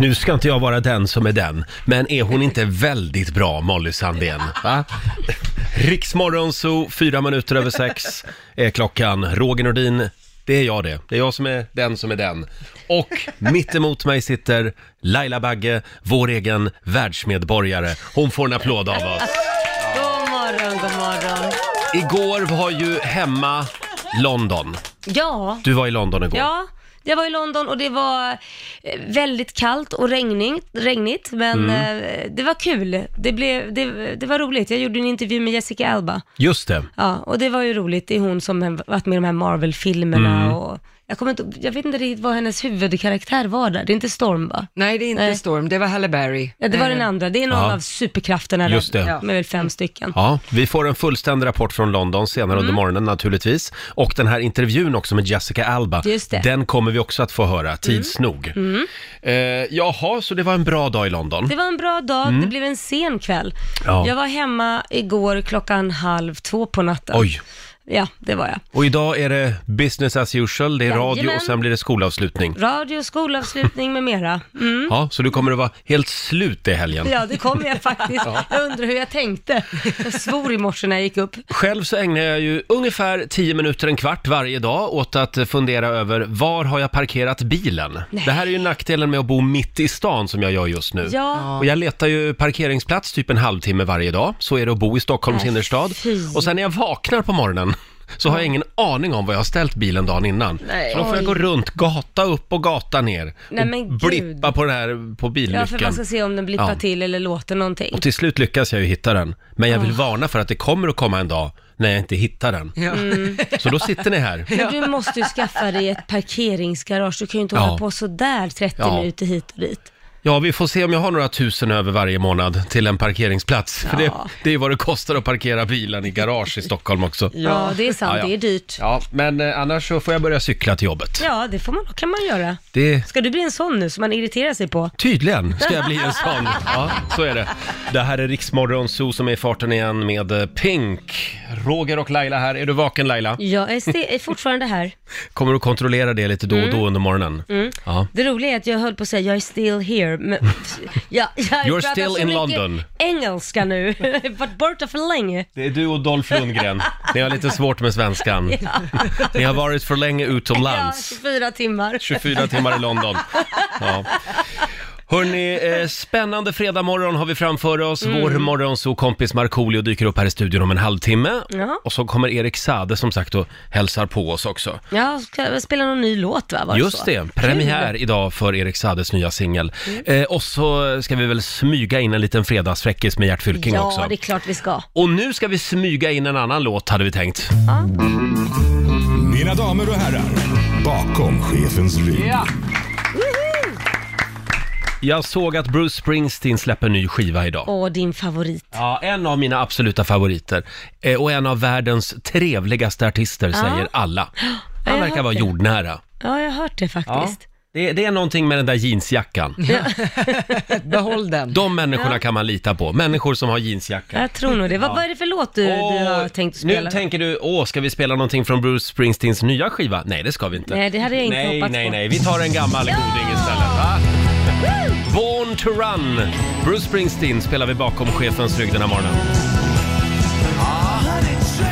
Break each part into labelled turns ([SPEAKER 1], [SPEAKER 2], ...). [SPEAKER 1] Nu ska inte jag vara den som är den, men är hon inte väldigt bra, Molly Sandén? Va? Riksmorgon, så fyra minuter över sex är klockan. Roger Nordin, det är jag det. Det är jag som är den som är den. Och mitt emot mig sitter Laila Bagge, vår egen världsmedborgare. Hon får en applåd av oss.
[SPEAKER 2] God morgon, god morgon.
[SPEAKER 1] Igår var ju hemma London.
[SPEAKER 2] Ja,
[SPEAKER 1] Du var i London igår.
[SPEAKER 2] ja. Jag var i London och det var eh, väldigt kallt och regnigt, regnigt men
[SPEAKER 1] Mm.
[SPEAKER 2] eh, det var kul. Det, blev, det, det var roligt. Jag gjorde en intervju med Jessica Alba.
[SPEAKER 1] Just det.
[SPEAKER 2] Ja, och det var ju roligt. Det är hon som har varit med i de här Marvel-filmerna
[SPEAKER 1] Mm.
[SPEAKER 2] och jag, kommer inte, jag vet inte riktigt vad hennes huvudkaraktär var där. Det är inte Storm va?
[SPEAKER 3] Nej, det är inte
[SPEAKER 2] Nej.
[SPEAKER 3] Storm, det var Halle Berry.
[SPEAKER 2] Ja, det var
[SPEAKER 3] Eh,
[SPEAKER 2] den andra. Det är någon
[SPEAKER 1] Ja.
[SPEAKER 2] av superkrafterna där.
[SPEAKER 1] Just det.
[SPEAKER 2] De är väl fem stycken.
[SPEAKER 1] Ja, vi får en fullständig rapport från London senare
[SPEAKER 2] Mm.
[SPEAKER 1] under morgonen naturligtvis. Och den här intervjun också med Jessica Alba,
[SPEAKER 2] Just det. Mm.
[SPEAKER 1] den kommer vi också att få höra tids nog. Eh, jaha, så det var en bra dag i London.
[SPEAKER 2] Det var en bra dag, det blev en sen kväll.
[SPEAKER 1] Mm. Ja.
[SPEAKER 2] Jag var hemma igår klockan halv två på natten.
[SPEAKER 1] Oj,
[SPEAKER 2] Ja, det var jag.
[SPEAKER 1] och idag är det business as usual, det är radio
[SPEAKER 2] Jajamän. Mm.
[SPEAKER 1] och sen blir det skolavslutning.
[SPEAKER 2] Radio, skolavslutning med mera. Mm.
[SPEAKER 1] Ja, så du kommer att vara helt slut i helgen.
[SPEAKER 2] Ja, det kom jag faktiskt. Jag undrar hur jag tänkte. Jag svor i morse när jag gick upp.
[SPEAKER 1] Själv så ägnar jag ju ungefär 10 minuter, en kvart varje dag åt att fundera över var har jag parkerat bilen? Det här är ju nackdelen med att bo mitt i stan som jag gör just nu.
[SPEAKER 2] Ja.
[SPEAKER 1] Och jag letar ju parkeringsplats typ en halvtimme varje dag. Så är det att bo i Stockholms
[SPEAKER 2] Nej,
[SPEAKER 1] innerstad.
[SPEAKER 2] Äh, fy.
[SPEAKER 1] Och sen när jag vaknar på morgonen så har jag ingen aning om var jag har ställt bilen dagen innan.
[SPEAKER 3] Nej.
[SPEAKER 1] Så då får jag
[SPEAKER 2] Oj.
[SPEAKER 1] gå runt, gata upp och gata ner.
[SPEAKER 2] Nej,
[SPEAKER 1] och
[SPEAKER 2] men gud.
[SPEAKER 1] blippa på, den här, på
[SPEAKER 2] Ja, för man
[SPEAKER 1] bilnyckeln.
[SPEAKER 2] ska se om den blippar
[SPEAKER 1] Ja.
[SPEAKER 2] till eller låter någonting.
[SPEAKER 1] Och till slut lyckas jag ju hitta den. Men jag vill varna för att det kommer att komma en dag när jag inte hittar den.
[SPEAKER 3] Ja.
[SPEAKER 1] Så då sitter ni här.
[SPEAKER 2] Mm. Men du måste ju skaffa dig ett parkeringsgarage. Du kan ju inte
[SPEAKER 1] Ja.
[SPEAKER 2] hålla på sådär 30
[SPEAKER 1] Ja.
[SPEAKER 2] minuter hit och dit.
[SPEAKER 1] Ja, vi får se om jag har några tusen över varje månad till en parkeringsplats. För det,
[SPEAKER 2] Ja.
[SPEAKER 1] det är vad det kostar att parkera bilen i garage i Stockholm också.
[SPEAKER 2] Ja, det är sant.
[SPEAKER 1] Ja, ja.
[SPEAKER 2] Det är dyrt.
[SPEAKER 1] Ja, men eh, annars så får jag börja cykla till jobbet.
[SPEAKER 2] Ja, det får man, kan man göra.
[SPEAKER 1] Det
[SPEAKER 2] Ska du bli en sån nu som man irriterar sig på?
[SPEAKER 1] Tydligen ska jag bli en sån. Ja, så är det. Det här är Riksmorgon Zoo som är i farten igen med eh, Pink. Roger och Laila här. Är du vaken Laila?
[SPEAKER 2] Jag är, ste- är fortfarande här.
[SPEAKER 1] Kommer du kontrollera det lite då och då under morgonen? Ja.
[SPEAKER 2] Det roliga är att jag höll på att säga jag är still here, men jag, jag
[SPEAKER 1] You're
[SPEAKER 2] pratar
[SPEAKER 1] still
[SPEAKER 2] så
[SPEAKER 1] in
[SPEAKER 2] mycket
[SPEAKER 1] London.
[SPEAKER 2] engelska nu. Jag har varit borta för länge.
[SPEAKER 1] Det är du och Dolph Lundgren. Ni har lite svårt med svenskan. Ni har varit för länge
[SPEAKER 2] Ja,
[SPEAKER 1] utomlands.
[SPEAKER 2] 24 timmar.
[SPEAKER 1] 24 timmar i London. Ja. Hörni, eh, spännande fredagmorgon har vi framför oss.
[SPEAKER 2] Mm.
[SPEAKER 1] Vår morgonsokompis Markoolio dyker upp här i studion om en halvtimme.
[SPEAKER 2] Ja.
[SPEAKER 1] Och så kommer Erik Sade som sagt och hälsar på oss också.
[SPEAKER 2] Ja, ska jag spela någon ny låt va? Var
[SPEAKER 1] Just
[SPEAKER 2] så? Mm.
[SPEAKER 1] det, premiär idag för Erik Sades nya singel. Eh, och så ska vi väl smyga in en liten fredagsfräckis med Gert Fylking
[SPEAKER 2] ja,
[SPEAKER 1] också.
[SPEAKER 2] det är klart vi ska.
[SPEAKER 1] Och nu ska vi smyga in en annan låt hade vi tänkt.
[SPEAKER 4] Mina damer och herrar, bakom chefens rygg.
[SPEAKER 1] Jag såg att Bruce Springsteen släpper ny skiva idag.
[SPEAKER 2] Och din favorit.
[SPEAKER 1] Ja, en av mina absoluta favoriter. Eh, Och en av världens trevligaste artister, säger alla. Han
[SPEAKER 2] jag
[SPEAKER 1] verkar
[SPEAKER 2] hört
[SPEAKER 1] vara
[SPEAKER 2] det.
[SPEAKER 1] jordnära.
[SPEAKER 2] Ja, jag har hört det faktiskt.
[SPEAKER 1] Det, det är någonting med den där jeansjackan.
[SPEAKER 3] Behåll den.
[SPEAKER 1] De människorna kan man lita på. Människor som har jeansjacka.
[SPEAKER 2] Jag tror nog det. Vad, vad är det för låt du, du har
[SPEAKER 1] Och
[SPEAKER 2] tänkt spela?
[SPEAKER 1] nu tänker du, åh, ska vi spela någonting från Bruce Springsteens nya skiva? Nej, det ska vi inte.
[SPEAKER 2] Nej, det hade jag inte
[SPEAKER 1] nej,
[SPEAKER 2] hoppats
[SPEAKER 1] nej,
[SPEAKER 2] på.
[SPEAKER 1] nej. Vi tar en gammal goding istället. Va? Born to run! Bruce Springsteen spelar vi bakom chefens rygg den här morgonen.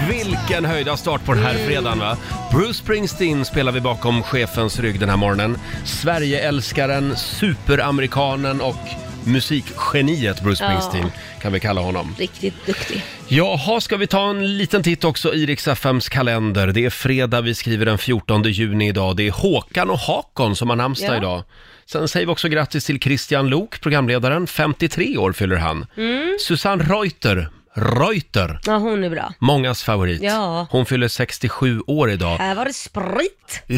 [SPEAKER 1] Vilken höjda start på den här fredagen va? Bruce Springsteen spelar vi bakom chefens rygg den här morgonen. Sverigeälskaren, superamerikanen och musikgeniet Bruce Springsteen kan vi kalla honom.
[SPEAKER 2] Riktigt duktig.
[SPEAKER 1] Jaha, ska vi ta en liten titt också i Rix FMs kalender. Det är fredag, vi skriver den 14 juni idag. Det är Håkan och Hakon som har namnsdag
[SPEAKER 2] Ja.
[SPEAKER 1] idag. Sen säger vi också grattis till Christian Lok, programledaren. 53 år fyller han.
[SPEAKER 2] Mm.
[SPEAKER 1] Susanne Reuter, Reuter,
[SPEAKER 2] Ja, hon är bra.
[SPEAKER 1] mångas favorit.
[SPEAKER 2] Ja.
[SPEAKER 1] Hon fyller 67 år idag.
[SPEAKER 2] Här var det sprit.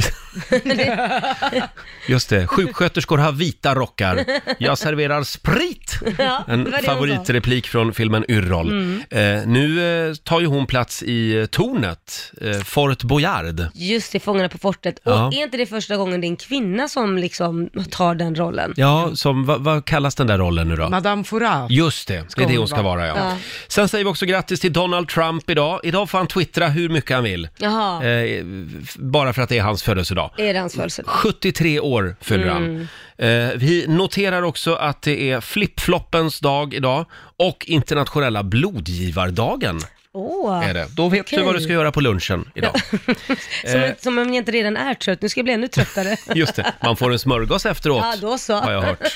[SPEAKER 1] Just det, sjuksköterskor har vita rockar. Jag serverar sprit!
[SPEAKER 2] Ja, det
[SPEAKER 1] En
[SPEAKER 2] var det hon sa. Mm.
[SPEAKER 1] favoritreplik från filmen Yrrol. Eh, nu eh, tar ju hon plats i eh, tornet, eh, Fort Boyard.
[SPEAKER 2] Just det, Fångarna på fortet.
[SPEAKER 1] Ja.
[SPEAKER 2] Och är inte det första gången det är en kvinna som liksom tar den rollen?
[SPEAKER 1] Ja, som, vad, vad kallas den där rollen nu då?
[SPEAKER 3] Madame Fourage.
[SPEAKER 1] Just det, det är det hon ska vara ja. Sen Sen säger vi också grattis till Donald Trump idag. Idag får han twittra hur mycket han vill.
[SPEAKER 2] Jaha,
[SPEAKER 1] Eh, f- bara för att det är hans födelsedag.
[SPEAKER 2] är det hans födelsedag?
[SPEAKER 1] 73 år fyller han.
[SPEAKER 2] Mm.
[SPEAKER 1] Eh, vi noterar också att det är flipfloppens dag idag och internationella blodgivardagen
[SPEAKER 2] Åh,
[SPEAKER 1] är det. Då vet du
[SPEAKER 2] Okej.
[SPEAKER 1] vad du ska göra på lunchen idag.
[SPEAKER 2] som, som om jag inte redan är trött. Nu ska jag bli ännu tröttare.
[SPEAKER 1] Eh, Just det, man får en smörgås efteråt.
[SPEAKER 2] Ja, då så.
[SPEAKER 1] Har jag hört.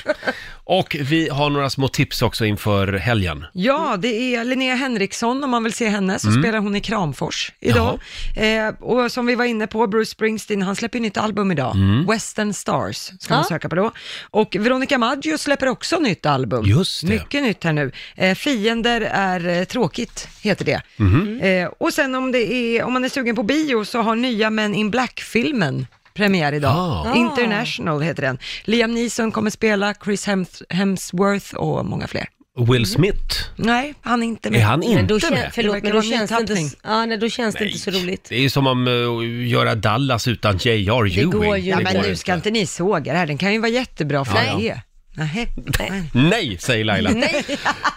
[SPEAKER 1] Och vi har några små tips också inför helgen.
[SPEAKER 3] Ja, det är Linnea Henriksson, om man vill se henne,
[SPEAKER 1] Mm.
[SPEAKER 3] så spelar hon i Kramfors idag. Eh, och som vi var inne på, Bruce Springsteen, han släpper ju nytt album idag.
[SPEAKER 1] Mm.
[SPEAKER 3] Western Stars ska man
[SPEAKER 2] Ja.
[SPEAKER 3] söka på då. Och Veronica Maggio släpper också nytt album.
[SPEAKER 1] Just det.
[SPEAKER 3] Mycket nytt här nu. Eh, Fiender är eh, tråkigt, heter det.
[SPEAKER 1] Mhm.
[SPEAKER 2] Mm.
[SPEAKER 1] Mm.
[SPEAKER 3] Eh, och sen om, det är, om man är sugen på bio så har nya Men in Black-filmen premiär idag.
[SPEAKER 1] Ah.
[SPEAKER 3] International heter den. Liam Neeson kommer spela, Chris Hems- Hemsworth och många fler.
[SPEAKER 2] Mm.
[SPEAKER 1] Will Smith,
[SPEAKER 3] Nej, han är inte med.
[SPEAKER 1] är han
[SPEAKER 2] Men då
[SPEAKER 1] inte
[SPEAKER 2] kän-
[SPEAKER 1] med?
[SPEAKER 3] Det
[SPEAKER 2] förlåt, men
[SPEAKER 3] verkar
[SPEAKER 2] då
[SPEAKER 3] vara
[SPEAKER 2] känns det inte,
[SPEAKER 3] nytappning.
[SPEAKER 2] s- ja, nej, då känns det inte så roligt.
[SPEAKER 1] Det är ju som om uh, göra Dallas utan J.R. Ewing.
[SPEAKER 2] går ju
[SPEAKER 3] Ja,
[SPEAKER 2] Det
[SPEAKER 3] men
[SPEAKER 1] går
[SPEAKER 3] nu ska inte ni såga det här. Den kan ju vara jättebra för
[SPEAKER 2] Ja,
[SPEAKER 3] er. Nej. Nej.
[SPEAKER 1] Nej, säger Laila.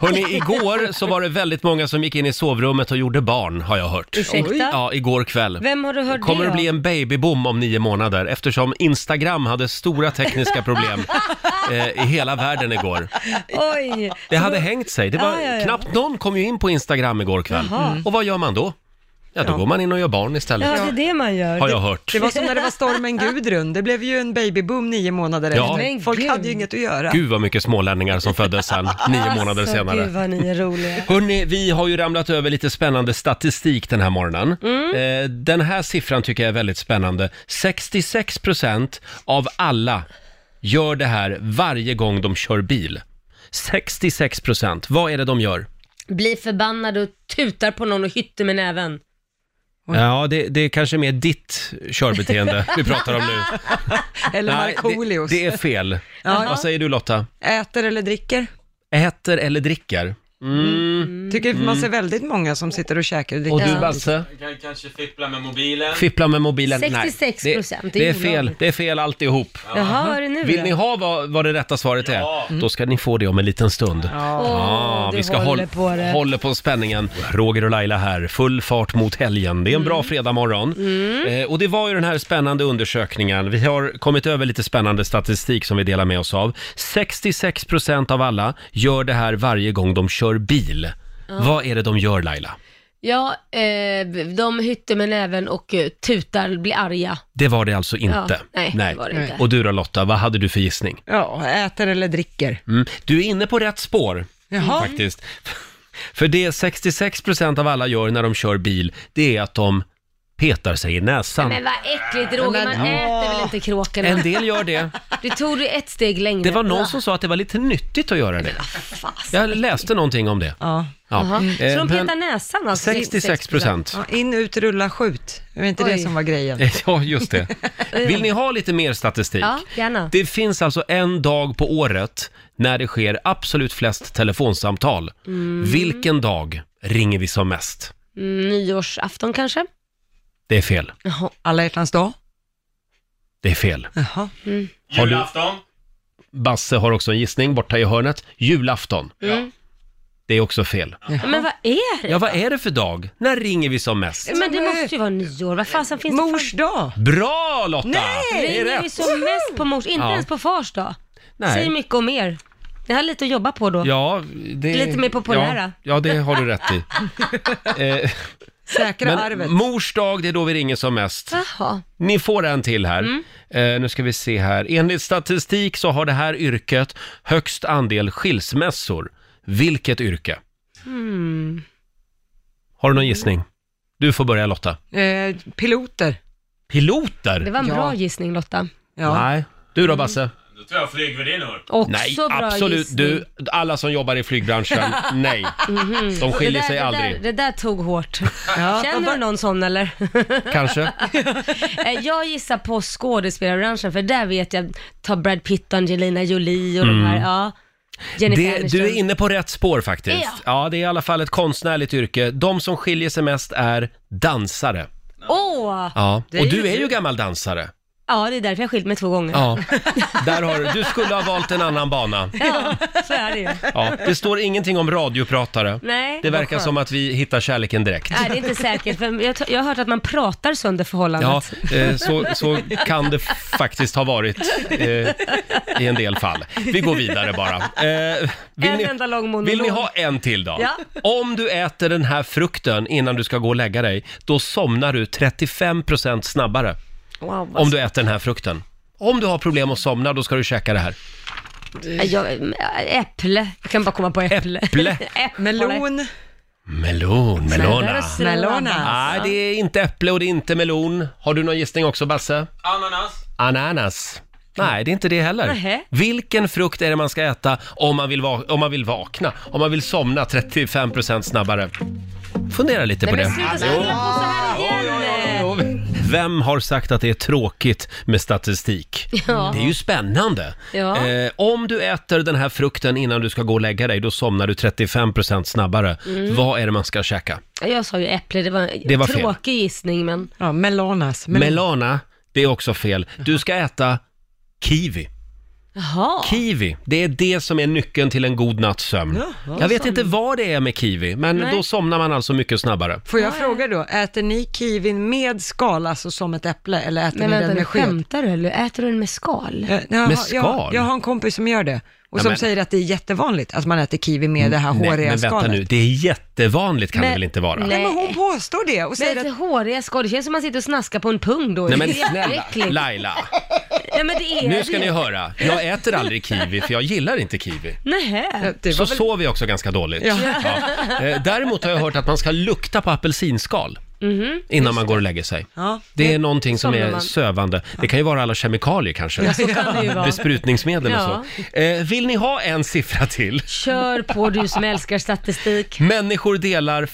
[SPEAKER 1] Hörrni, igår så var det väldigt många som gick in i sovrummet och gjorde barn, har jag hört.
[SPEAKER 2] Ursäkta?
[SPEAKER 1] Ja, igår kväll.
[SPEAKER 2] Vem har du hört
[SPEAKER 1] kommer
[SPEAKER 2] det
[SPEAKER 1] att
[SPEAKER 2] av?
[SPEAKER 1] bli en babyboom om nio månader eftersom Instagram hade stora tekniska problem eh, i hela världen igår.
[SPEAKER 2] Oj!
[SPEAKER 1] Det hade hängt sig. Det var,
[SPEAKER 2] Ja, ja, ja.
[SPEAKER 1] Knappt någon kom ju in på Instagram igår kväll.
[SPEAKER 2] Jaha.
[SPEAKER 1] Och vad gör man då? Ja, då går man in och gör barn istället,
[SPEAKER 2] Ja, det är det man gör.
[SPEAKER 1] liksom. har jag hört.
[SPEAKER 3] Det var som när det var stormen Gudrun. Det blev ju en babyboom nio månader
[SPEAKER 1] Ja.
[SPEAKER 3] efter.
[SPEAKER 2] Men
[SPEAKER 3] Folk
[SPEAKER 2] gud.
[SPEAKER 3] hade ju inget att göra.
[SPEAKER 1] Gud vad mycket smålänningar som föddes sen, nio månader
[SPEAKER 2] alltså,
[SPEAKER 1] senare.
[SPEAKER 2] Gud vad ni är roliga.
[SPEAKER 1] Hörrni, vi har ju ramlat över lite spännande statistik den här morgonen.
[SPEAKER 2] Mm.
[SPEAKER 1] Eh, den här siffran tycker jag är väldigt spännande. 66% av alla gör det här varje gång de kör bil. 66%, vad är det de gör?
[SPEAKER 2] Bli förbannad och tutar på någon och hytter med näven.
[SPEAKER 1] Ja, det, det är kanske mer ditt körbeteende vi pratar om nu.
[SPEAKER 3] Eller
[SPEAKER 1] Nej, det,
[SPEAKER 3] Markoolios.
[SPEAKER 1] det är fel.
[SPEAKER 3] Ja.
[SPEAKER 1] Vad säger du Lotta?
[SPEAKER 3] Äter eller dricker.
[SPEAKER 1] Äter eller dricker? Mm.
[SPEAKER 3] Tycker man ser väldigt många som sitter och käkar och dricker.
[SPEAKER 1] Och du
[SPEAKER 2] Ja.
[SPEAKER 1] Basse?
[SPEAKER 5] Kan kanske fippla med mobilen.
[SPEAKER 1] Alltså? Fippla med mobilen?
[SPEAKER 2] 66%,
[SPEAKER 1] Nej, det,
[SPEAKER 2] det är
[SPEAKER 1] det är fel.
[SPEAKER 2] olagligt.
[SPEAKER 1] Det är fel alltihop.
[SPEAKER 2] Jaha, vad är det nu
[SPEAKER 1] Vill
[SPEAKER 2] då?
[SPEAKER 1] ni ha vad, vad det rätta svaret är?
[SPEAKER 5] Ja.
[SPEAKER 1] Då ska ni få det om en liten stund.
[SPEAKER 2] Åh,
[SPEAKER 1] Ja,
[SPEAKER 2] du
[SPEAKER 1] vi ska hålla
[SPEAKER 2] håller på det.
[SPEAKER 1] håller på spänningen. Roger och Laila här, full fart mot helgen. Det är en
[SPEAKER 2] Mm.
[SPEAKER 1] bra fredagmorgon. Eh, och det var ju den här spännande undersökningen. Vi har kommit över lite spännande statistik som vi delar med oss av. 66% av alla gör det här varje gång de kör bil. Vad är det de gör Laila?
[SPEAKER 2] Ja, eh, de hytter med näven och eh, tutar, blir arga.
[SPEAKER 1] Det var det alltså inte.
[SPEAKER 2] Ja, nej, det var det inte.
[SPEAKER 1] Och du då Lotta, vad hade du för gissning?
[SPEAKER 3] Ja, äter eller dricker.
[SPEAKER 1] Mm. Du är inne på rätt spår
[SPEAKER 3] Jaha.
[SPEAKER 1] faktiskt. För det 66% av alla gör när de kör bil, det är att de petar sig i näsan.
[SPEAKER 2] Men vad äckligt Roger, man
[SPEAKER 3] Men-
[SPEAKER 2] äter väl inte kråkorna?
[SPEAKER 1] En del gör det.
[SPEAKER 2] Det tog du ett steg längre.
[SPEAKER 1] Det var någon som sa att det var lite nyttigt att göra det.
[SPEAKER 2] Fasen.
[SPEAKER 1] Jag läste någonting om det.
[SPEAKER 3] Ja.
[SPEAKER 1] Ja.
[SPEAKER 2] Jaha. Så
[SPEAKER 1] Eh, men
[SPEAKER 2] de petar näsan alltså?
[SPEAKER 1] 66%.
[SPEAKER 3] Ja, in, ut, rulla, skjut. Det var inte det
[SPEAKER 2] Oj.
[SPEAKER 3] som var grejen.
[SPEAKER 1] Ja, just det. Vill ni ha lite mer statistik?
[SPEAKER 2] Ja, gärna.
[SPEAKER 1] Det finns alltså en dag på året när det sker absolut flest telefonsamtal. Vilken dag ringer vi som mest?
[SPEAKER 2] Mm, nyårsafton kanske?
[SPEAKER 1] Det är fel.
[SPEAKER 2] Jaha.
[SPEAKER 3] Alla hjärtans dag.
[SPEAKER 1] Det är fel.
[SPEAKER 3] Jaha.
[SPEAKER 1] Har du-
[SPEAKER 5] Julafton.
[SPEAKER 1] Basse har också en gissning borta i hörnet. Julafton.
[SPEAKER 2] Mm.
[SPEAKER 1] Det är också fel.
[SPEAKER 2] Men vad är det?
[SPEAKER 1] Ja, vad är det för dag? När ringer vi som mest?
[SPEAKER 2] Men det måste ju vara nyår. Vad fasen finns det
[SPEAKER 3] Mors dag.
[SPEAKER 1] Bra Lotta! Det är
[SPEAKER 2] för... Ringer vi
[SPEAKER 1] rätt!
[SPEAKER 2] som mest på mors? Inte
[SPEAKER 1] Ja.
[SPEAKER 2] ens på fars dag. Säger
[SPEAKER 1] Nej.
[SPEAKER 2] mycket om er. Ni har lite att jobba på då.
[SPEAKER 1] Ja, det...
[SPEAKER 2] Lite mer populära.
[SPEAKER 1] Ja, ja, det har du rätt i. Eh,
[SPEAKER 3] Säkra arvet.
[SPEAKER 1] men mors dag, det är då vi ringer som mest.
[SPEAKER 2] Jaha.
[SPEAKER 1] Ni får en till här.
[SPEAKER 2] Mm.
[SPEAKER 1] Eh, nu ska vi se här. Enligt statistik så har det här yrket högst andel skilsmässor. Vilket yrke?
[SPEAKER 3] Eh,
[SPEAKER 2] Hmm.
[SPEAKER 1] Har du någon gissning? Du får börja Lotta.
[SPEAKER 3] Eh, piloter.
[SPEAKER 1] Piloter?
[SPEAKER 2] Det var en
[SPEAKER 3] Ja.
[SPEAKER 2] bra gissning Lotta.
[SPEAKER 3] Ja.
[SPEAKER 1] Nej. Du då Basse?
[SPEAKER 5] Då tror jag flygvärdinnor.
[SPEAKER 2] Också
[SPEAKER 1] Nej,
[SPEAKER 2] bra
[SPEAKER 1] absolut.
[SPEAKER 2] gissning. Mhm.
[SPEAKER 1] Du, alla som jobbar i flygbranschen, nej. De
[SPEAKER 2] Det
[SPEAKER 1] skiljer
[SPEAKER 2] där,
[SPEAKER 1] sig
[SPEAKER 2] det
[SPEAKER 1] aldrig,
[SPEAKER 2] Där, det där tog hårt.
[SPEAKER 3] Ja.
[SPEAKER 2] Känner du någon sån eller?
[SPEAKER 1] kanske.
[SPEAKER 2] Eh, jag gissar på skådespelarbranschen för där vet jag, ta Brad Pitt och Angelina Jolie och de här, ja. Jennifer
[SPEAKER 1] Mm. Det,
[SPEAKER 2] Aniston.
[SPEAKER 1] du är inne på rätt spår faktiskt.
[SPEAKER 2] Ja.
[SPEAKER 1] Ja, det är i alla fall ett konstnärligt yrke. De som skiljer sig mest är dansare.
[SPEAKER 2] Åh!
[SPEAKER 1] Ja.
[SPEAKER 3] Det är
[SPEAKER 1] Och
[SPEAKER 3] ju
[SPEAKER 1] du är
[SPEAKER 3] kul.
[SPEAKER 1] ju gammal dansare.
[SPEAKER 2] Ja, det är därför jag har skilt mig två gånger.
[SPEAKER 1] Ja, där har du. Du skulle ha valt en annan bana.
[SPEAKER 2] Ja, så är det ju.
[SPEAKER 1] Ja, det står ingenting om radiopratare.
[SPEAKER 2] Nej,
[SPEAKER 1] det
[SPEAKER 2] vad
[SPEAKER 1] verkar
[SPEAKER 2] skönt.
[SPEAKER 1] som att vi hittar kärleken direkt.
[SPEAKER 2] Nej, det är inte säkert. För jag, jag har hört att man pratar sönder
[SPEAKER 1] Ja,
[SPEAKER 2] förhållandet.
[SPEAKER 1] eh, så, så kan det f- faktiskt ha varit eh, i en del fall. Vi går vidare bara. Eh,
[SPEAKER 2] En enda lång monolog.
[SPEAKER 1] vill ni ha en till då?
[SPEAKER 2] Ja.
[SPEAKER 1] Om du äter den här frukten innan du ska gå och lägga dig, då somnar du 35% snabbare
[SPEAKER 2] Wow, vad
[SPEAKER 1] om du äter den här frukten. Om du har problem att somna, då ska du käka det här.
[SPEAKER 2] Jag, eh, äpple. Jag kan bara komma på äpple.
[SPEAKER 1] Äpple.
[SPEAKER 2] Äpple.
[SPEAKER 3] Melon.
[SPEAKER 1] Melon, melona.
[SPEAKER 2] Melona.
[SPEAKER 1] Nej, det är inte äpple och det är inte melon. Har du någon gissning också, Basse?
[SPEAKER 5] Ananas.
[SPEAKER 1] Ananas. Nej, det är inte det heller.
[SPEAKER 2] Nähä.
[SPEAKER 1] Vilken frukt är det man ska äta om man vill, va- om man vill vakna? Om man vill somna 35% snabbare? Fundera lite på det.
[SPEAKER 2] Sluta skratta på så här igen.
[SPEAKER 1] Vem har sagt att det är tråkigt med statistik?
[SPEAKER 2] Ja.
[SPEAKER 1] Det är ju spännande.
[SPEAKER 2] Ja.
[SPEAKER 1] Eh, om du äter den här frukten innan du ska gå och lägga dig, då somnar du 35% snabbare.
[SPEAKER 2] Mm.
[SPEAKER 1] Vad är det man ska käka?
[SPEAKER 2] Jag sa ju äpple, det var en
[SPEAKER 1] Det var fel.
[SPEAKER 2] tråkig gissning men...
[SPEAKER 3] Ja, melonas. Melon. alltså.
[SPEAKER 1] Melana, det är också fel. Du ska äta kiwi.
[SPEAKER 2] Jaha.
[SPEAKER 1] Kiwi, det är det som är nyckeln till en god natts sömn. Jag vet inte vad det är med kiwi, men
[SPEAKER 2] Nej.
[SPEAKER 1] då somnar man alltså mycket snabbare.
[SPEAKER 3] Får jag fråga då, äter ni kiwin med skal, alltså som ett äpple, eller äter
[SPEAKER 2] Men
[SPEAKER 3] ni
[SPEAKER 2] vänta
[SPEAKER 3] den
[SPEAKER 2] nu,
[SPEAKER 3] med sked?
[SPEAKER 2] skämtar du eller äter du den med skal?
[SPEAKER 3] Eh, Jag,
[SPEAKER 1] Med
[SPEAKER 3] har- jag,
[SPEAKER 1] skal?
[SPEAKER 3] jag har en kompis som gör det och som
[SPEAKER 1] men-
[SPEAKER 3] säger att det är jättevanligt att man äter kiwi med det här
[SPEAKER 1] Mm. Nej,
[SPEAKER 3] håriga
[SPEAKER 1] men vänta
[SPEAKER 3] skalet.
[SPEAKER 1] nu, det är jättevanligt kan det
[SPEAKER 2] Men-
[SPEAKER 1] väl inte vara?
[SPEAKER 2] nej.
[SPEAKER 3] Nej, men hon påstår det och
[SPEAKER 2] Eh, Men
[SPEAKER 3] säger
[SPEAKER 2] det
[SPEAKER 3] att
[SPEAKER 2] håriga skal, det känns som man sitter och snaskar på en pung då.
[SPEAKER 1] Nej men
[SPEAKER 2] Det är
[SPEAKER 1] snälla,
[SPEAKER 2] jätteäckligt.
[SPEAKER 1] Laila,
[SPEAKER 2] Nej men det är
[SPEAKER 1] nu ska
[SPEAKER 2] det.
[SPEAKER 1] ni höra. Jag äter aldrig kiwi för jag gillar inte kiwi.
[SPEAKER 2] Nähä.
[SPEAKER 3] det
[SPEAKER 1] Så
[SPEAKER 3] var väl
[SPEAKER 1] sover jag också ganska dåligt.
[SPEAKER 3] Ja.
[SPEAKER 1] Ja. Eh, Däremot har jag hört att man ska lukta på apelsinskal
[SPEAKER 2] Mhm.
[SPEAKER 1] innan man går och lägger sig.
[SPEAKER 3] Ja.
[SPEAKER 1] Det är någonting som
[SPEAKER 2] Somnar
[SPEAKER 1] är
[SPEAKER 2] man.
[SPEAKER 1] sövande. Det kan ju vara alla kemikalier kanske.
[SPEAKER 2] Så kan det ju vara.
[SPEAKER 1] Besprutningsmedel
[SPEAKER 2] Ja.
[SPEAKER 1] och så. Eh, vill ni ha en siffra till?
[SPEAKER 2] Kör på du som älskar statistik.
[SPEAKER 1] Människor delar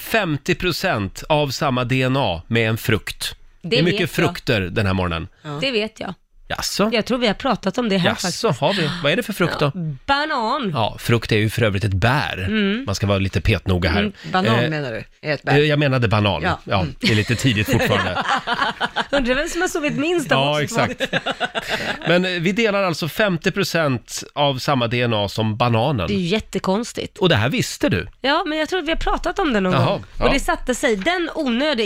[SPEAKER 1] 50% av samma DNA med en frukt. Det,
[SPEAKER 2] Det
[SPEAKER 1] är
[SPEAKER 2] vet
[SPEAKER 1] mycket
[SPEAKER 2] jag.
[SPEAKER 1] frukter den här morgonen.
[SPEAKER 2] Det vet jag.
[SPEAKER 1] Jaså?
[SPEAKER 2] Jag tror vi har pratat om det här faktiskt. Mm.
[SPEAKER 1] Jaså, har vi? Vad är det för frukt då?
[SPEAKER 2] Banan.
[SPEAKER 1] Ja, frukt är ju för övrigt ett bär.
[SPEAKER 2] Mm.
[SPEAKER 1] Man ska vara lite petnoga här.
[SPEAKER 3] Mm, banan
[SPEAKER 1] Eh,
[SPEAKER 3] menar du, är ett
[SPEAKER 1] eh,
[SPEAKER 3] bär.
[SPEAKER 1] jag menade banan. Ja.
[SPEAKER 3] Ja.
[SPEAKER 2] Mm.
[SPEAKER 1] det är lite tidigt fortfarande.
[SPEAKER 2] Undrar vem som har sovit minst av oss
[SPEAKER 1] ja,
[SPEAKER 2] två.
[SPEAKER 1] exakt. Men eh, vi delar alltså 50% av samma DNA som bananen.
[SPEAKER 2] Det är ju jättekonstigt.
[SPEAKER 1] Och det här visste du?
[SPEAKER 2] Ja, men jag tror att vi har pratat om det någon
[SPEAKER 1] Jaha,
[SPEAKER 2] gång.
[SPEAKER 1] ja.
[SPEAKER 2] Och det satte sig. Den onödiga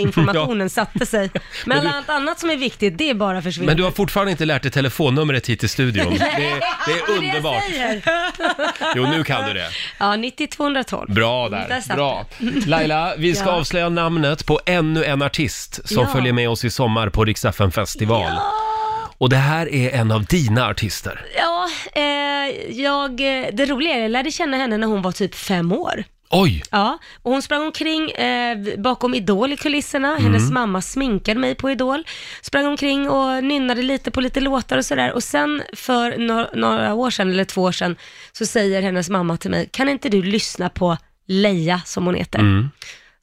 [SPEAKER 2] informationen satte sig. Men
[SPEAKER 1] du-
[SPEAKER 2] allt annat som är viktigt, det är bara försvinner.
[SPEAKER 1] Men du har fortfarande inte lärt dig telefonnumret hit till studion. Det, är- det är
[SPEAKER 2] Det är det jag
[SPEAKER 1] underbart.
[SPEAKER 2] säger.
[SPEAKER 1] Jo, nu kan du det.
[SPEAKER 2] Ja, 9212.
[SPEAKER 1] Bra
[SPEAKER 2] Där
[SPEAKER 1] där.
[SPEAKER 2] satt
[SPEAKER 1] Bra. Laila, vi ska
[SPEAKER 2] Ja.
[SPEAKER 1] avslöja namnet på ännu en artist som
[SPEAKER 2] Ja.
[SPEAKER 1] följer med oss i sommar på Riksdagen festival. Och det här är en av dina artister.
[SPEAKER 2] Ja, eh, jag, eh, det roliga är, jag lärde känna henne när hon var typ fem år.
[SPEAKER 1] Oj!
[SPEAKER 2] Ja, och hon sprang omkring eh, bakom Idol i kulisserna.
[SPEAKER 1] Mm.
[SPEAKER 2] Hennes mamma sminkade mig på Idol. Sprang omkring och nynnade lite på lite låtar och sådär. Och sen för no- några år sedan, eller två år sedan, så säger hennes mamma till mig, kan inte du lyssna på Leia, som hon heter?
[SPEAKER 1] Mm.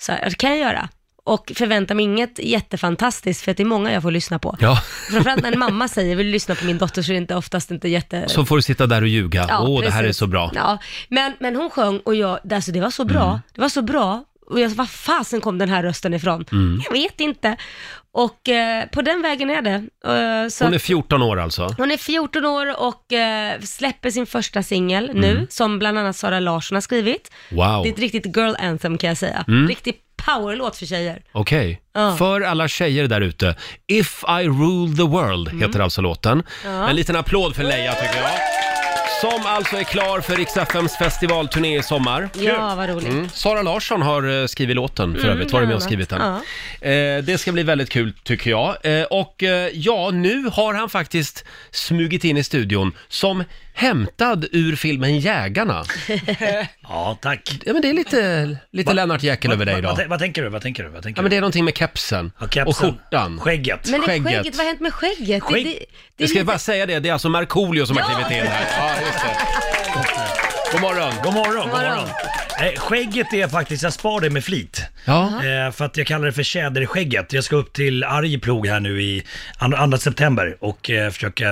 [SPEAKER 2] Så här, det kan jag göra. Och förvänta mig inget jättefantastiskt, för att det är många jag får lyssna på.
[SPEAKER 1] Ja,
[SPEAKER 2] Framförallt när en mamma säger, vill du lyssna på min dotter, så är det inte, oftast inte jätte...
[SPEAKER 1] så får du sitta där och ljuga. Åh,
[SPEAKER 2] Ja,
[SPEAKER 1] det här är
[SPEAKER 2] precis.
[SPEAKER 1] så bra. Mm.
[SPEAKER 2] Ja, men, men hon sjöng och jag, alltså det var så bra, det var så bra. Och jag, vad fasen kom den här rösten ifrån?
[SPEAKER 1] Mm.
[SPEAKER 2] Jag vet inte. Och eh, på den vägen är det. Eh, så
[SPEAKER 1] Hon är
[SPEAKER 2] att-
[SPEAKER 1] 14 år alltså.
[SPEAKER 2] hon är 14 år och eh, släpper sin första singel nu, som bland annat Sara Larsson har skrivit.
[SPEAKER 1] Mm. Wow, Mm.
[SPEAKER 2] Det är ett riktigt girl anthem kan jag säga. Riktig powerlåt för tjejer.
[SPEAKER 1] okej.
[SPEAKER 2] Ja.
[SPEAKER 1] För alla tjejer där ute, If I Rule the World
[SPEAKER 2] Mm.
[SPEAKER 1] heter alltså låten. En liten applåd för Leia tycker jag. Som alltså är klar för Riks-FMs festivalturné i sommar.
[SPEAKER 2] Ja, vad roligt. Mm,
[SPEAKER 1] Mm. Sara Larsson har eh, skrivit låten för övrigt, varit med och
[SPEAKER 2] bland
[SPEAKER 1] skrivit den.
[SPEAKER 2] annat.
[SPEAKER 1] Eh, det ska bli väldigt kul tycker jag. Eh, och eh, ja, nu har han faktiskt smugit in i studion som hämtad ur filmen Jägarna.
[SPEAKER 6] Ja, tack.
[SPEAKER 1] Ja men det är lite, lite Lennart Jäkel över dig
[SPEAKER 6] Vad,
[SPEAKER 1] idag.
[SPEAKER 6] vad, vad tänker du? Vad tänker du? Vad tänker
[SPEAKER 1] Ja men det
[SPEAKER 6] du?
[SPEAKER 1] är någonting med kepsen,
[SPEAKER 6] Ja, kepsen.
[SPEAKER 1] och skjortan.
[SPEAKER 6] Skägget.
[SPEAKER 2] Men det
[SPEAKER 1] Skägget.
[SPEAKER 2] skägget. skägget, vad har hänt med skägget?
[SPEAKER 6] Skägg-
[SPEAKER 2] Det, det, det är
[SPEAKER 1] Jag ska
[SPEAKER 2] lite-
[SPEAKER 1] bara säga det, det är alltså Markoolio som har
[SPEAKER 2] Ja.
[SPEAKER 1] klivit in här. Ja, just det. God morgon.
[SPEAKER 6] God morgon, god
[SPEAKER 2] morgon.
[SPEAKER 6] morgon. Eh, Skägget är faktiskt, jag spar det med flit.
[SPEAKER 1] Ja.
[SPEAKER 6] Eh, för att jag kallar det för tjäderskägget. Jag ska upp till Arjeplog här nu i an- 2 september och eh, försöka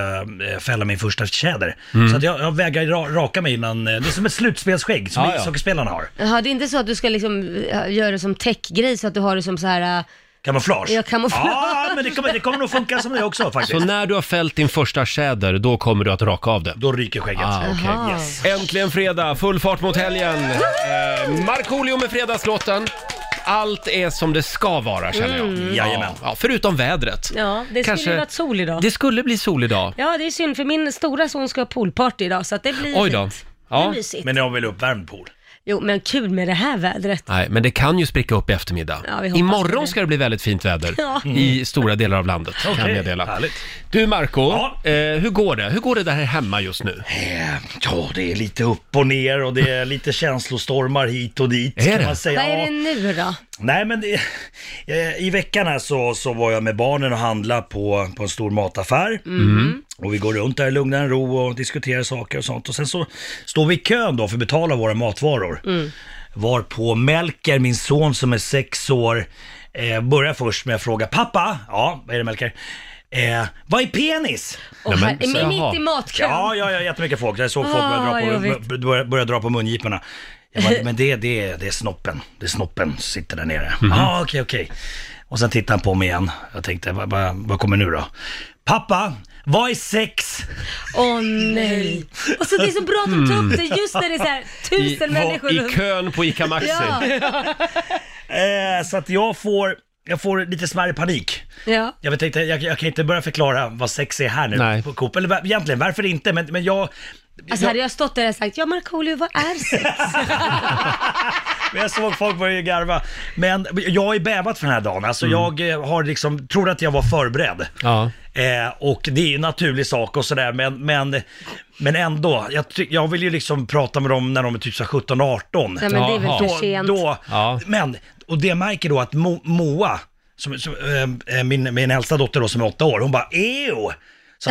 [SPEAKER 6] eh, fälla min första tjäder.
[SPEAKER 1] Mm.
[SPEAKER 6] Så att jag, jag vägrar ra- raka mig innan, eh, det är som ett slutspelsskägg som
[SPEAKER 1] Ja, ja.
[SPEAKER 6] ishockeyspelarna har.
[SPEAKER 2] eh, Jaha, det är inte så att du ska liksom äh, göra det som täckgrej så att du har det som så här äh,
[SPEAKER 6] Kamouflage?
[SPEAKER 2] Ja, kamouflage.
[SPEAKER 6] Ja, men det kommer, det kommer nog funka som det också faktiskt.
[SPEAKER 1] Så när du har fällt din första tjäder, då kommer du att raka av det?
[SPEAKER 6] Då ryker skägget.
[SPEAKER 1] Ah, okej.
[SPEAKER 2] Jaha.
[SPEAKER 6] Yes.
[SPEAKER 1] Äntligen fredag, full fart mot helgen. Eh, Markoolio med fredagslåten. Allt är som det ska vara känner jag.
[SPEAKER 6] Mm. Jajamän.
[SPEAKER 1] Ja, förutom vädret.
[SPEAKER 2] Ja, det
[SPEAKER 1] Kanske-
[SPEAKER 2] skulle ju varit sol idag.
[SPEAKER 1] Det skulle bli sol idag.
[SPEAKER 2] Ja, det är synd för min stora son ska ha poolparty idag så att det blir
[SPEAKER 1] Oj då.
[SPEAKER 2] fint.
[SPEAKER 1] Ja.
[SPEAKER 2] Det blir mysigt.
[SPEAKER 6] Men ni har väl uppvärmd pool?
[SPEAKER 2] Jo, men kul med det här vädret.
[SPEAKER 1] Nej, men det kan ju spricka upp i eftermiddag.
[SPEAKER 2] Ja, vi hoppas på
[SPEAKER 1] Imorgon
[SPEAKER 2] det.
[SPEAKER 1] ska det bli väldigt fint väder
[SPEAKER 2] Ja.
[SPEAKER 1] i stora delar av landet, kan jag
[SPEAKER 6] Okej,
[SPEAKER 1] meddela.
[SPEAKER 6] härligt.
[SPEAKER 1] Du Marco,
[SPEAKER 6] Ja.
[SPEAKER 1] eh, hur går det? Hur går det där hemma just nu?
[SPEAKER 6] Eh, Ja, det är lite upp och ner och det är lite känslostormar hit och dit.
[SPEAKER 1] Är
[SPEAKER 6] kan
[SPEAKER 1] det?
[SPEAKER 6] Man säga.
[SPEAKER 2] Vad är
[SPEAKER 6] Ja.
[SPEAKER 2] det nu då?
[SPEAKER 6] Nej men det, eh, i veckan här så, så var jag med barnen och handlade på, på en stor mataffär.
[SPEAKER 2] Mm.
[SPEAKER 6] Och vi går runt där i lugnare ro och diskuterar saker och sånt. Och sen så står vi i kön då för att betala våra matvaror.
[SPEAKER 2] Mm.
[SPEAKER 6] Var på Melker, min son som är sex år, eh, börjar först med att fråga pappa, ja vad är det Melker? Eh, vad är penis?
[SPEAKER 2] Och
[SPEAKER 1] men,
[SPEAKER 2] här, är
[SPEAKER 1] så-
[SPEAKER 2] vi mitt i
[SPEAKER 1] jaha.
[SPEAKER 2] matkön?
[SPEAKER 6] Ja, ja, ja, jättemycket folk. Jag såg folk börja
[SPEAKER 2] Ah,
[SPEAKER 6] dra på,
[SPEAKER 2] jobbigt.
[SPEAKER 6] bör- börja, börja dra på mungiporna. Jag bara, men det, det, är- det är snoppen. Det är snoppen som sitter där nere.
[SPEAKER 2] Mhm.
[SPEAKER 6] Ja, ah, okej, okej. Och sen tittade han på mig igen. Jag tänkte, vad, vad, vad kommer nu då? Pappa, vad är sex?
[SPEAKER 2] Åh nej. Och så det är så bra att du tar upp
[SPEAKER 6] Mm.
[SPEAKER 2] det just när det är så här
[SPEAKER 1] I,
[SPEAKER 2] tusen människor
[SPEAKER 1] var, I
[SPEAKER 2] runt.
[SPEAKER 1] kön på ICA Maxi.
[SPEAKER 2] Ja,
[SPEAKER 6] Eh, så att jag får, jag får lite smärre panik.
[SPEAKER 2] ja.
[SPEAKER 6] Jag vet inte, jag, jag kan inte börja förklara vad sex är här nu
[SPEAKER 1] Nej.
[SPEAKER 6] på Coop. Eller va- egentligen, varför inte? Men, men jag,
[SPEAKER 2] Alltså hade jag stått där och sagt, ja Markoolio vad är sex?
[SPEAKER 6] Men jag såg folk börja garva. Men jag är bävat för den här dagen. Alltså jag eh, har liksom, trodde att jag var förberedd.
[SPEAKER 1] Mm. Ja.
[SPEAKER 6] Eh, och det är ju en naturlig sak och sådär, men, men, men ändå. Jag, ty- jag vill ju liksom prata med dem när de är typ så här 17, 18.
[SPEAKER 2] Nej men det är
[SPEAKER 1] Jaha.
[SPEAKER 2] väl för sent.
[SPEAKER 6] då,
[SPEAKER 1] Ja.
[SPEAKER 6] Men, och det märker då att Mo, Moa, som, som, eh, min, min äldsta dotter då som är åtta år, hon bara ew! Så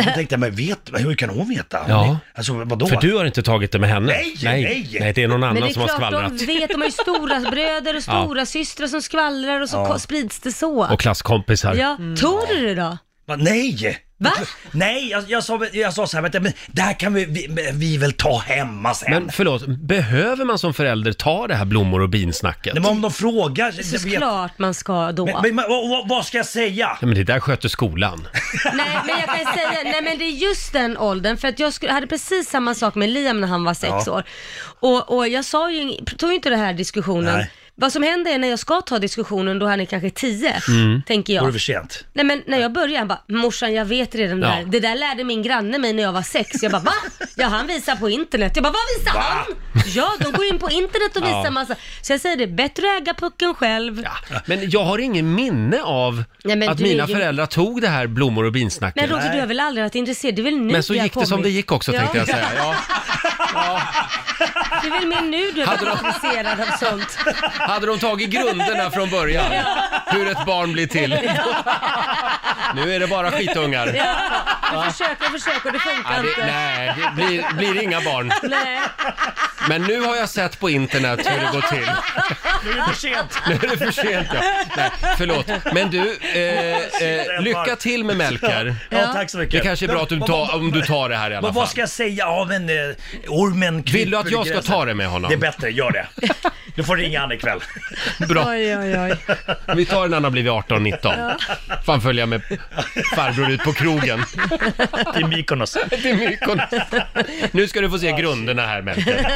[SPEAKER 6] att jag tänkte, men vet, hur kan hon veta?
[SPEAKER 1] Ja.
[SPEAKER 6] Alltså vadå?
[SPEAKER 1] För du har inte tagit det med henne?
[SPEAKER 6] Nej,
[SPEAKER 1] nej.
[SPEAKER 6] nej.
[SPEAKER 1] det är någon
[SPEAKER 2] Men
[SPEAKER 1] annan
[SPEAKER 2] det är
[SPEAKER 1] som har
[SPEAKER 2] klart
[SPEAKER 1] skvallrat.
[SPEAKER 2] de vet, de har ju stora bröder och stora systrar som skvallrar och så ko- sprids det så.
[SPEAKER 1] Och Mm. klasskompisar.
[SPEAKER 2] Ja, tror du det då?
[SPEAKER 6] Va, nej!
[SPEAKER 2] Va?
[SPEAKER 6] Nej, jag, jag, sa, jag sa så här, vänta, men det här kan vi, vi, vi väl ta hemma sen.
[SPEAKER 1] Men förlåt, behöver man som förälder ta det här blommor och bin-snacket?
[SPEAKER 6] Nej, men om de frågar...
[SPEAKER 2] Det
[SPEAKER 6] jag
[SPEAKER 2] är
[SPEAKER 6] vet-
[SPEAKER 2] klart man ska då.
[SPEAKER 6] Men, men, men, vad, vad- vad ska jag säga?
[SPEAKER 1] Ja, men det där sköter skolan.
[SPEAKER 2] Nej men jag kan säga, nej men det är just den åldern för att jag skulle, hade precis samma sak med Liam när han var sex
[SPEAKER 6] Ja.
[SPEAKER 2] år. Och, och jag sa ju, ing- tog ju inte den här diskussionen.
[SPEAKER 6] Nej.
[SPEAKER 2] Vad som händer är när jag ska ta diskussionen, då han är kanske tio,
[SPEAKER 1] Mm.
[SPEAKER 2] tänker
[SPEAKER 6] Då är
[SPEAKER 2] jag.
[SPEAKER 6] det för sent.
[SPEAKER 2] Nej men när jag började, han bara, morsan jag vet redan det
[SPEAKER 1] Ja.
[SPEAKER 2] här. Det där lärde min granne mig när jag var sex. Jag bara, va? Ja han visar på internet. Jag bara, vad visar han? Ja, de går in på internet och visar massa. Så jag säger det, bättre äga pucken själv.
[SPEAKER 1] Ja. Men jag har ingen minne av
[SPEAKER 2] Nej, men
[SPEAKER 1] att
[SPEAKER 2] du
[SPEAKER 1] mina
[SPEAKER 2] är ju-
[SPEAKER 1] föräldrar tog det här blommor och bin-snacket.
[SPEAKER 2] Men Roger, du har väl aldrig varit intresserad? Det är väl nu
[SPEAKER 1] Men så
[SPEAKER 2] har
[SPEAKER 1] gick det som
[SPEAKER 2] kommit?
[SPEAKER 1] det gick också
[SPEAKER 2] Ja.
[SPEAKER 1] tänkte jag säga. Ja.
[SPEAKER 2] Det är väl mer nu du är intresserad av sånt.
[SPEAKER 1] Hade de tagit grunderna från början, hur ett barn blir till. Nu är det bara skitungar.
[SPEAKER 2] Du försöker och försöker och det
[SPEAKER 1] Ja,
[SPEAKER 2] funkar
[SPEAKER 1] det,
[SPEAKER 2] inte.
[SPEAKER 1] nej, det blir, blir inga barn.
[SPEAKER 2] Nej.
[SPEAKER 1] Men nu har jag sett på internet hur det går till.
[SPEAKER 6] Nu är det för sent.
[SPEAKER 1] Nu är det för sent ja. Nej, förlåt. Men du, eh, eh, lycka till med Melker.
[SPEAKER 6] Ja, tack så mycket.
[SPEAKER 1] Det kanske är bra att du
[SPEAKER 6] Men-
[SPEAKER 1] tar,
[SPEAKER 6] men-
[SPEAKER 1] om du tar det här i alla
[SPEAKER 6] Men
[SPEAKER 1] fall.
[SPEAKER 6] vad ska jag säga? Ja, men eh, ormen kryper
[SPEAKER 1] Vill du att
[SPEAKER 6] i
[SPEAKER 1] jag ska
[SPEAKER 6] gräset.
[SPEAKER 1] ta det med honom?
[SPEAKER 6] Det är bättre, gör det. Du får ringa han ikväll.
[SPEAKER 1] Bra.
[SPEAKER 2] Oj, oj, oj.
[SPEAKER 1] Vi tar den när han har blivit 18-19. Fan följa med farbror ut på krogen.
[SPEAKER 6] Till Mykonos.
[SPEAKER 1] till Mykonos. Nu ska du få se grunderna här Melker.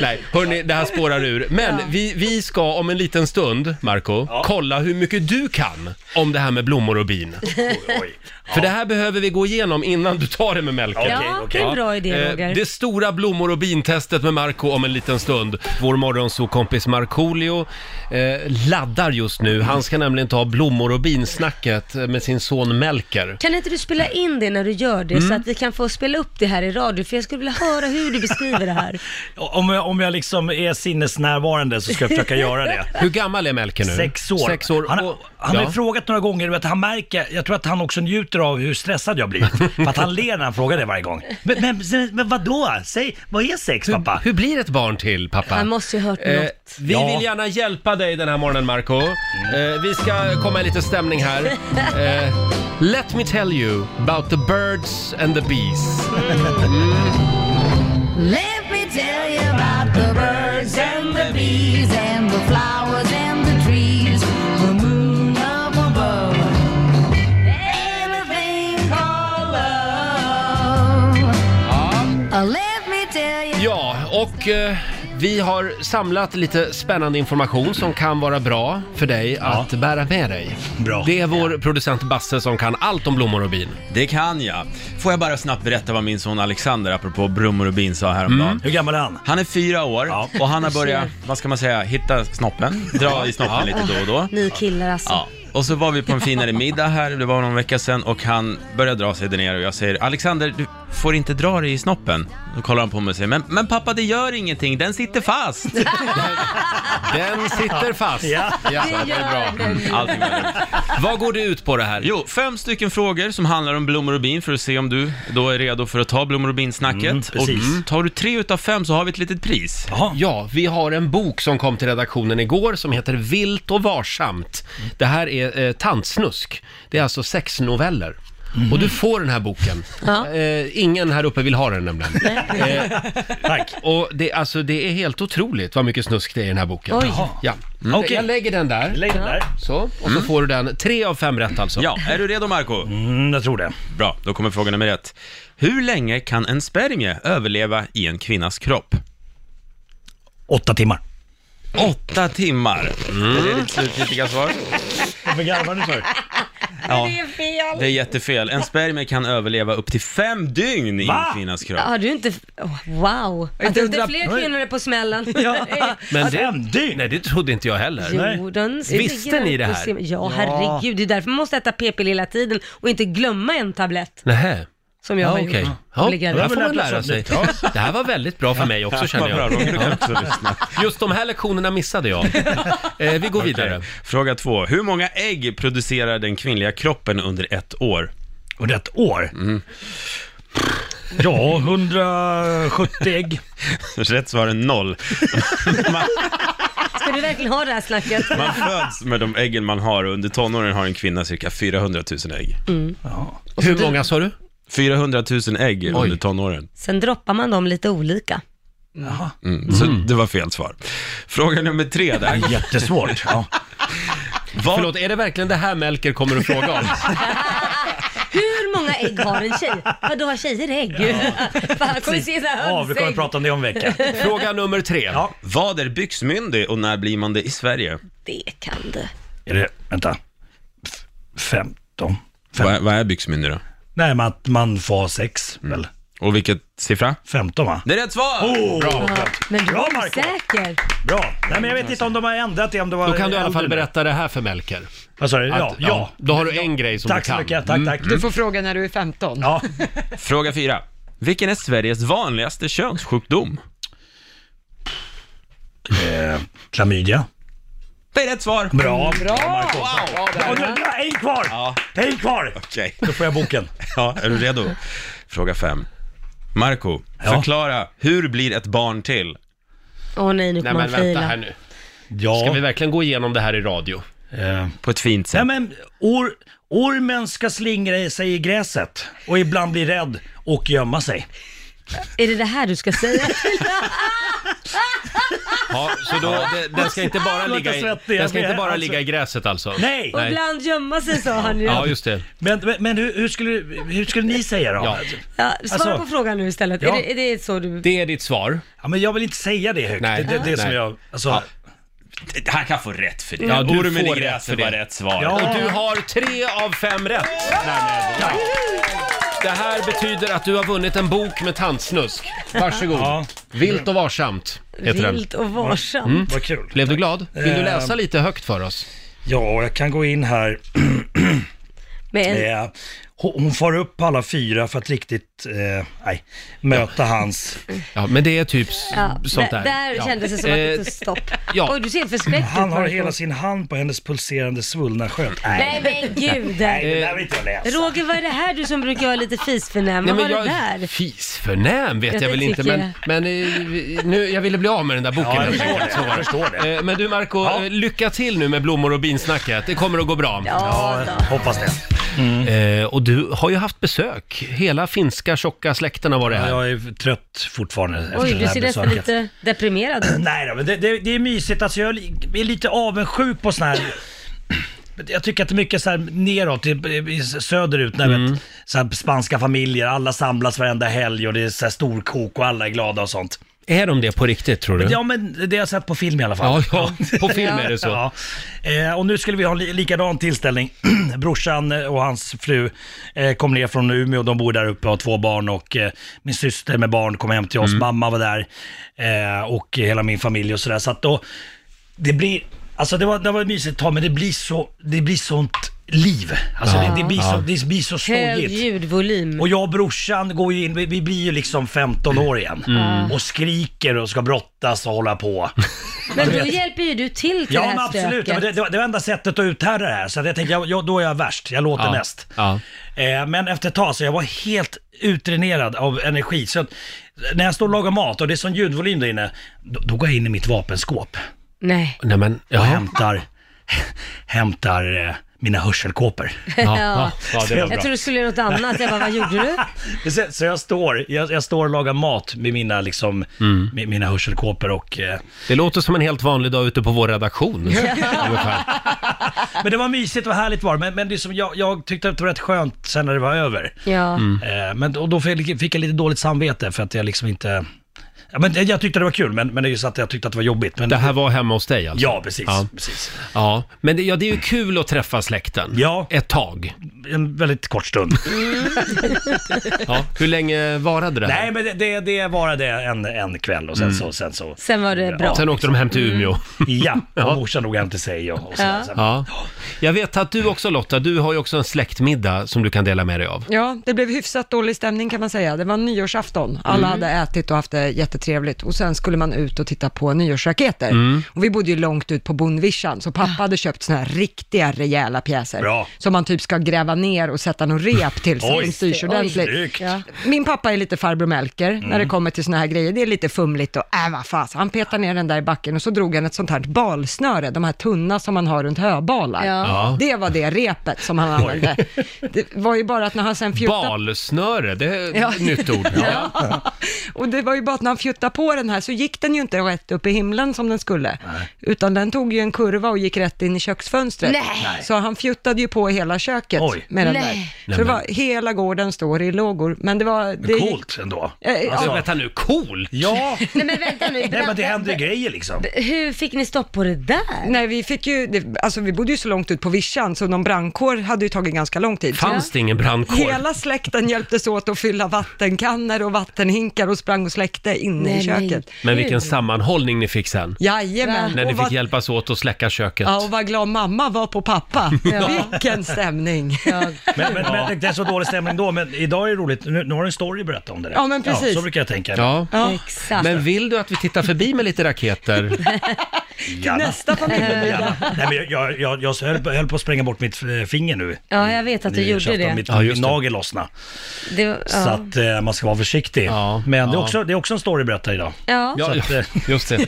[SPEAKER 1] Nej, hörni, det här spårar ur. Men vi, vi ska om en liten stund, Marco, kolla hur mycket du kan om det här med blommor och bin.
[SPEAKER 6] Oj, oj.
[SPEAKER 1] För det här behöver vi gå igenom innan du tar det med Melker.
[SPEAKER 6] Okej,
[SPEAKER 2] Ja, det
[SPEAKER 6] okej.
[SPEAKER 2] är en bra idé
[SPEAKER 1] Eh,
[SPEAKER 2] Roger.
[SPEAKER 1] Det stora blommor och bintestet med Marco om en liten stund. Vår morgonsokompis Markoolio eh, laddar just nu. Han ska nämligen ta blommor och bin-snacket eh, med sin son Melker.
[SPEAKER 2] Kan inte du spela in det när du gör det
[SPEAKER 1] Mm.
[SPEAKER 2] så att vi kan få spela upp det här i radio? För jag skulle vilja höra hur du beskriver det här.
[SPEAKER 6] Om jag, om jag liksom är sinnesnärvarande så ska jag försöka göra det.
[SPEAKER 1] Hur gammal är Melker nu?
[SPEAKER 6] Sex år.
[SPEAKER 1] Sex år.
[SPEAKER 6] Han,
[SPEAKER 1] Och-
[SPEAKER 6] har- han har ju
[SPEAKER 1] ja.
[SPEAKER 6] frågat några gånger, du vet, han märker, jag tror att han också njuter av hur stressad jag blir. För att han ler när han frågar det varje gång. Men, men, men vadå? Säg, vad är sex pappa?
[SPEAKER 1] Hur blir ett barn till, pappa?
[SPEAKER 2] Han måste ju ha hört
[SPEAKER 1] Eh,
[SPEAKER 2] något.
[SPEAKER 1] vi
[SPEAKER 6] Ja.
[SPEAKER 1] vill gärna hjälpa dig den här morgonen, Marco. Eh, vi ska komma i lite stämning här. Eh, let me tell you about the birds and the bees. Mm.
[SPEAKER 7] Let me tell you about the birds and the bees and the flowers and the trees Let me tell you.
[SPEAKER 1] Ja, och eh, vi har samlat lite spännande information som kan vara bra för dig att bära med dig.
[SPEAKER 6] Bra.
[SPEAKER 1] Det är vår producent Basse som kan allt om blommor och bin.
[SPEAKER 5] Det kan jag. Får jag bara snabbt berätta vad min son Alexander, apropå brummor och bin, sa
[SPEAKER 1] Mm.
[SPEAKER 5] häromdagen.
[SPEAKER 6] Mm. Hur gammal är han?
[SPEAKER 5] Han är fyra år
[SPEAKER 6] Ja.
[SPEAKER 5] och han har börjat, vad ska man säga, hitta snoppen, dra i snoppen lite då och då.
[SPEAKER 2] Ni killar alltså.
[SPEAKER 5] Ja. Och så var vi på en finare middag här, det var någon vecka sedan, och han började dra sig där nere och jag säger Alexander, du får inte dra dig i snoppen. Då kollar han på mig och säger, men, men pappa det gör ingenting, den sitter fast.
[SPEAKER 1] Den sitter fast.
[SPEAKER 6] Ja.
[SPEAKER 1] Ja, det är bra.
[SPEAKER 5] Allting var lugnt.
[SPEAKER 1] Vad går det ut på det här?
[SPEAKER 5] Jo, fem stycken frågor som handlar om blommor och bin för att se om du då är redo för att ta blommor och bin-snacket. och
[SPEAKER 6] Mm, precis.
[SPEAKER 5] tar du tre utav fem så har vi ett litet pris.
[SPEAKER 6] Jaha.
[SPEAKER 1] Ja, vi har en bok som kom till redaktionen igår som heter Vilt och varsamt. Det här är eh, tantsnusk. Det är alltså sex noveller. Och du får den här boken.
[SPEAKER 2] Ja.
[SPEAKER 1] Eh, ingen här uppe vill ha den nämligen. Eh,
[SPEAKER 6] Tack.
[SPEAKER 1] och det, alltså, det är helt otroligt vad mycket snusk det är i den här boken.
[SPEAKER 2] Oj.
[SPEAKER 1] Ja.
[SPEAKER 6] Mm. Okej.
[SPEAKER 1] Jag lägger den där.
[SPEAKER 6] Lägg den där.
[SPEAKER 1] Så, och så
[SPEAKER 2] Mm.
[SPEAKER 1] får du den. Tre av fem rätt alltså.
[SPEAKER 5] Ja, är du redo Marco?
[SPEAKER 6] Mm, jag tror det.
[SPEAKER 5] Bra, då kommer fråga nummer ett. Hur länge kan en spermie överleva i en kvinnas kropp?
[SPEAKER 6] Åtta timmar.
[SPEAKER 5] Åtta timmar.
[SPEAKER 1] Mm.
[SPEAKER 5] Är det ditt slutgiltiga svar?
[SPEAKER 6] Varför garvar du för?
[SPEAKER 5] Ja,
[SPEAKER 2] Det är fel.
[SPEAKER 5] det är jättefel. En spermie kan överleva upp till fem dygn i
[SPEAKER 6] Va?
[SPEAKER 5] en kvinnas kropp.
[SPEAKER 2] Har du inte... Oh, wow! Att
[SPEAKER 3] inte
[SPEAKER 2] det inte
[SPEAKER 3] undra-
[SPEAKER 2] fler kvinnor är på smällen. Eh,
[SPEAKER 1] Men det,
[SPEAKER 6] Fem dygn?
[SPEAKER 1] nej, det trodde inte jag heller.
[SPEAKER 2] Jo, den
[SPEAKER 1] Visste ni det här?
[SPEAKER 2] Ja, herregud. Det är därför man måste äta p-piller hela tiden och inte glömma en tablett.
[SPEAKER 1] Nähä.
[SPEAKER 2] Som jag
[SPEAKER 1] Ja,
[SPEAKER 2] har
[SPEAKER 1] okej.
[SPEAKER 2] gjort.
[SPEAKER 1] Ja,
[SPEAKER 2] Och blir
[SPEAKER 1] det här
[SPEAKER 2] gravid.
[SPEAKER 1] får man
[SPEAKER 6] lärt oss
[SPEAKER 1] lära
[SPEAKER 6] om
[SPEAKER 1] sig. Det här var väldigt bra för mig också känner
[SPEAKER 5] Vad bra,
[SPEAKER 1] jag.
[SPEAKER 5] Roger, du kan också lyssna.
[SPEAKER 1] Just de här lektionerna missade jag. Eh, vi går vidare.
[SPEAKER 5] Okej. Fråga två. Hur många ägg producerar den kvinnliga kroppen under ett år? Mm.
[SPEAKER 6] Under ett år? Ja, 170 ägg.
[SPEAKER 5] Rätt svar är noll. Man,
[SPEAKER 2] Ska du verkligen ha det här snacket?
[SPEAKER 5] man föds med de äggen man har och under tonåren har en kvinna cirka 400 000 ägg.
[SPEAKER 2] Mm.
[SPEAKER 1] Hur många sa du?
[SPEAKER 5] 400 000 ägg under tonåren.
[SPEAKER 2] Sen droppar man dem lite olika.
[SPEAKER 5] Mm. Så det var fel svar. Fråga nummer tre där.
[SPEAKER 6] Jättesvårt. Ja.
[SPEAKER 1] Förlåt, är det verkligen det här Melker kommer att fråga om?
[SPEAKER 2] Hur många ägg har en tjej? Vadå har tjejer ägg? Fan, jag kommer se så här
[SPEAKER 6] ja, vi kommer
[SPEAKER 2] hönsägg.
[SPEAKER 6] prata om det om en vecka.
[SPEAKER 1] Fråga nummer tre.
[SPEAKER 6] Ja.
[SPEAKER 5] Vad är byxmyndig och när blir man det i Sverige?
[SPEAKER 2] Det kan du.
[SPEAKER 6] Är det, vänta, F- 15? Fem.
[SPEAKER 5] Vad, vad är byxmyndig då?
[SPEAKER 6] Nej, men att man får ha sex
[SPEAKER 1] Mm.
[SPEAKER 6] väl?
[SPEAKER 5] Och vilket siffra?
[SPEAKER 6] 15 va?
[SPEAKER 5] Det är rätt svar!
[SPEAKER 6] Oh, Bra,
[SPEAKER 2] Men du
[SPEAKER 6] Bra,
[SPEAKER 2] är
[SPEAKER 6] Marco.
[SPEAKER 2] osäker.
[SPEAKER 6] bra. Nej, men jag vet inte om de har ändrat det, om det var...
[SPEAKER 1] Då kan du i alla fall
[SPEAKER 6] äldre.
[SPEAKER 1] berätta det här för Melker.
[SPEAKER 6] Vad sa du?
[SPEAKER 1] Att,
[SPEAKER 6] Ja, ja.
[SPEAKER 1] Då har du en grej som
[SPEAKER 6] Tack
[SPEAKER 1] du kan.
[SPEAKER 6] så mycket, tack, tack.
[SPEAKER 3] Du får fråga när du är 15.
[SPEAKER 6] Ja,
[SPEAKER 5] Fråga fyra. Vilken är Sveriges vanligaste könssjukdom?
[SPEAKER 6] eh, klamydia.
[SPEAKER 5] Det är rätt svar!
[SPEAKER 6] Bra,
[SPEAKER 2] Mm.
[SPEAKER 6] bra Marco. Ja, nu, nu, en kvar!
[SPEAKER 5] Ja.
[SPEAKER 6] En kvar!
[SPEAKER 5] Okej.
[SPEAKER 6] Då får jag boken.
[SPEAKER 5] Ja, är du redo? Fråga fem. Marco,
[SPEAKER 6] Ja.
[SPEAKER 5] förklara, hur blir ett barn till?
[SPEAKER 2] Åh nej, nu
[SPEAKER 1] Nej
[SPEAKER 2] kommer
[SPEAKER 1] men
[SPEAKER 2] man
[SPEAKER 1] vänta här
[SPEAKER 2] fila.
[SPEAKER 1] nu.
[SPEAKER 6] Ja.
[SPEAKER 1] Ska vi verkligen gå igenom det här i radio?
[SPEAKER 6] eh,
[SPEAKER 5] På ett fint
[SPEAKER 6] Nej
[SPEAKER 5] sätt.
[SPEAKER 6] men, or, ormen ska slingra sig i gräset och ibland bli rädd och gömma sig.
[SPEAKER 2] Är det det här du ska säga?
[SPEAKER 1] Ja, så då, det, den ska inte bara
[SPEAKER 6] Låter
[SPEAKER 1] ligga i,
[SPEAKER 6] svettig, jag
[SPEAKER 1] den ska inte
[SPEAKER 6] blir-
[SPEAKER 1] bara
[SPEAKER 6] alltså-
[SPEAKER 1] ligga i gräset alltså?
[SPEAKER 6] Nej!
[SPEAKER 2] Och ibland gömma sig sa han ju.
[SPEAKER 1] Ja,
[SPEAKER 2] Ja,
[SPEAKER 1] just det.
[SPEAKER 6] Men, men, men hur, hur, skulle, hur skulle ni säga då?
[SPEAKER 1] Ja.
[SPEAKER 6] Ja.
[SPEAKER 2] svara
[SPEAKER 6] Alltså-
[SPEAKER 2] på frågan nu istället.
[SPEAKER 6] Ja.
[SPEAKER 2] Är, det, är det så du...
[SPEAKER 1] Mm. Det är ditt svar.
[SPEAKER 6] men jag vill inte säga det högt.
[SPEAKER 1] Nej.
[SPEAKER 6] Det, det, det är som
[SPEAKER 1] Nej.
[SPEAKER 6] jag... Alltså,
[SPEAKER 5] Han kan få rätt för det.
[SPEAKER 1] Ja, du
[SPEAKER 5] Ormen
[SPEAKER 1] får
[SPEAKER 5] i
[SPEAKER 1] rätt för
[SPEAKER 5] gräset
[SPEAKER 1] det.
[SPEAKER 5] var rätt svar.
[SPEAKER 6] Ja.
[SPEAKER 1] Och du har tre av fem rätt. Därmed. Tack. Det här betyder att du har vunnit en bok med tantsnusk. Varsågod.
[SPEAKER 6] Ja.
[SPEAKER 1] Vilt och varsamt heter den.
[SPEAKER 2] Vilt och varsamt.
[SPEAKER 6] Mm.
[SPEAKER 1] Mm.
[SPEAKER 2] Mm.
[SPEAKER 6] Vad kul. Eh,
[SPEAKER 1] Blev du glad? Vill du läsa lite högt för oss?
[SPEAKER 6] Ja, jag kan gå in här.
[SPEAKER 2] Med
[SPEAKER 1] Mm.
[SPEAKER 2] en
[SPEAKER 6] Eh, hon hon far upp på alla fyra för att riktigt, eh, nej, möta hans...
[SPEAKER 1] Ja, men det är typ s-
[SPEAKER 2] Ja,
[SPEAKER 1] sånt
[SPEAKER 2] där,
[SPEAKER 1] där.
[SPEAKER 2] där
[SPEAKER 1] ja. Eh,
[SPEAKER 2] kändes det som att det tog stopp.
[SPEAKER 1] ja.
[SPEAKER 2] Oj, du ser förskräckt ut.
[SPEAKER 6] Han har
[SPEAKER 2] Marco.
[SPEAKER 6] hela sin hand på hennes pulserande svullna sköld.
[SPEAKER 2] Nej men gud.
[SPEAKER 6] Nej, det där vill inte jag läsa.
[SPEAKER 2] Roger, vad är det här du som brukar vara lite fisförnäm?
[SPEAKER 1] Nej,
[SPEAKER 2] Vad var
[SPEAKER 1] men
[SPEAKER 2] det
[SPEAKER 1] jag,
[SPEAKER 2] där?
[SPEAKER 1] fisförnäm vet jag,
[SPEAKER 2] Ja, det
[SPEAKER 1] väl inte,
[SPEAKER 2] tycker
[SPEAKER 1] men, men eh, nu, jag ville bli av med den där boken
[SPEAKER 6] Ja, jag
[SPEAKER 1] helt
[SPEAKER 6] förstår
[SPEAKER 1] enkelt,
[SPEAKER 6] det.
[SPEAKER 1] så var
[SPEAKER 6] Jag förstår det.
[SPEAKER 1] Eh, Men du Marco,
[SPEAKER 6] Ja.
[SPEAKER 1] eh, lycka till nu med blommor och binsnacket. Det kommer att gå bra.
[SPEAKER 6] Ja,
[SPEAKER 2] Ja,
[SPEAKER 6] jag
[SPEAKER 2] då.
[SPEAKER 6] hoppas det. Mm.
[SPEAKER 1] Eh, och du har ju haft besök. Hela finska tjocka släkten har varit här.
[SPEAKER 6] Jag är trött fortfarande efter
[SPEAKER 2] Oj,
[SPEAKER 6] det
[SPEAKER 2] du
[SPEAKER 6] här
[SPEAKER 2] ser nästan
[SPEAKER 6] besöket.
[SPEAKER 2] lite deprimerad ut.
[SPEAKER 6] Nej då, men det, det, det är mysigt. Alltså, jag är lite avundsjuk på såna här... jag tycker att det är mycket så här neråt, i, i, söderut, när
[SPEAKER 1] Mm.
[SPEAKER 6] vet, så här spanska familjer, alla samlas varenda helg och det är så här storkok och alla är glada och sånt.
[SPEAKER 1] Är de det på riktigt tror du?
[SPEAKER 6] Ja, men det har jag sett på film i alla fall.
[SPEAKER 1] Ja, ja, på film är det så.
[SPEAKER 6] Ja. Eh, och nu skulle vi ha en li- likadan tillställning. Brorsan och hans fru eh, kom ner från Umeå, de bor där uppe och har två barn och eh, min syster med barn kom hem till oss, mamma var där eh, och hela min familj och sådär. Så att då, det blir, alltså det var, det var mysigt ett tag, men det blir så, det blir sånt liv. Alltså det, det, blir så, det blir så
[SPEAKER 2] Hög
[SPEAKER 6] ståligt.
[SPEAKER 2] ljudvolym.
[SPEAKER 6] Och jag och brorsan går ju in, vi, vi blir ju liksom 15 år igen. Och skriker och ska brottas och hålla på.
[SPEAKER 2] Men då hjälper ju du till till det
[SPEAKER 6] Ja men
[SPEAKER 2] här
[SPEAKER 6] absolut, Ja, men det,
[SPEAKER 2] stöket.
[SPEAKER 6] det, var- det var enda sättet att uthärda det här. Så att jag tänkte, jag, jag, då är jag värst, jag låter
[SPEAKER 1] Ja.
[SPEAKER 6] mest.
[SPEAKER 1] Ja.
[SPEAKER 6] Eh, men efter ett tag så jag var helt utdränerad av energi. Så att, när jag står och lagar mat och det är sån ljudvolym där inne, då, då går jag in i mitt vapenskåp
[SPEAKER 2] Nej.
[SPEAKER 1] Nej men,
[SPEAKER 6] och
[SPEAKER 1] ja.
[SPEAKER 6] hämtar, hämtar eh, mina hörselkåpor.
[SPEAKER 1] Ja, ja, ja, det var
[SPEAKER 6] bra.
[SPEAKER 2] Jag tror du skulle göra något annat. Jag bara, vad gjorde du?
[SPEAKER 6] Så, så jag, står, jag, jag står och lagar mat med mina, liksom, med, mina hörselkåpor och... Eh,
[SPEAKER 1] Mm. Det låter som en helt vanlig dag ute på vår redaktion. Ungefär.
[SPEAKER 6] men det var mysigt och härligt var det. men, men det är som jag, jag tyckte att det var rätt skönt sen när det var över.
[SPEAKER 2] Ja.
[SPEAKER 1] Mm.
[SPEAKER 6] Eh, Men och då fick jag- fick jag lite dåligt samvete för att jag liksom inte... Ja, men jag tyckte det var kul, men, men det är ju så att jag tyckte att det var jobbigt. Men
[SPEAKER 1] Det här var hemma hos dig alltså?
[SPEAKER 6] Ja, precis.
[SPEAKER 1] Ja.
[SPEAKER 6] precis.
[SPEAKER 1] Ja, men det, ja, det är ju kul att träffa släkten.
[SPEAKER 6] Ja.
[SPEAKER 1] Ett tag.
[SPEAKER 6] En väldigt kort stund.
[SPEAKER 2] Mm.
[SPEAKER 1] Ja. Hur länge varade det här?
[SPEAKER 6] Nej, men det, det, det varade en, en kväll och sen
[SPEAKER 1] Mm.
[SPEAKER 6] så... Sen så
[SPEAKER 2] Sen var det bra.
[SPEAKER 1] Sen åkte de hem till Umeå.
[SPEAKER 6] Mm. ja, och morsan drog hem till sig och, och så,
[SPEAKER 2] Ja.
[SPEAKER 6] så.
[SPEAKER 1] Ja. Jag vet att du också Lotta, du har ju också en släktmiddag som du kan dela med dig av.
[SPEAKER 3] Ja, det blev hyfsat dålig stämning kan man säga. Det var nyårsafton. Alla
[SPEAKER 6] Mm.
[SPEAKER 3] hade ätit och haft det jättetrevligt och sen skulle man ut och titta på nyårsraketer.
[SPEAKER 6] Mm.
[SPEAKER 3] Och vi bodde ju långt ut på bondvischan, så pappa hade köpt såna här riktiga rejäla pjäser.
[SPEAKER 6] Bra.
[SPEAKER 3] Som man typ ska gräva ner och sätta något rep till så
[SPEAKER 6] Oj.
[SPEAKER 3] att de styrs
[SPEAKER 2] Oj.
[SPEAKER 3] ordentligt.
[SPEAKER 6] Snyggt!
[SPEAKER 2] Ja.
[SPEAKER 3] Min pappa är lite farbror Melker när det kommer till såna här grejer. Det är lite fumligt och äh vad fan. Så Han petar ner den där i backen och så drog han ett sånt här balsnöre, de här tunna som man har runt höbalar.
[SPEAKER 2] Ja.
[SPEAKER 1] Ja.
[SPEAKER 3] Det var det repet som han använde. Det var ju bara att när han sen fjuttade
[SPEAKER 1] Balsnöre, det är ett
[SPEAKER 3] Ja.
[SPEAKER 1] nytt ord. Ja.
[SPEAKER 3] och det var ju bara att när han fjuttade på den här så gick den ju inte rätt upp i himlen som den skulle. Utan den tog ju en kurva och gick rätt in i köksfönstret.
[SPEAKER 2] Nej.
[SPEAKER 3] Så han fjuttade ju på hela köket
[SPEAKER 6] Oj.
[SPEAKER 3] med den
[SPEAKER 2] Nej.
[SPEAKER 3] där. Så det var, hela gården står i lågor. Men det var... Det gick-
[SPEAKER 6] Coolt ändå.
[SPEAKER 3] Eh, ja.
[SPEAKER 1] Alltså, vänta nu, cool!
[SPEAKER 6] Ja,
[SPEAKER 2] Nej men vänta nu.
[SPEAKER 6] nej, men det händer ju grejer liksom.
[SPEAKER 2] Hur fick ni stopp på det där?
[SPEAKER 3] Nej, vi fick ju, det, alltså vi bodde ju så långt ut på vischan så någon brandkår hade ju tagit ganska lång tid.
[SPEAKER 1] Fanns det ingen brandkår?
[SPEAKER 3] Hela släkten hjälptes åt att fylla vattenkannor och vattenhinkar och sprang och släckte inne i
[SPEAKER 2] Nej,
[SPEAKER 3] köket.
[SPEAKER 1] Men vilken
[SPEAKER 2] gud.
[SPEAKER 1] sammanhållning ni fick sen.
[SPEAKER 3] Jajamän.
[SPEAKER 1] När ni
[SPEAKER 3] Och vad-
[SPEAKER 1] fick hjälpas åt att släcka köket.
[SPEAKER 3] Ja, och vad glad mamma var på pappa. Vilken stämning.
[SPEAKER 2] Ja.
[SPEAKER 6] Men, men, men det är så dålig stämning då, men idag är det roligt. Nu, nu har du en story att berätta om det där.
[SPEAKER 3] Ja, men precis.
[SPEAKER 6] så brukar jag tänka.
[SPEAKER 1] Ja.
[SPEAKER 3] Ja.
[SPEAKER 2] Exakt.
[SPEAKER 1] Men vill du att vi tittar förbi med lite raketer?
[SPEAKER 6] Gärna.
[SPEAKER 3] Nästa familjemiddag.
[SPEAKER 6] Ja. Nej, men jag- jag, jag, jag höll, på- höll på att spränga bort mitt eh, finger nu.
[SPEAKER 2] Ja, jag vet att du
[SPEAKER 6] Nu
[SPEAKER 2] gjorde
[SPEAKER 6] känns
[SPEAKER 2] det.
[SPEAKER 6] Om mitt,
[SPEAKER 1] Ja, just
[SPEAKER 6] min
[SPEAKER 1] det.
[SPEAKER 6] nagel lossna.
[SPEAKER 2] det var- ja.
[SPEAKER 6] Så att eh, man ska vara försiktig.
[SPEAKER 1] Ja,
[SPEAKER 6] Men Det, är
[SPEAKER 1] ja.
[SPEAKER 6] också, det är också en story att berätta idag.
[SPEAKER 2] ja.
[SPEAKER 1] Ja,
[SPEAKER 6] att, eh,
[SPEAKER 1] just det.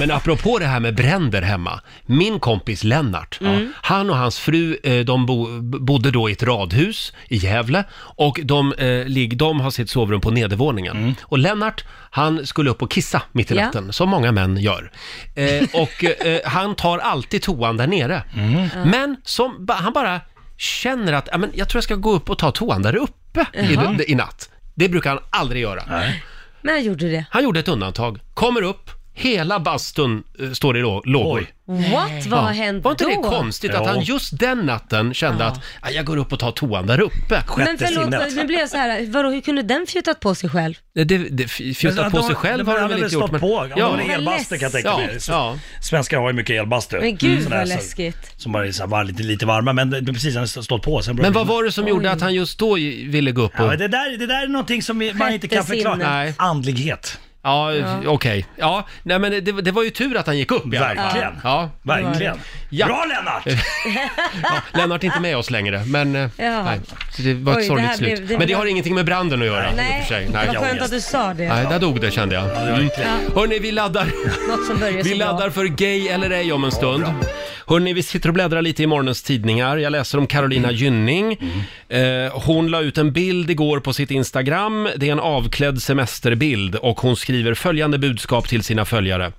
[SPEAKER 1] Men apropå det här med bränder hemma. Min kompis Lennart,
[SPEAKER 2] Mm.
[SPEAKER 1] han och hans fru, eh, de bo, bodde då i ett radhus i Gävle och de, eh, lig, de har sitt sovrum på nedervåningen. Och Lennart, han skulle upp och kissa mitt i
[SPEAKER 2] Ja.
[SPEAKER 1] natten, som många män gör. Eh, och eh, han tar alltid toan där nere. Men som, ba- han bara känner att, "Ja, men jag tror jag ska gå upp och ta toan där uppe i, i natt. Det brukar han aldrig göra.
[SPEAKER 2] Men jag gjorde det.
[SPEAKER 1] Han gjorde ett undantag, kommer upp, hela bastun eh, står i lå- lågor.
[SPEAKER 6] Oj.
[SPEAKER 2] What? Vad har hänt
[SPEAKER 1] Var inte
[SPEAKER 2] då?
[SPEAKER 1] det konstigt att
[SPEAKER 6] Ja.
[SPEAKER 1] han just den natten kände att "Ah, jag går upp och tar toan där uppe?
[SPEAKER 2] Men
[SPEAKER 6] Sjätte
[SPEAKER 2] förlåt,
[SPEAKER 6] sinnet.
[SPEAKER 2] nu blir jag så här, vadå, hur kunde den fjutat på sig själv?
[SPEAKER 1] Det, det f- fjutat
[SPEAKER 6] Men
[SPEAKER 1] på
[SPEAKER 6] han
[SPEAKER 1] sig
[SPEAKER 6] har-
[SPEAKER 1] själv har
[SPEAKER 6] men
[SPEAKER 1] han
[SPEAKER 6] han
[SPEAKER 1] väl
[SPEAKER 6] hade
[SPEAKER 1] inte gjort?
[SPEAKER 6] stått på. Han
[SPEAKER 1] ja.
[SPEAKER 6] har en elbastu kan jag tänka mig.
[SPEAKER 1] Ja, ja.
[SPEAKER 6] Svenskar har ju mycket elbastu.
[SPEAKER 2] Men gud,
[SPEAKER 6] Sådana här
[SPEAKER 2] vad
[SPEAKER 6] som-
[SPEAKER 2] läskigt.
[SPEAKER 6] Som bara är så här, var lite, lite varma, men det- precis, han har stått på. Sen
[SPEAKER 1] Men vad var det som gjorde att han just då ju- ville gå upp
[SPEAKER 6] Ja, men
[SPEAKER 1] och...
[SPEAKER 6] det, där, det där är någonting som vi- man inte kan
[SPEAKER 2] Sjätte
[SPEAKER 6] förklara.
[SPEAKER 2] sinne.
[SPEAKER 1] Nej.
[SPEAKER 6] Andlighet.
[SPEAKER 1] Ja, okej. Ja, nej men det, det var ju tur att han gick upp i alla fall.
[SPEAKER 6] Verkligen.
[SPEAKER 1] Ja.
[SPEAKER 6] Verkligen.
[SPEAKER 1] Ja.
[SPEAKER 6] Bra Lennart!
[SPEAKER 1] ja, Lennart är inte med oss längre, men... eh,
[SPEAKER 2] Ja.
[SPEAKER 1] Nej, Så det var ett
[SPEAKER 2] Oj, det
[SPEAKER 1] sorgligt
[SPEAKER 2] här blev-
[SPEAKER 1] slut.
[SPEAKER 2] det
[SPEAKER 1] Men det
[SPEAKER 2] blev-
[SPEAKER 1] har ingenting med branden att göra i och
[SPEAKER 2] Nej,
[SPEAKER 1] för sig.
[SPEAKER 2] vad
[SPEAKER 1] Nej,
[SPEAKER 2] skönt att du sa det.
[SPEAKER 1] nej där dog det kände jag. Mm. Hörni, vi laddar.
[SPEAKER 2] Något som börjar
[SPEAKER 1] Vi
[SPEAKER 2] så bra.
[SPEAKER 1] laddar för Gay eller ej om en stund. Hörni, vi sitter och bläddrar lite i morgonens tidningar. Jag läser om Carolina
[SPEAKER 2] Mm.
[SPEAKER 1] Gynning. Eh, hon la ut en bild igår på sitt Instagram. Det är en avklädd semesterbild och hon skriver följande budskap till sina följare.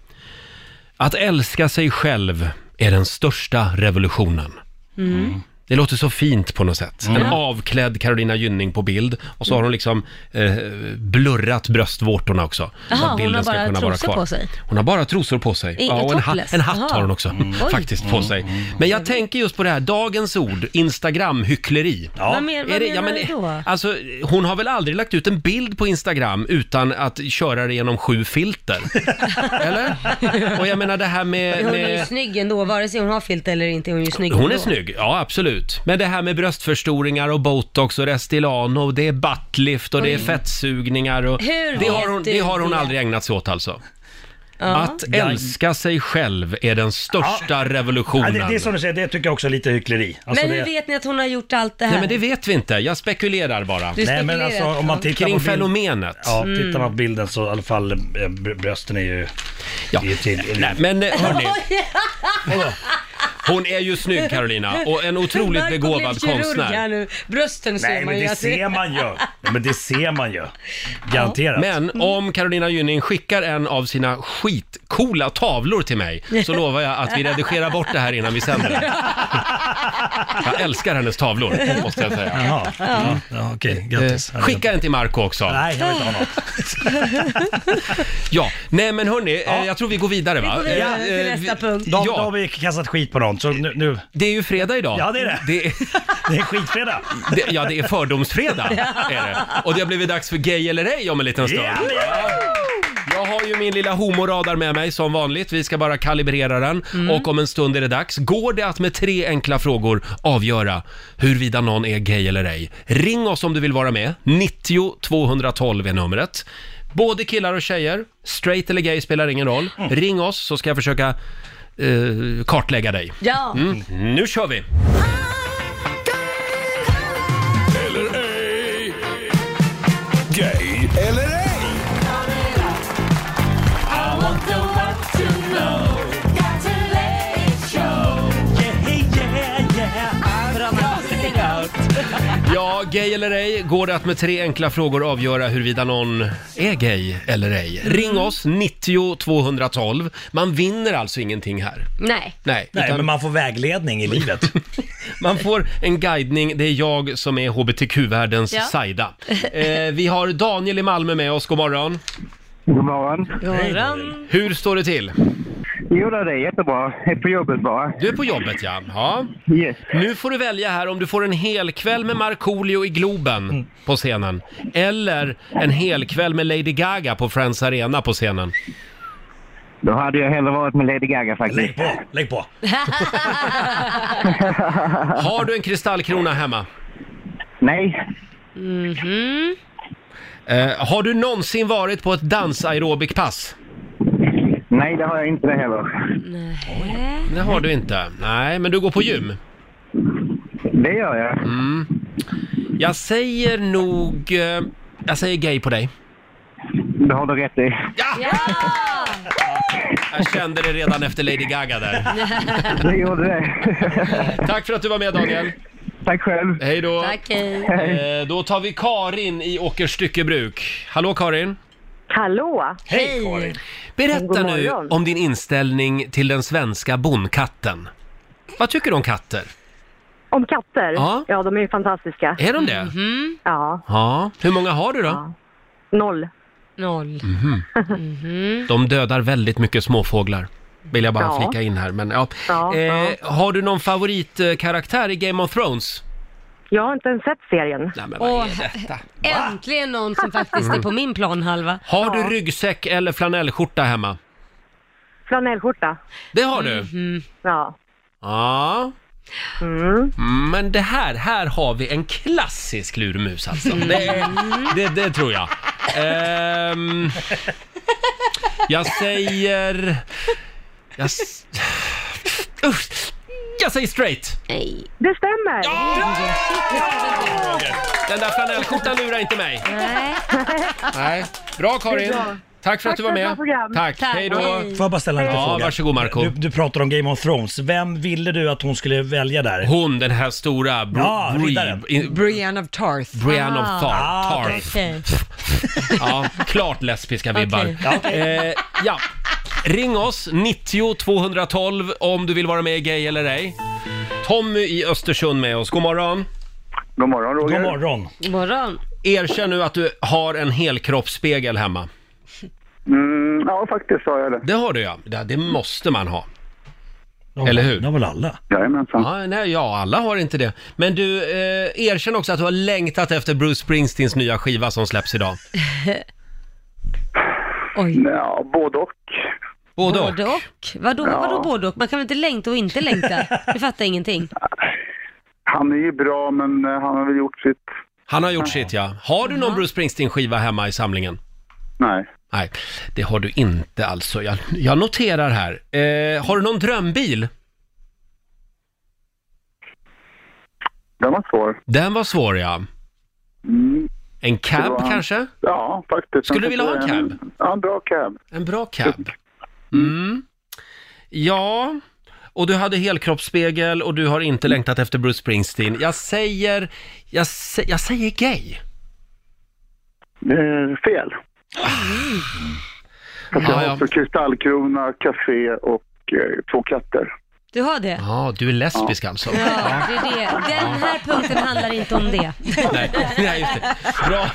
[SPEAKER 1] Att älska sig själv är den största revolutionen.
[SPEAKER 4] Mm.
[SPEAKER 1] Det låter så fint på något sätt.
[SPEAKER 2] Mm.
[SPEAKER 1] En avklädd Carolina Gynning på bild och så har hon liksom eh, blurrat bröstvårtorna också.
[SPEAKER 2] Jaha,
[SPEAKER 1] Så att
[SPEAKER 2] hon
[SPEAKER 1] bilden
[SPEAKER 2] har
[SPEAKER 1] ska
[SPEAKER 2] bara
[SPEAKER 1] kunna vara
[SPEAKER 2] trosor
[SPEAKER 1] kvar.
[SPEAKER 2] på sig?
[SPEAKER 1] Hon har bara trosor på sig.
[SPEAKER 2] Ingen
[SPEAKER 1] och en, ha-
[SPEAKER 2] topless?
[SPEAKER 1] en hatt
[SPEAKER 2] Jaha. Mm.
[SPEAKER 1] har hon också
[SPEAKER 2] Oj. Mm.
[SPEAKER 1] faktiskt på sig. Men jag tänker just på det här, dagens ord, Instagram-hyckleri.
[SPEAKER 6] Ja.
[SPEAKER 2] Vad, mer, vad
[SPEAKER 1] Är det-
[SPEAKER 2] menar du då?
[SPEAKER 1] alltså, hon har väl aldrig lagt ut en bild på Instagram utan att köra det genom sju filter? Eller? Och jag menar det här med...
[SPEAKER 2] Hon är ju
[SPEAKER 1] med
[SPEAKER 2] snygg ändå, vare sig hon har filt eller inte. Hon är ju snygg
[SPEAKER 1] eh, hon är
[SPEAKER 2] ändå.
[SPEAKER 1] snygg, ja absolut. Men det här med bröstförstoringar och botox och Restylane och det är buttlift och det är fettsugningar och...
[SPEAKER 2] Hur
[SPEAKER 1] det, har
[SPEAKER 2] vet
[SPEAKER 1] hon,
[SPEAKER 2] du
[SPEAKER 1] det har hon
[SPEAKER 2] det?
[SPEAKER 1] aldrig ägnat sig åt alltså. Att älska sig själv är den största
[SPEAKER 6] Ja,
[SPEAKER 1] revolutionen.
[SPEAKER 6] det, det är som du säger, det tycker jag också är lite hyckleri. Alltså,
[SPEAKER 2] Men
[SPEAKER 6] det,
[SPEAKER 2] hur vet ni att hon har gjort allt det här?
[SPEAKER 1] Nej men det vet vi inte, jag spekulerar bara.
[SPEAKER 6] Nej men
[SPEAKER 2] Du spekulerar.
[SPEAKER 6] alltså om man tittar
[SPEAKER 1] Kring
[SPEAKER 6] på bild,
[SPEAKER 1] fenomenet.
[SPEAKER 6] Ja,
[SPEAKER 2] Mm.
[SPEAKER 6] tittar man på bilden så i alla fall eh, br- brösten är ju...
[SPEAKER 1] Ja.
[SPEAKER 6] Är ju till,
[SPEAKER 1] Nej, men eh, hörni.
[SPEAKER 2] Oj!
[SPEAKER 1] Hon är ju snygg Carolina och en otroligt
[SPEAKER 2] Marco blev
[SPEAKER 1] begåvad
[SPEAKER 2] kirurg
[SPEAKER 1] konstnär.
[SPEAKER 2] Här nu. Brösten ser
[SPEAKER 6] Nej
[SPEAKER 2] man
[SPEAKER 6] men
[SPEAKER 2] ju.
[SPEAKER 6] det
[SPEAKER 2] att-
[SPEAKER 6] ser man ju. Nej, men det ser man ju. Garanterat.
[SPEAKER 1] Men om Carolina Gynning skickar en av sina skitcoola tavlor till mig så lovar jag att vi redigerar bort det här innan vi sänder det. Jag älskar hennes tavlor, måste jag säga.
[SPEAKER 6] Jaha. Ja, ja, okej.
[SPEAKER 1] Eh,
[SPEAKER 6] Grattis.
[SPEAKER 1] Skicka den till Marco också.
[SPEAKER 6] Nej, jag vill inte ha något.
[SPEAKER 1] Ja, nej men hörni, eh, jag tror vi går vidare va?
[SPEAKER 2] Vi går vidare
[SPEAKER 1] Eh,
[SPEAKER 2] till
[SPEAKER 1] eh,
[SPEAKER 2] nästa
[SPEAKER 1] vi-
[SPEAKER 2] punkt.
[SPEAKER 6] Då, då har
[SPEAKER 1] Ja,
[SPEAKER 6] vi kastat skit på någon, så nu... nu
[SPEAKER 1] det är ju fredag idag.
[SPEAKER 6] Ja, det är det. det är skitfredag.
[SPEAKER 1] det- ja, det är fördomsfredag. Är det. Och det har blivit dags för Gay eller ej om en liten stund.
[SPEAKER 6] Ja, det är det.
[SPEAKER 1] Jag har ju min lilla homoradar med mig som vanligt. Vi ska bara kalibrera den och om en stund är det dags. Går det att med tre enkla frågor avgöra huruvida någon är gay eller ej? Ring oss om du vill vara med. 90 212 är numret. Både killar och tjejer, straight eller gay spelar ingen roll. Ring oss så ska jag försöka eh, kartlägga dig.
[SPEAKER 2] Ja,
[SPEAKER 1] Mm. Nu kör vi!
[SPEAKER 4] Eller ej. Gay eller ej.
[SPEAKER 1] Ja, gay eller ej, går det att med tre enkla frågor avgöra huruvida någon är gay eller ej?
[SPEAKER 6] Mm.
[SPEAKER 1] Ring oss, 90 212. Man vinner alltså ingenting här.
[SPEAKER 2] nej.
[SPEAKER 1] Nej,
[SPEAKER 6] Nej,
[SPEAKER 1] utan
[SPEAKER 6] men
[SPEAKER 1] man...
[SPEAKER 6] man får vägledning i livet.
[SPEAKER 1] får en guidning. Det är jag som är hbtq-världens
[SPEAKER 2] Ja.
[SPEAKER 1] Saida. Eh, vi har Daniel i Malmö med oss, god morgon.
[SPEAKER 7] God morgon.
[SPEAKER 2] Morgon.
[SPEAKER 1] Hur står det till?
[SPEAKER 7] Jo då, det är jättebra. Jag är på jobbet bara.
[SPEAKER 1] Du är på jobbet ja. ja.
[SPEAKER 7] Yes.
[SPEAKER 1] Nu får du välja här om du får en hel kväll med Markoolio i
[SPEAKER 7] Mm.
[SPEAKER 1] Globen på scenen. Eller en hel kväll med Lady Gaga på Friends Arena på scenen.
[SPEAKER 7] Då hade jag hellre varit med Lady Gaga
[SPEAKER 6] Lägg
[SPEAKER 7] faktiskt.
[SPEAKER 6] på, lägg på.
[SPEAKER 1] Har du en kristallkrona hemma?
[SPEAKER 7] Nej.
[SPEAKER 1] Eh, har du någonsin varit på ett dansaerobikpass?
[SPEAKER 7] Nej, det har jag inte det heller.
[SPEAKER 1] Det har du inte. Nej, men du går på gym. Mm.
[SPEAKER 7] Det gör jag.
[SPEAKER 1] Jag säger nog... Eh, jag säger gay på dig.
[SPEAKER 7] Det har du rätt i.
[SPEAKER 1] Ja!
[SPEAKER 2] Ja!
[SPEAKER 1] Jag kände det redan efter Lady Gaga där.
[SPEAKER 7] Du gjorde det.
[SPEAKER 1] Tack för att du var med Daniel.
[SPEAKER 7] Tack själv.
[SPEAKER 1] Hej då.
[SPEAKER 2] Tack, hej.
[SPEAKER 1] Eh, då tar vi Karin i Åkerstyckebruk. Hallå Karin!
[SPEAKER 8] Hallå!
[SPEAKER 6] Hej Karin.
[SPEAKER 1] Berätta
[SPEAKER 8] God
[SPEAKER 1] nu
[SPEAKER 8] morgon.
[SPEAKER 1] om din inställning till den svenska bonnkatten. Vad tycker du om katter?
[SPEAKER 8] Om katter?
[SPEAKER 1] Ja.
[SPEAKER 8] ja de är ju fantastiska.
[SPEAKER 1] Är de det?
[SPEAKER 2] Mhm.
[SPEAKER 8] Ja,
[SPEAKER 1] Ja. Hur många har du då? Mhm.
[SPEAKER 8] noll.
[SPEAKER 2] Noll. Mhm.
[SPEAKER 1] De dödar väldigt mycket småfåglar. Vill jag bara
[SPEAKER 8] Ja.
[SPEAKER 1] flika in här. Men, ja.
[SPEAKER 8] Ja,
[SPEAKER 1] eh,
[SPEAKER 8] ja.
[SPEAKER 1] Har du någon favoritkaraktär i Game of Thrones?
[SPEAKER 8] Jag har inte ens sett serien.
[SPEAKER 1] Nej, men vad
[SPEAKER 2] Och
[SPEAKER 1] är detta?
[SPEAKER 2] äntligen någon som faktiskt är på min planhalva.
[SPEAKER 1] Har du ryggsäck eller flanellskjorta hemma?
[SPEAKER 8] Flanellskjorta.
[SPEAKER 1] Det har du?
[SPEAKER 2] Mhm.
[SPEAKER 8] Ja.
[SPEAKER 1] Ja. Mm. Men det här, här har vi en klassisk lurmus alltså. Det, det, det tror jag. Ehm, jag säger... Jag, s- usch, jag säger straight.
[SPEAKER 2] Nej.
[SPEAKER 8] Det stämmer!
[SPEAKER 1] Den där flanellskjortan lurar inte mig.
[SPEAKER 2] Nej.
[SPEAKER 1] Nej. Bra Karin. Tack för att
[SPEAKER 8] Tack
[SPEAKER 1] du var
[SPEAKER 8] för ett bra
[SPEAKER 1] med.
[SPEAKER 8] program.
[SPEAKER 1] Tack.
[SPEAKER 2] Tack.
[SPEAKER 1] Hej då.
[SPEAKER 2] Hej.
[SPEAKER 6] Får jag bara ställa en
[SPEAKER 1] Ja,
[SPEAKER 6] fråga?
[SPEAKER 1] varsågod, Marco.
[SPEAKER 6] Du, du pratar om Game of Thrones. Vem ville du att hon skulle välja där?
[SPEAKER 1] Hon, den här stora... Br-
[SPEAKER 6] Ja,
[SPEAKER 1] Bri-
[SPEAKER 6] riddaren.
[SPEAKER 1] i-
[SPEAKER 3] Brienne of Tarth.
[SPEAKER 1] Brienne of Tarth.
[SPEAKER 6] Ah, okej.
[SPEAKER 1] Tarth.
[SPEAKER 2] Okej.
[SPEAKER 1] Ja, klart lesbiska vibbar.
[SPEAKER 2] Okej.
[SPEAKER 1] Ja. Eh, ja. Ring oss, 90 212 om du vill vara med i Gay eller ej. Tommy i Östersund med oss. God morgon.
[SPEAKER 7] God morgon Roger.
[SPEAKER 6] God morgon.
[SPEAKER 2] God morgon.
[SPEAKER 1] Erkänn nu att du har en helkroppsspegel hemma.
[SPEAKER 7] Mm, ja, faktiskt har jag det.
[SPEAKER 1] Det har du ja. Det, det måste man ha.
[SPEAKER 6] Ja,
[SPEAKER 1] Eller hur?
[SPEAKER 6] Det har väl alla.
[SPEAKER 7] Jajamensan.
[SPEAKER 1] Ja, nej, ja, alla har inte det. Men du, eh, erkänn också att du har längtat efter Bruce Springsteens nya skiva som släpps idag.
[SPEAKER 2] Oj.
[SPEAKER 7] Ja, både och.
[SPEAKER 1] Både och.
[SPEAKER 2] Både och? Vadå,
[SPEAKER 7] Ja.
[SPEAKER 2] vadå både och? Man kan väl inte längta och inte längta? Du fattar ingenting.
[SPEAKER 7] Han är ju bra, men eh, han har väl gjort sitt.
[SPEAKER 1] Han har gjort sitt ja. Har du någon Bruce Springsteen-skiva hemma i samlingen?
[SPEAKER 7] Nej.
[SPEAKER 1] Nej, det har du inte alltså. Jag, jag noterar här. Eh, har du någon drömbil?
[SPEAKER 7] Den var svår.
[SPEAKER 1] Den var svår ja.
[SPEAKER 7] Mm,
[SPEAKER 1] En
[SPEAKER 7] Det
[SPEAKER 1] cab
[SPEAKER 7] var han.
[SPEAKER 1] kanske?
[SPEAKER 7] ja, faktiskt.
[SPEAKER 1] Skulle du vilja ha en
[SPEAKER 7] Ja, en bra cab.
[SPEAKER 1] En bra cab. Mm. Ja, och du hade helkroppsspegel och du har inte
[SPEAKER 7] Mm.
[SPEAKER 1] längtat efter Bruce Springsteen. Jag säger, jag, sä, jag säger gay.
[SPEAKER 7] Eh, fel. Fast jag
[SPEAKER 1] Ja,
[SPEAKER 7] har
[SPEAKER 1] ja.
[SPEAKER 7] också kristallkrona, café och eh, två katter.
[SPEAKER 2] Du har det?
[SPEAKER 1] Ja, du är lesbisk alltså.
[SPEAKER 2] Ja, det är det. Den här punkten handlar inte om det.
[SPEAKER 1] Nej, nej just det. Bra,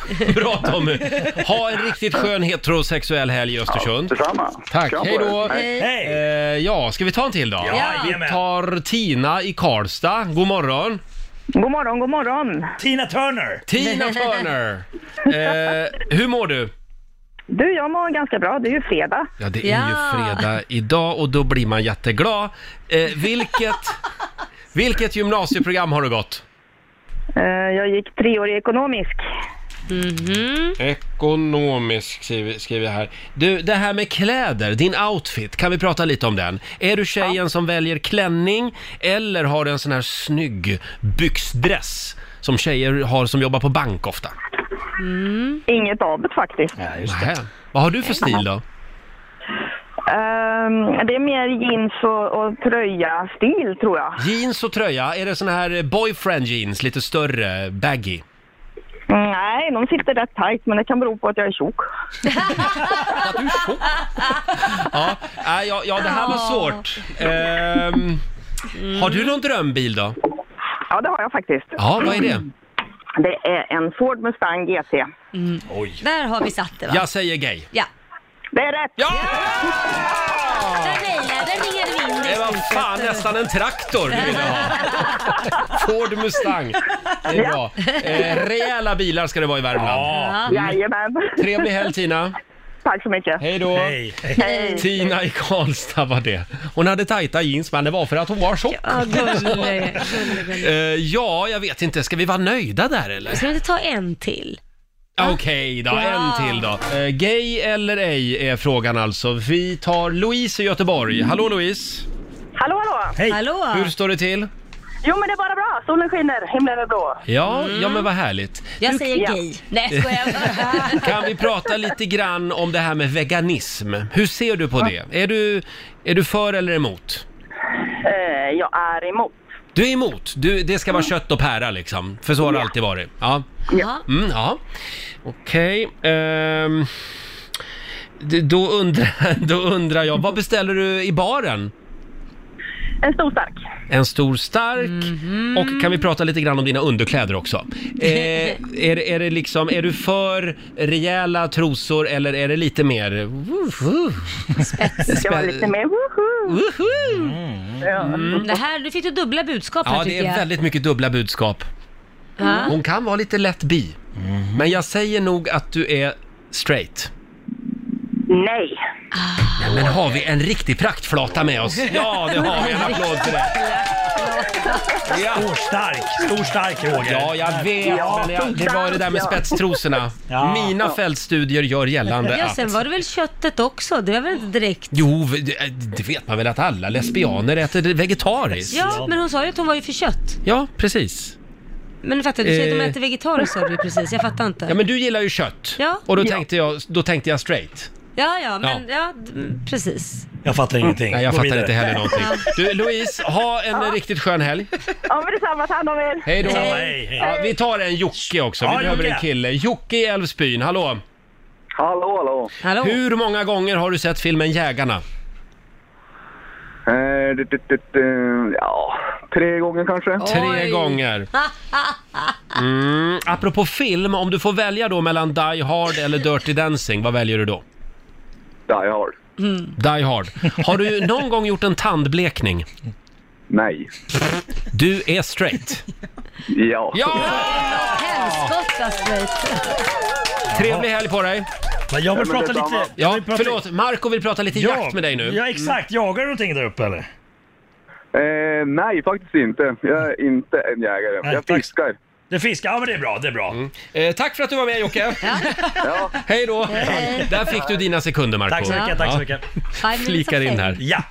[SPEAKER 1] bra Tommy. Ha en riktigt skön heterosexuell helg i Östersund.
[SPEAKER 7] Detsamma.
[SPEAKER 1] Tack,
[SPEAKER 7] Kram på
[SPEAKER 1] hej
[SPEAKER 7] er.
[SPEAKER 1] då.
[SPEAKER 2] Hej.
[SPEAKER 1] Eh,
[SPEAKER 6] Hej!
[SPEAKER 1] ja, ska vi ta en till då?
[SPEAKER 6] Ja,
[SPEAKER 1] Vi
[SPEAKER 6] jajamän.
[SPEAKER 1] tar Tina i Karlstad. God morgon.
[SPEAKER 8] God morgon, god morgon.
[SPEAKER 6] Tina Turner!
[SPEAKER 1] Tina Turner. Eh, hur mår du?
[SPEAKER 8] Du, jag mår ganska bra. Det är ju fredag.
[SPEAKER 1] Ja, det är
[SPEAKER 2] Ja.
[SPEAKER 1] ju fredag idag och då blir man jätteglad. Eh, vilket, vilket gymnasieprogram har du gått?
[SPEAKER 8] Eh, Jag gick treårig ekonomisk.
[SPEAKER 2] Mhm.
[SPEAKER 1] Ekonomisk skriver skriver jag här. Du, det här med kläder, din outfit, kan vi prata lite om den? Är du tjejen som väljer klänning eller har du en sån här snygg byxdress som tjejer har som jobbar på bank ofta?
[SPEAKER 8] Inget av det faktiskt.
[SPEAKER 6] Ja, just det.
[SPEAKER 1] Nähä. Vad har du för stil då?
[SPEAKER 8] Ehm, det är mer jeans och, och tröja-stil, tror jag.
[SPEAKER 1] Jeans och tröja, är det sån här boyfriend jeans, lite större, baggy?
[SPEAKER 8] Mm, nej, de sitter rätt tajt, men det kan bero på att jag är tjock.
[SPEAKER 1] Att du är tjock. Ja, nej, ja, ja, det här var svårt. Ehm, Har du någon drömbil då?
[SPEAKER 8] Ja, det har jag faktiskt.
[SPEAKER 1] Ja, vad är det?
[SPEAKER 8] Det är en Ford Mustang GT.
[SPEAKER 6] Oj.
[SPEAKER 2] Där har vi satt det va?
[SPEAKER 1] Jag säger gay.
[SPEAKER 2] Ja.
[SPEAKER 8] Det är rätt!
[SPEAKER 1] Ja!
[SPEAKER 2] Där nailade, där ringade vi in
[SPEAKER 1] Det var fan nästan en traktor du ville ha. Ford Mustang. Det är bra. Eh, rejäla bilar ska det vara i Värmland. Mm.
[SPEAKER 6] Ja.
[SPEAKER 8] Jajamän!
[SPEAKER 1] Trevlig helg Tina.
[SPEAKER 8] Tack så mycket.
[SPEAKER 1] Hej då.
[SPEAKER 6] Hej! Hej.
[SPEAKER 1] Tina i Karlstad var det. Hon hade tajta jeans men det var för att hon var tjock.
[SPEAKER 2] Ja, gullig. gullig, gullig.
[SPEAKER 1] Eh, ja, jag vet inte. Ska vi vara nöjda där eller?
[SPEAKER 2] Ska vi inte ta en till?
[SPEAKER 1] Okej då,
[SPEAKER 2] Ja.
[SPEAKER 1] en till då. Eh, gay eller ej är frågan alltså. Vi tar Louise i Göteborg. Hallå Louise!
[SPEAKER 8] Hallå, hallå!
[SPEAKER 6] Hej.
[SPEAKER 2] Hallå?
[SPEAKER 1] Hur står det till?
[SPEAKER 8] Jo, men det är bara bra. Solen skiner, himlen är blå.
[SPEAKER 1] Ja, ja
[SPEAKER 6] Mm.
[SPEAKER 1] men vad härligt.
[SPEAKER 2] Mm. Jag säger
[SPEAKER 8] Ja.
[SPEAKER 2] gay. Nej, skojar.
[SPEAKER 1] Kan vi prata lite grann om det här med veganism? Hur ser du på det? Är du, är du för eller emot?
[SPEAKER 8] Eh, jag är emot. Mm.
[SPEAKER 1] Du är emot. Du, det ska vara kött och pära liksom. För så har det alltid varit. Ja.
[SPEAKER 2] Ja.
[SPEAKER 1] Mm, ja. Okej. ehm, d- då, undrar, då undrar jag, vad beställer du i baren?
[SPEAKER 8] En stor stark.
[SPEAKER 1] En stor stark.
[SPEAKER 2] Mhm.
[SPEAKER 1] Och kan vi prata lite grann om dina underkläder också? Eh, är, det- är det liksom, är du för rejäla trosor eller är det lite mer... Woho!
[SPEAKER 8] Det var lite mer woho!
[SPEAKER 1] Woho!
[SPEAKER 2] Mm. Det här, du fick du dubbla budskap här
[SPEAKER 1] Mm. Ja, det
[SPEAKER 2] tycker jag.
[SPEAKER 1] är väldigt mycket dubbla budskap.
[SPEAKER 2] Ja.
[SPEAKER 1] Hon kan vara lite lätt bi. Men jag säger nog att du är straight. Ah.
[SPEAKER 8] Nej!
[SPEAKER 1] Nej, men har vi en riktig praktflata med oss? Ja, det har vi. En applåd till det.
[SPEAKER 6] Stor stark, stor stark Roger.
[SPEAKER 1] Ja, jag vet, men jag, det var det där med spetstrosorna.
[SPEAKER 6] Ja.
[SPEAKER 1] Mina fältstudier gör gällande
[SPEAKER 2] Ja,
[SPEAKER 1] att...
[SPEAKER 2] sen var det väl köttet också. Det var väl inte direkt...
[SPEAKER 1] Jo, det- äh, det vet man väl att alla lesbianer äter vegetariskt?
[SPEAKER 2] Ja, men hon sa ju att hon var ju för kött.
[SPEAKER 1] Ja, precis.
[SPEAKER 2] Men fattar du, du säger att de
[SPEAKER 1] Eh.
[SPEAKER 2] äter vegetariskt sa du ju precis. Jag fattar inte.
[SPEAKER 1] Ja, men du gillar ju kött.
[SPEAKER 2] Ja.
[SPEAKER 1] Och då tänkte jag, då tänkte jag straight.
[SPEAKER 2] Ja, ja, men ja,
[SPEAKER 1] Mm.
[SPEAKER 2] d- precis.
[SPEAKER 6] Jag fattar ingenting.
[SPEAKER 1] Nej, jag
[SPEAKER 6] Gå
[SPEAKER 1] fattar
[SPEAKER 6] vidare.
[SPEAKER 1] inte heller någonting. Du, Louise, ha en riktigt skön helg.
[SPEAKER 8] Ja, men detsamma. Ta hand om er!
[SPEAKER 1] Hej då!
[SPEAKER 6] Detsamma, hej, hej.
[SPEAKER 1] Ja, vi tar en Jocke också, vi
[SPEAKER 6] Ja,
[SPEAKER 1] behöver en
[SPEAKER 6] Jocke.
[SPEAKER 1] kille. Jocke i Älvsbyn, hallå!
[SPEAKER 7] Hallå, hallå.
[SPEAKER 2] Hallå?
[SPEAKER 1] Hur många gånger har du sett filmen Jägarna?
[SPEAKER 7] Eh, Eh, det, det, det, det, ja, tre gånger kanske.
[SPEAKER 1] Tre gånger. Mm. Apropå film, om du får välja då mellan Die Hard eller Dirty Dancing, vad väljer du då?
[SPEAKER 7] Ja, jag har.
[SPEAKER 2] Mm.
[SPEAKER 1] Die Hard. Har du någon gång gjort en tandblekning?
[SPEAKER 7] Nej.
[SPEAKER 1] Du är straight.
[SPEAKER 7] Ja.
[SPEAKER 2] Helskotta straight.
[SPEAKER 1] Trevlig helg på dig!
[SPEAKER 6] Men jag vill
[SPEAKER 7] Ja, men
[SPEAKER 6] prata
[SPEAKER 7] detsamma.
[SPEAKER 6] lite... jag
[SPEAKER 1] Ja,
[SPEAKER 6] vill prata-
[SPEAKER 1] förlåt, Marco vill prata lite jakt med dig nu. Mm.
[SPEAKER 6] Ja, exakt. Jagar du någonting där uppe eller?
[SPEAKER 7] Eh, nej, faktiskt inte. Jag är inte en jägare.
[SPEAKER 6] Nej,
[SPEAKER 7] jag
[SPEAKER 6] tack.
[SPEAKER 7] fiskar.
[SPEAKER 6] Du fiskar? Ja, men det är bra. Det är bra.
[SPEAKER 1] Eh, tack för att du var med Jocke!
[SPEAKER 7] Ja.
[SPEAKER 1] Hej då! Där fick du dina sekunder Marco.
[SPEAKER 6] Tack så mycket, tack så mycket.
[SPEAKER 2] Five minutes
[SPEAKER 1] Flikar
[SPEAKER 2] of
[SPEAKER 1] in
[SPEAKER 2] fame.
[SPEAKER 1] här.
[SPEAKER 6] Ja.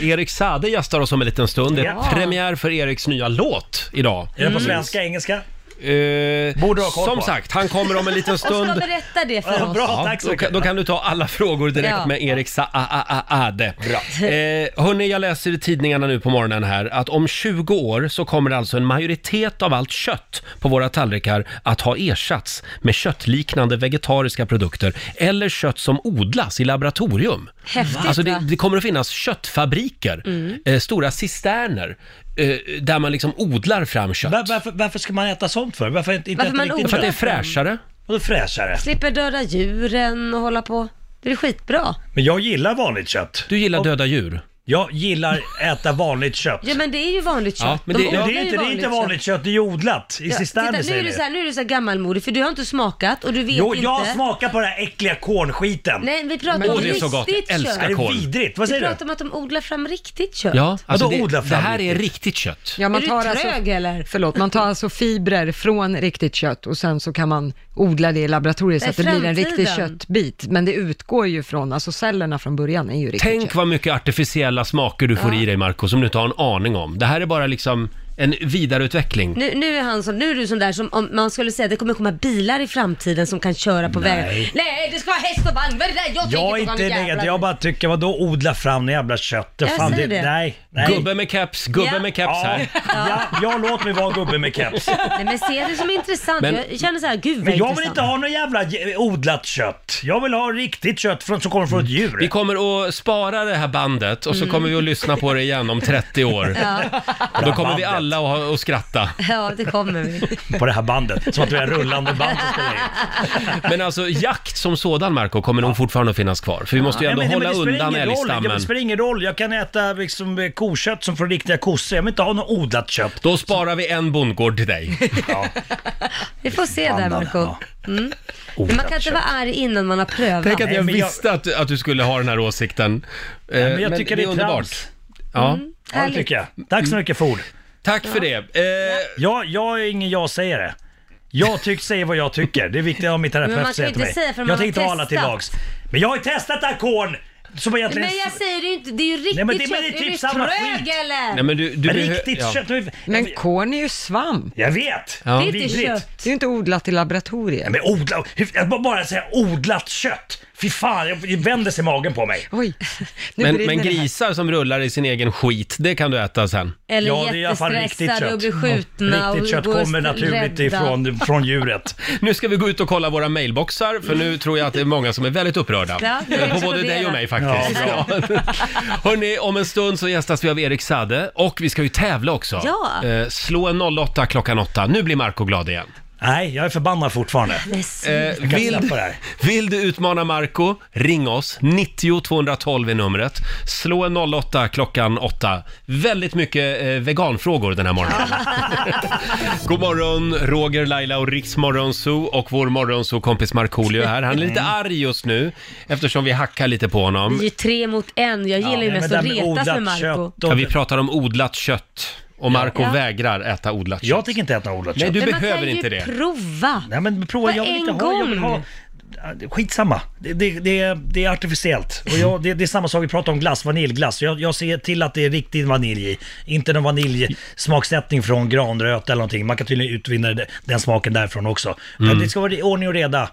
[SPEAKER 1] Erik Sade gästar oss om en liten stund. Det
[SPEAKER 6] Ja.
[SPEAKER 1] är premiär för Eriks nya låt idag.
[SPEAKER 6] Är det på svenska, engelska?
[SPEAKER 1] Eh,
[SPEAKER 6] Borde du ha koll
[SPEAKER 1] som
[SPEAKER 6] på.
[SPEAKER 1] sagt, han kommer om en liten
[SPEAKER 2] Och ska
[SPEAKER 1] stund.
[SPEAKER 2] berätta det för
[SPEAKER 6] Ja,
[SPEAKER 2] oss.
[SPEAKER 6] bra, tack så
[SPEAKER 1] Då, kan-
[SPEAKER 6] mycket.
[SPEAKER 1] då kan du ta alla frågor direkt
[SPEAKER 2] Ja.
[SPEAKER 1] med Erik Saade. Bra. Eh, hörni, jag läser i tidningarna nu på morgonen här att om 20 år så kommer alltså en majoritet av allt kött på våra tallrikar att ha ersatts med köttliknande vegetariska produkter eller kött som odlas i laboratorium.
[SPEAKER 2] Häftigt,
[SPEAKER 1] Alltså det,
[SPEAKER 2] va?
[SPEAKER 1] det kommer att finnas köttfabriker,
[SPEAKER 6] Mm.
[SPEAKER 1] eh, stora cisterner, eh, där man liksom odlar fram kött.
[SPEAKER 6] Var, varför, varför ska man äta sånt för? Varför inte, inte
[SPEAKER 2] Varför man
[SPEAKER 6] äta riktigt
[SPEAKER 1] För att det är
[SPEAKER 6] kött?
[SPEAKER 1] fräschare.
[SPEAKER 6] Och fräschare.
[SPEAKER 2] Slipper döda djuren och hålla på. Det är skitbra.
[SPEAKER 6] Men jag gillar vanligt kött.
[SPEAKER 1] Du gillar döda djur.
[SPEAKER 6] Jag gillar äta vanligt kött.
[SPEAKER 2] Ja men det är ju vanligt kött.
[SPEAKER 1] Ja, men det-
[SPEAKER 2] De
[SPEAKER 1] Ja,
[SPEAKER 6] Men
[SPEAKER 2] odlar
[SPEAKER 6] det är
[SPEAKER 2] ju
[SPEAKER 6] inte, det är inte vanligt kött, det är odlat i
[SPEAKER 2] Ja,
[SPEAKER 6] cisterner
[SPEAKER 2] titta, nu,
[SPEAKER 6] säger
[SPEAKER 2] är du
[SPEAKER 6] vi.
[SPEAKER 2] så här, nu är du så här gammalmodig för du har inte smakat och du vet
[SPEAKER 6] Jo,
[SPEAKER 2] inte.
[SPEAKER 6] jag smakar på den här äckliga kornskiten.
[SPEAKER 2] Nej, vi pratar
[SPEAKER 1] Men-
[SPEAKER 2] om
[SPEAKER 1] Åh, det är så gott.
[SPEAKER 2] riktigt
[SPEAKER 1] Jag älskar
[SPEAKER 6] är
[SPEAKER 2] kött.
[SPEAKER 6] det
[SPEAKER 1] korn.
[SPEAKER 6] vidrigt? Vad
[SPEAKER 2] Vi
[SPEAKER 6] säger du?
[SPEAKER 2] pratar om att de odlar fram riktigt kött.
[SPEAKER 1] Ja, alltså
[SPEAKER 6] Vadå,
[SPEAKER 1] det,
[SPEAKER 6] odla
[SPEAKER 1] det
[SPEAKER 6] fram
[SPEAKER 1] här är
[SPEAKER 6] riktigt?
[SPEAKER 1] riktigt kött.
[SPEAKER 3] Ja, man
[SPEAKER 2] Typ. Är du
[SPEAKER 3] tar
[SPEAKER 2] trög
[SPEAKER 3] alltså,
[SPEAKER 2] eller?
[SPEAKER 3] Förlåt, man tar alltså fibrer från riktigt kött och sen så kan man odla det i laboratoriet
[SPEAKER 2] Det
[SPEAKER 3] så
[SPEAKER 2] är
[SPEAKER 3] att det blir en
[SPEAKER 2] framtiden.
[SPEAKER 3] riktig köttbit. Men det utgår ju från, alltså cellerna från början är ju riktigt
[SPEAKER 1] Tänk
[SPEAKER 3] kött.
[SPEAKER 1] vad mycket artificiella smaker du får i dig Marco som du inte har en aning om. Det här är bara liksom en vidareutveckling.
[SPEAKER 2] Nu, nu, är han som, nu är du sån där som om man skulle säga att det kommer komma bilar i framtiden som kan köra på vägen. Nej, det ska vara häst och vagn. Vad är det där? Jag, tänker
[SPEAKER 6] Jag
[SPEAKER 2] på
[SPEAKER 6] är
[SPEAKER 2] sån
[SPEAKER 6] inte
[SPEAKER 2] jävla-
[SPEAKER 6] negativ, jag bara tycker vadå odla fram det jävla köttet?
[SPEAKER 2] Jag
[SPEAKER 6] Fan,
[SPEAKER 2] säger det.
[SPEAKER 6] Nej, nej.
[SPEAKER 1] Gubbe med keps, gubbe
[SPEAKER 2] Ja.
[SPEAKER 1] med keps
[SPEAKER 6] Ja,
[SPEAKER 1] här.
[SPEAKER 6] ja, ja, låt mig vara gubbe med keps.
[SPEAKER 2] Nej, men se det som intressant.
[SPEAKER 1] Men-
[SPEAKER 2] jag känner så här, gud vad
[SPEAKER 6] Men jag vill
[SPEAKER 2] intressant.
[SPEAKER 6] inte ha något jävla j- odlat kött. Jag vill ha riktigt kött från, som kommer från ett djur.
[SPEAKER 1] Vi kommer att spara det här bandet och så
[SPEAKER 2] Mm.
[SPEAKER 1] kommer vi att lyssna på det igen om 30 år. Och då kommer vi alla att, ha- att skratta.
[SPEAKER 2] Ja, det kommer vi.
[SPEAKER 6] På det här bandet. Som att vi har rullande band som spelar in.
[SPEAKER 1] Men alltså jakt som sådan Marco kommer nog fortfarande att finnas kvar. För vi måste ju ändå
[SPEAKER 6] Nej, men-
[SPEAKER 1] hålla
[SPEAKER 6] nej, men det spelar
[SPEAKER 1] undan
[SPEAKER 6] ingen roll. Ja, men
[SPEAKER 1] älgstammen.
[SPEAKER 6] Det spelar ingen roll. Jag kan äta liksom, eh, kokött som från riktiga kossor. Jag vill inte ha något odlat kött.
[SPEAKER 1] Då sparar vi en bondgård till dig.
[SPEAKER 2] Vi får se där
[SPEAKER 6] Pandan,
[SPEAKER 2] Marco. Mm.
[SPEAKER 6] ja.
[SPEAKER 2] Men man kan inte vara arg innan man har prövat.
[SPEAKER 1] Tänk att
[SPEAKER 6] Nej,
[SPEAKER 1] jag
[SPEAKER 6] men jag-
[SPEAKER 1] visste att, att du skulle ha den här åsikten. Eh,
[SPEAKER 6] Men jag tycker det är, trams.
[SPEAKER 1] Ja.
[SPEAKER 6] Ja, det tycker jag. Tack så mycket för ord.
[SPEAKER 1] Tack för det. Eh,
[SPEAKER 6] Jag, jag är ingen jag-sägare. Jag tyck, säger vad jag tycker. Det är viktigt om min
[SPEAKER 2] Men man
[SPEAKER 6] terapeut
[SPEAKER 2] kan ju
[SPEAKER 6] säger till
[SPEAKER 2] inte
[SPEAKER 6] mig.
[SPEAKER 2] säga förrän man
[SPEAKER 6] jag
[SPEAKER 2] har
[SPEAKER 6] tänkte ha alla till
[SPEAKER 2] testat.
[SPEAKER 6] lags. Men jag har ju testat Alcorn! Som egentligen...
[SPEAKER 2] Men jag säger det ju inte, det är ju riktigt
[SPEAKER 6] Nej, men det- men det är
[SPEAKER 2] kött.
[SPEAKER 6] typ
[SPEAKER 2] du
[SPEAKER 6] samma
[SPEAKER 2] trög
[SPEAKER 6] skit.
[SPEAKER 2] eller?
[SPEAKER 1] Nej, men du, du
[SPEAKER 6] Men
[SPEAKER 1] behö-
[SPEAKER 6] riktigt
[SPEAKER 1] ja.
[SPEAKER 6] kött.
[SPEAKER 3] Men korn är ju svamp,
[SPEAKER 6] Jag vet!
[SPEAKER 1] Ja.
[SPEAKER 2] Det är inte
[SPEAKER 6] Vidrigt.
[SPEAKER 2] kött.
[SPEAKER 3] det är ju inte odlat i laboratoriet.
[SPEAKER 6] Men odla, jag bara- bara säga odlat kött. Fy fan, jag det vänder sig magen på mig.
[SPEAKER 3] Oj, nu
[SPEAKER 1] Men,
[SPEAKER 3] brinner
[SPEAKER 1] men
[SPEAKER 3] det här.
[SPEAKER 1] grisar som rullar i sin egen skit, det kan du äta sen.
[SPEAKER 2] Eller
[SPEAKER 6] Ja, det är i alla fall riktigt
[SPEAKER 2] jättestressade och blir
[SPEAKER 6] kött.
[SPEAKER 2] skjutna och
[SPEAKER 6] Riktigt kött
[SPEAKER 2] går
[SPEAKER 6] kommer naturligt
[SPEAKER 2] rädda.
[SPEAKER 6] ifrån från djuret.
[SPEAKER 1] Nu ska vi gå ut och kolla våra mailboxar, för nu tror jag att det är många som är väldigt upprörda.
[SPEAKER 2] Ja, det är
[SPEAKER 1] På både
[SPEAKER 2] explodera.
[SPEAKER 1] dig och mig faktiskt. Ja, Hörni, om en stund så gästas vi av Erik Sade och vi ska ju tävla också.
[SPEAKER 2] Ja.
[SPEAKER 1] Eh, slå en 08 klockan 8. Nu blir Marco glad igen.
[SPEAKER 6] Nej, jag är förbannad fortfarande.
[SPEAKER 2] Men s-
[SPEAKER 1] Eh,
[SPEAKER 6] kan
[SPEAKER 1] vill,
[SPEAKER 6] släppa det här.
[SPEAKER 1] vill du utmana Marco? Ring oss, 90 212 är numret. Slå en 08 klockan 8. Väldigt mycket eh, veganfrågor den här morgonen. God morgon, Roger, Laila och Riks Morgonzoo och vår Morgonzoo-kompis Markoolio är här. Han är lite arg just nu eftersom vi hackar lite på
[SPEAKER 2] Det är
[SPEAKER 1] honom.
[SPEAKER 2] ju tre mot en, jag gillar ju
[SPEAKER 6] men
[SPEAKER 2] mest
[SPEAKER 6] det
[SPEAKER 2] att
[SPEAKER 6] här med
[SPEAKER 2] retas
[SPEAKER 6] odlat
[SPEAKER 2] med Marco.
[SPEAKER 6] kött
[SPEAKER 1] Ja,
[SPEAKER 6] och-
[SPEAKER 1] vi pratar om odlat kött och Marco
[SPEAKER 2] Ja.
[SPEAKER 1] vägrar äta odlat kött.
[SPEAKER 6] Jag tänker inte äta odlat
[SPEAKER 1] Nej,
[SPEAKER 6] kött.
[SPEAKER 1] du
[SPEAKER 2] Men man
[SPEAKER 1] behöver
[SPEAKER 2] kan ju
[SPEAKER 1] inte det.
[SPEAKER 2] prova.
[SPEAKER 6] Nej men prova,
[SPEAKER 2] Vad
[SPEAKER 6] jag vill inte
[SPEAKER 2] en
[SPEAKER 6] ha, jag vill
[SPEAKER 2] gång?
[SPEAKER 6] ha... Skitsamma, det, det, det, är- det är artificiellt. Och jag, det, det är samma sak, vi pratar om glass, vaniljglass. Jag, jag ser till att det är riktig vanilj i. Inte någon vaniljsmaksättning från granröt eller någonting. Man kan tydligen utvinna det- den smaken därifrån också.
[SPEAKER 1] Mm.
[SPEAKER 6] Men det ska vara det- ordning och reda.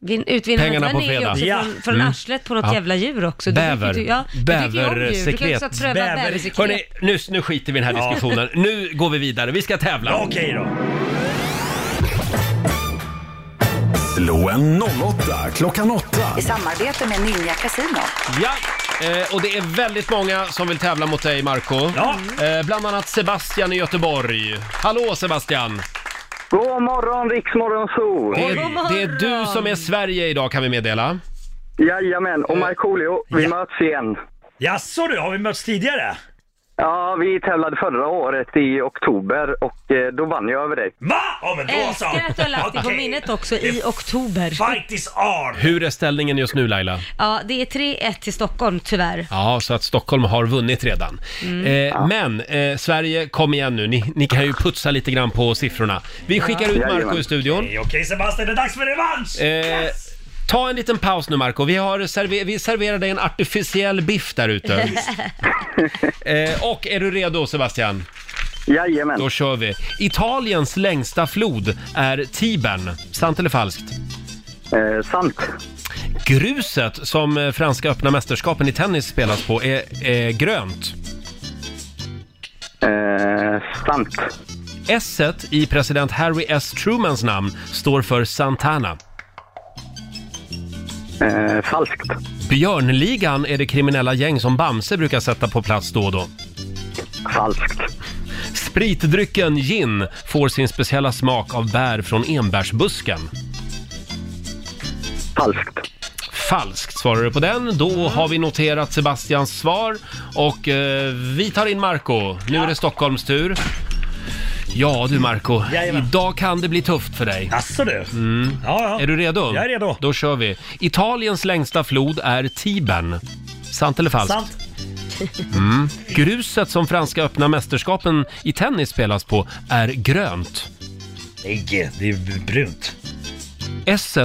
[SPEAKER 2] Vin- Utvinnandet
[SPEAKER 1] Pengarna på
[SPEAKER 2] vanilj är ju
[SPEAKER 1] fredag. Mm.
[SPEAKER 2] också
[SPEAKER 6] Ja.
[SPEAKER 2] från, från arslet på något
[SPEAKER 1] Ja.
[SPEAKER 2] jävla djur också.
[SPEAKER 1] Bäver.
[SPEAKER 2] Du, tycker ju- ja, du tycker ju om djur. Du kan ju också
[SPEAKER 1] Bäversekret.
[SPEAKER 2] pröva
[SPEAKER 6] Bäver-
[SPEAKER 2] bäversekret.
[SPEAKER 1] Hörni, nu, nu skiter vi i den här diskussionen. Nu går vi vidare. Vi ska tävla.
[SPEAKER 6] Okej då.
[SPEAKER 4] Slå en 08 klockan 8.
[SPEAKER 9] i samarbete med Ninja Casino.
[SPEAKER 1] Ja, Eh, och det är väldigt många som vill tävla mot dig, Marco.
[SPEAKER 6] Ja.
[SPEAKER 1] Eh, bland annat Sebastian i Göteborg. Hallå Sebastian!
[SPEAKER 7] God morgon, Riksmorgon Zoo!
[SPEAKER 1] Det
[SPEAKER 2] God
[SPEAKER 1] är,
[SPEAKER 2] morgon.
[SPEAKER 1] det är du som är Sverige idag kan vi meddela.
[SPEAKER 7] Jajamän, och Markoolio, vi
[SPEAKER 6] Eh, Ja.
[SPEAKER 7] möts igen.
[SPEAKER 6] Jaså du, har vi mötts tidigare?
[SPEAKER 7] Ja, vi tävlade förra året i oktober och eh, då vann jag över dig.
[SPEAKER 6] Va? Ja men då så!
[SPEAKER 2] Älskar att du har lagt det på
[SPEAKER 6] Okej.
[SPEAKER 2] minnet också i oktober.
[SPEAKER 6] Fight is on!
[SPEAKER 1] Hur är ställningen just nu Laila?
[SPEAKER 2] Ja, det är 3-1 till Stockholm tyvärr.
[SPEAKER 1] Ja, så att Stockholm har vunnit redan.
[SPEAKER 2] Mm.
[SPEAKER 1] Eh, Men eh, Sverige, kom igen nu. Ni, ni kan ju putsa lite grann på siffrorna. Vi skickar ut Marco
[SPEAKER 7] Jajamän.
[SPEAKER 1] i studion.
[SPEAKER 6] Okej Sebastian, det är dags för revansch!
[SPEAKER 1] Eh, Ta en liten paus nu Marco. Vi, har server- vi serverar dig en artificiell biff där ute. eh, och är du redo Sebastian?
[SPEAKER 7] Jajamän.
[SPEAKER 1] Då kör vi. Italiens längsta flod är Tibern. Sant eller falskt?
[SPEAKER 7] Eh, sant.
[SPEAKER 1] Gruset som eh, franska öppna mästerskapen i tennis spelas på är, är grönt.
[SPEAKER 7] Eh, sant.
[SPEAKER 1] s i president Harry S. Trumans namn står för Santana.
[SPEAKER 7] Eh, falskt.
[SPEAKER 1] Björnligan är det kriminella gäng som Bamse brukar sätta på plats då och då.
[SPEAKER 7] Falskt.
[SPEAKER 1] Spritdrycken gin får sin speciella smak av bär från enbärsbusken.
[SPEAKER 7] Falskt.
[SPEAKER 1] Falskt svarar du på den. Då har vi noterat Sebastians svar och eh, vi tar in Marco. Nu är det Stockholms tur. Ja du Marco,
[SPEAKER 6] Jajamän.
[SPEAKER 1] idag kan det bli tufft för dig. Mm.
[SPEAKER 6] Jaså du? Ja, ja.
[SPEAKER 1] Är du redo?
[SPEAKER 6] Jag är redo.
[SPEAKER 1] Då kör vi. Italiens längsta flod är Tibern. Sant eller falskt?
[SPEAKER 6] Sant?
[SPEAKER 1] Mm. Gruset som franska öppna mästerskapen i tennis spelas på är grönt.
[SPEAKER 6] Nej, det är brunt.
[SPEAKER 1] s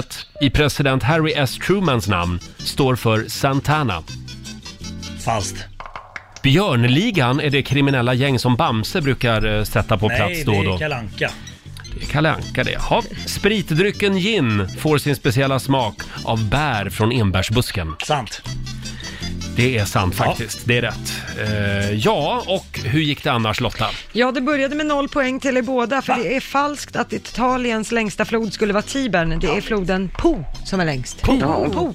[SPEAKER 1] i president Harry S. Trumans namn står för Santana.
[SPEAKER 6] Falskt.
[SPEAKER 1] Björnligan är det kriminella gäng som Bamse brukar eh, sätta på plats
[SPEAKER 6] Nej,
[SPEAKER 1] då och
[SPEAKER 6] det
[SPEAKER 1] då.
[SPEAKER 6] är Kalle Anka.
[SPEAKER 1] Det är Kalle Anka det. Ja. Spritdrycken gin får sin speciella smak av bär från enbärsbusken.
[SPEAKER 6] Sant.
[SPEAKER 1] Det är sant faktiskt, det är rätt. Eh, ja, och hur gick det annars Lotta?
[SPEAKER 3] Ja, det började med noll poäng till er båda, för det är falskt att Italiens längsta flod skulle vara Tibern. Det är floden Po som är längst. Po! po.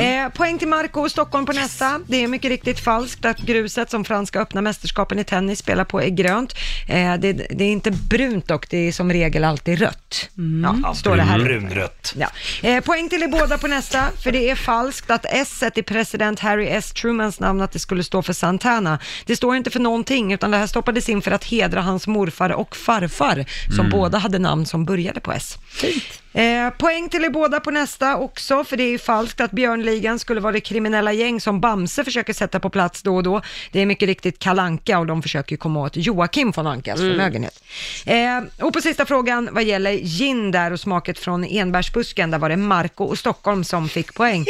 [SPEAKER 3] Eh, poäng till Marco och Stockholm på nästa. Det är mycket riktigt falskt att gruset som franska öppna mästerskapen i tennis spelar på är grönt. Eh, det, det är inte brunt dock, det är som regel alltid rött.
[SPEAKER 6] Mm.
[SPEAKER 3] Ja, står det här.
[SPEAKER 1] Mm.
[SPEAKER 6] Brunrött.
[SPEAKER 3] Ja. Eh, poäng till er båda på nästa, för det är falskt att S i president Harry S. Trumans namn att det skulle stå för Santana. Det står inte för någonting, utan det här stoppades in för att hedra hans morfar och farfar, som båda hade namn som började på S.
[SPEAKER 2] Fint.
[SPEAKER 3] Eh, poäng till er båda på nästa också, för det är ju falskt att Björnligan skulle vara det kriminella gäng som Bamse försöker sätta på plats då och då. Det är mycket riktigt Kalanka och de försöker ju komma åt Joakim von Ankas förmögenhet. Eh, och på sista frågan vad gäller gin där och smaket från enbärsbusken, där var det Marco och Stockholm som fick poäng.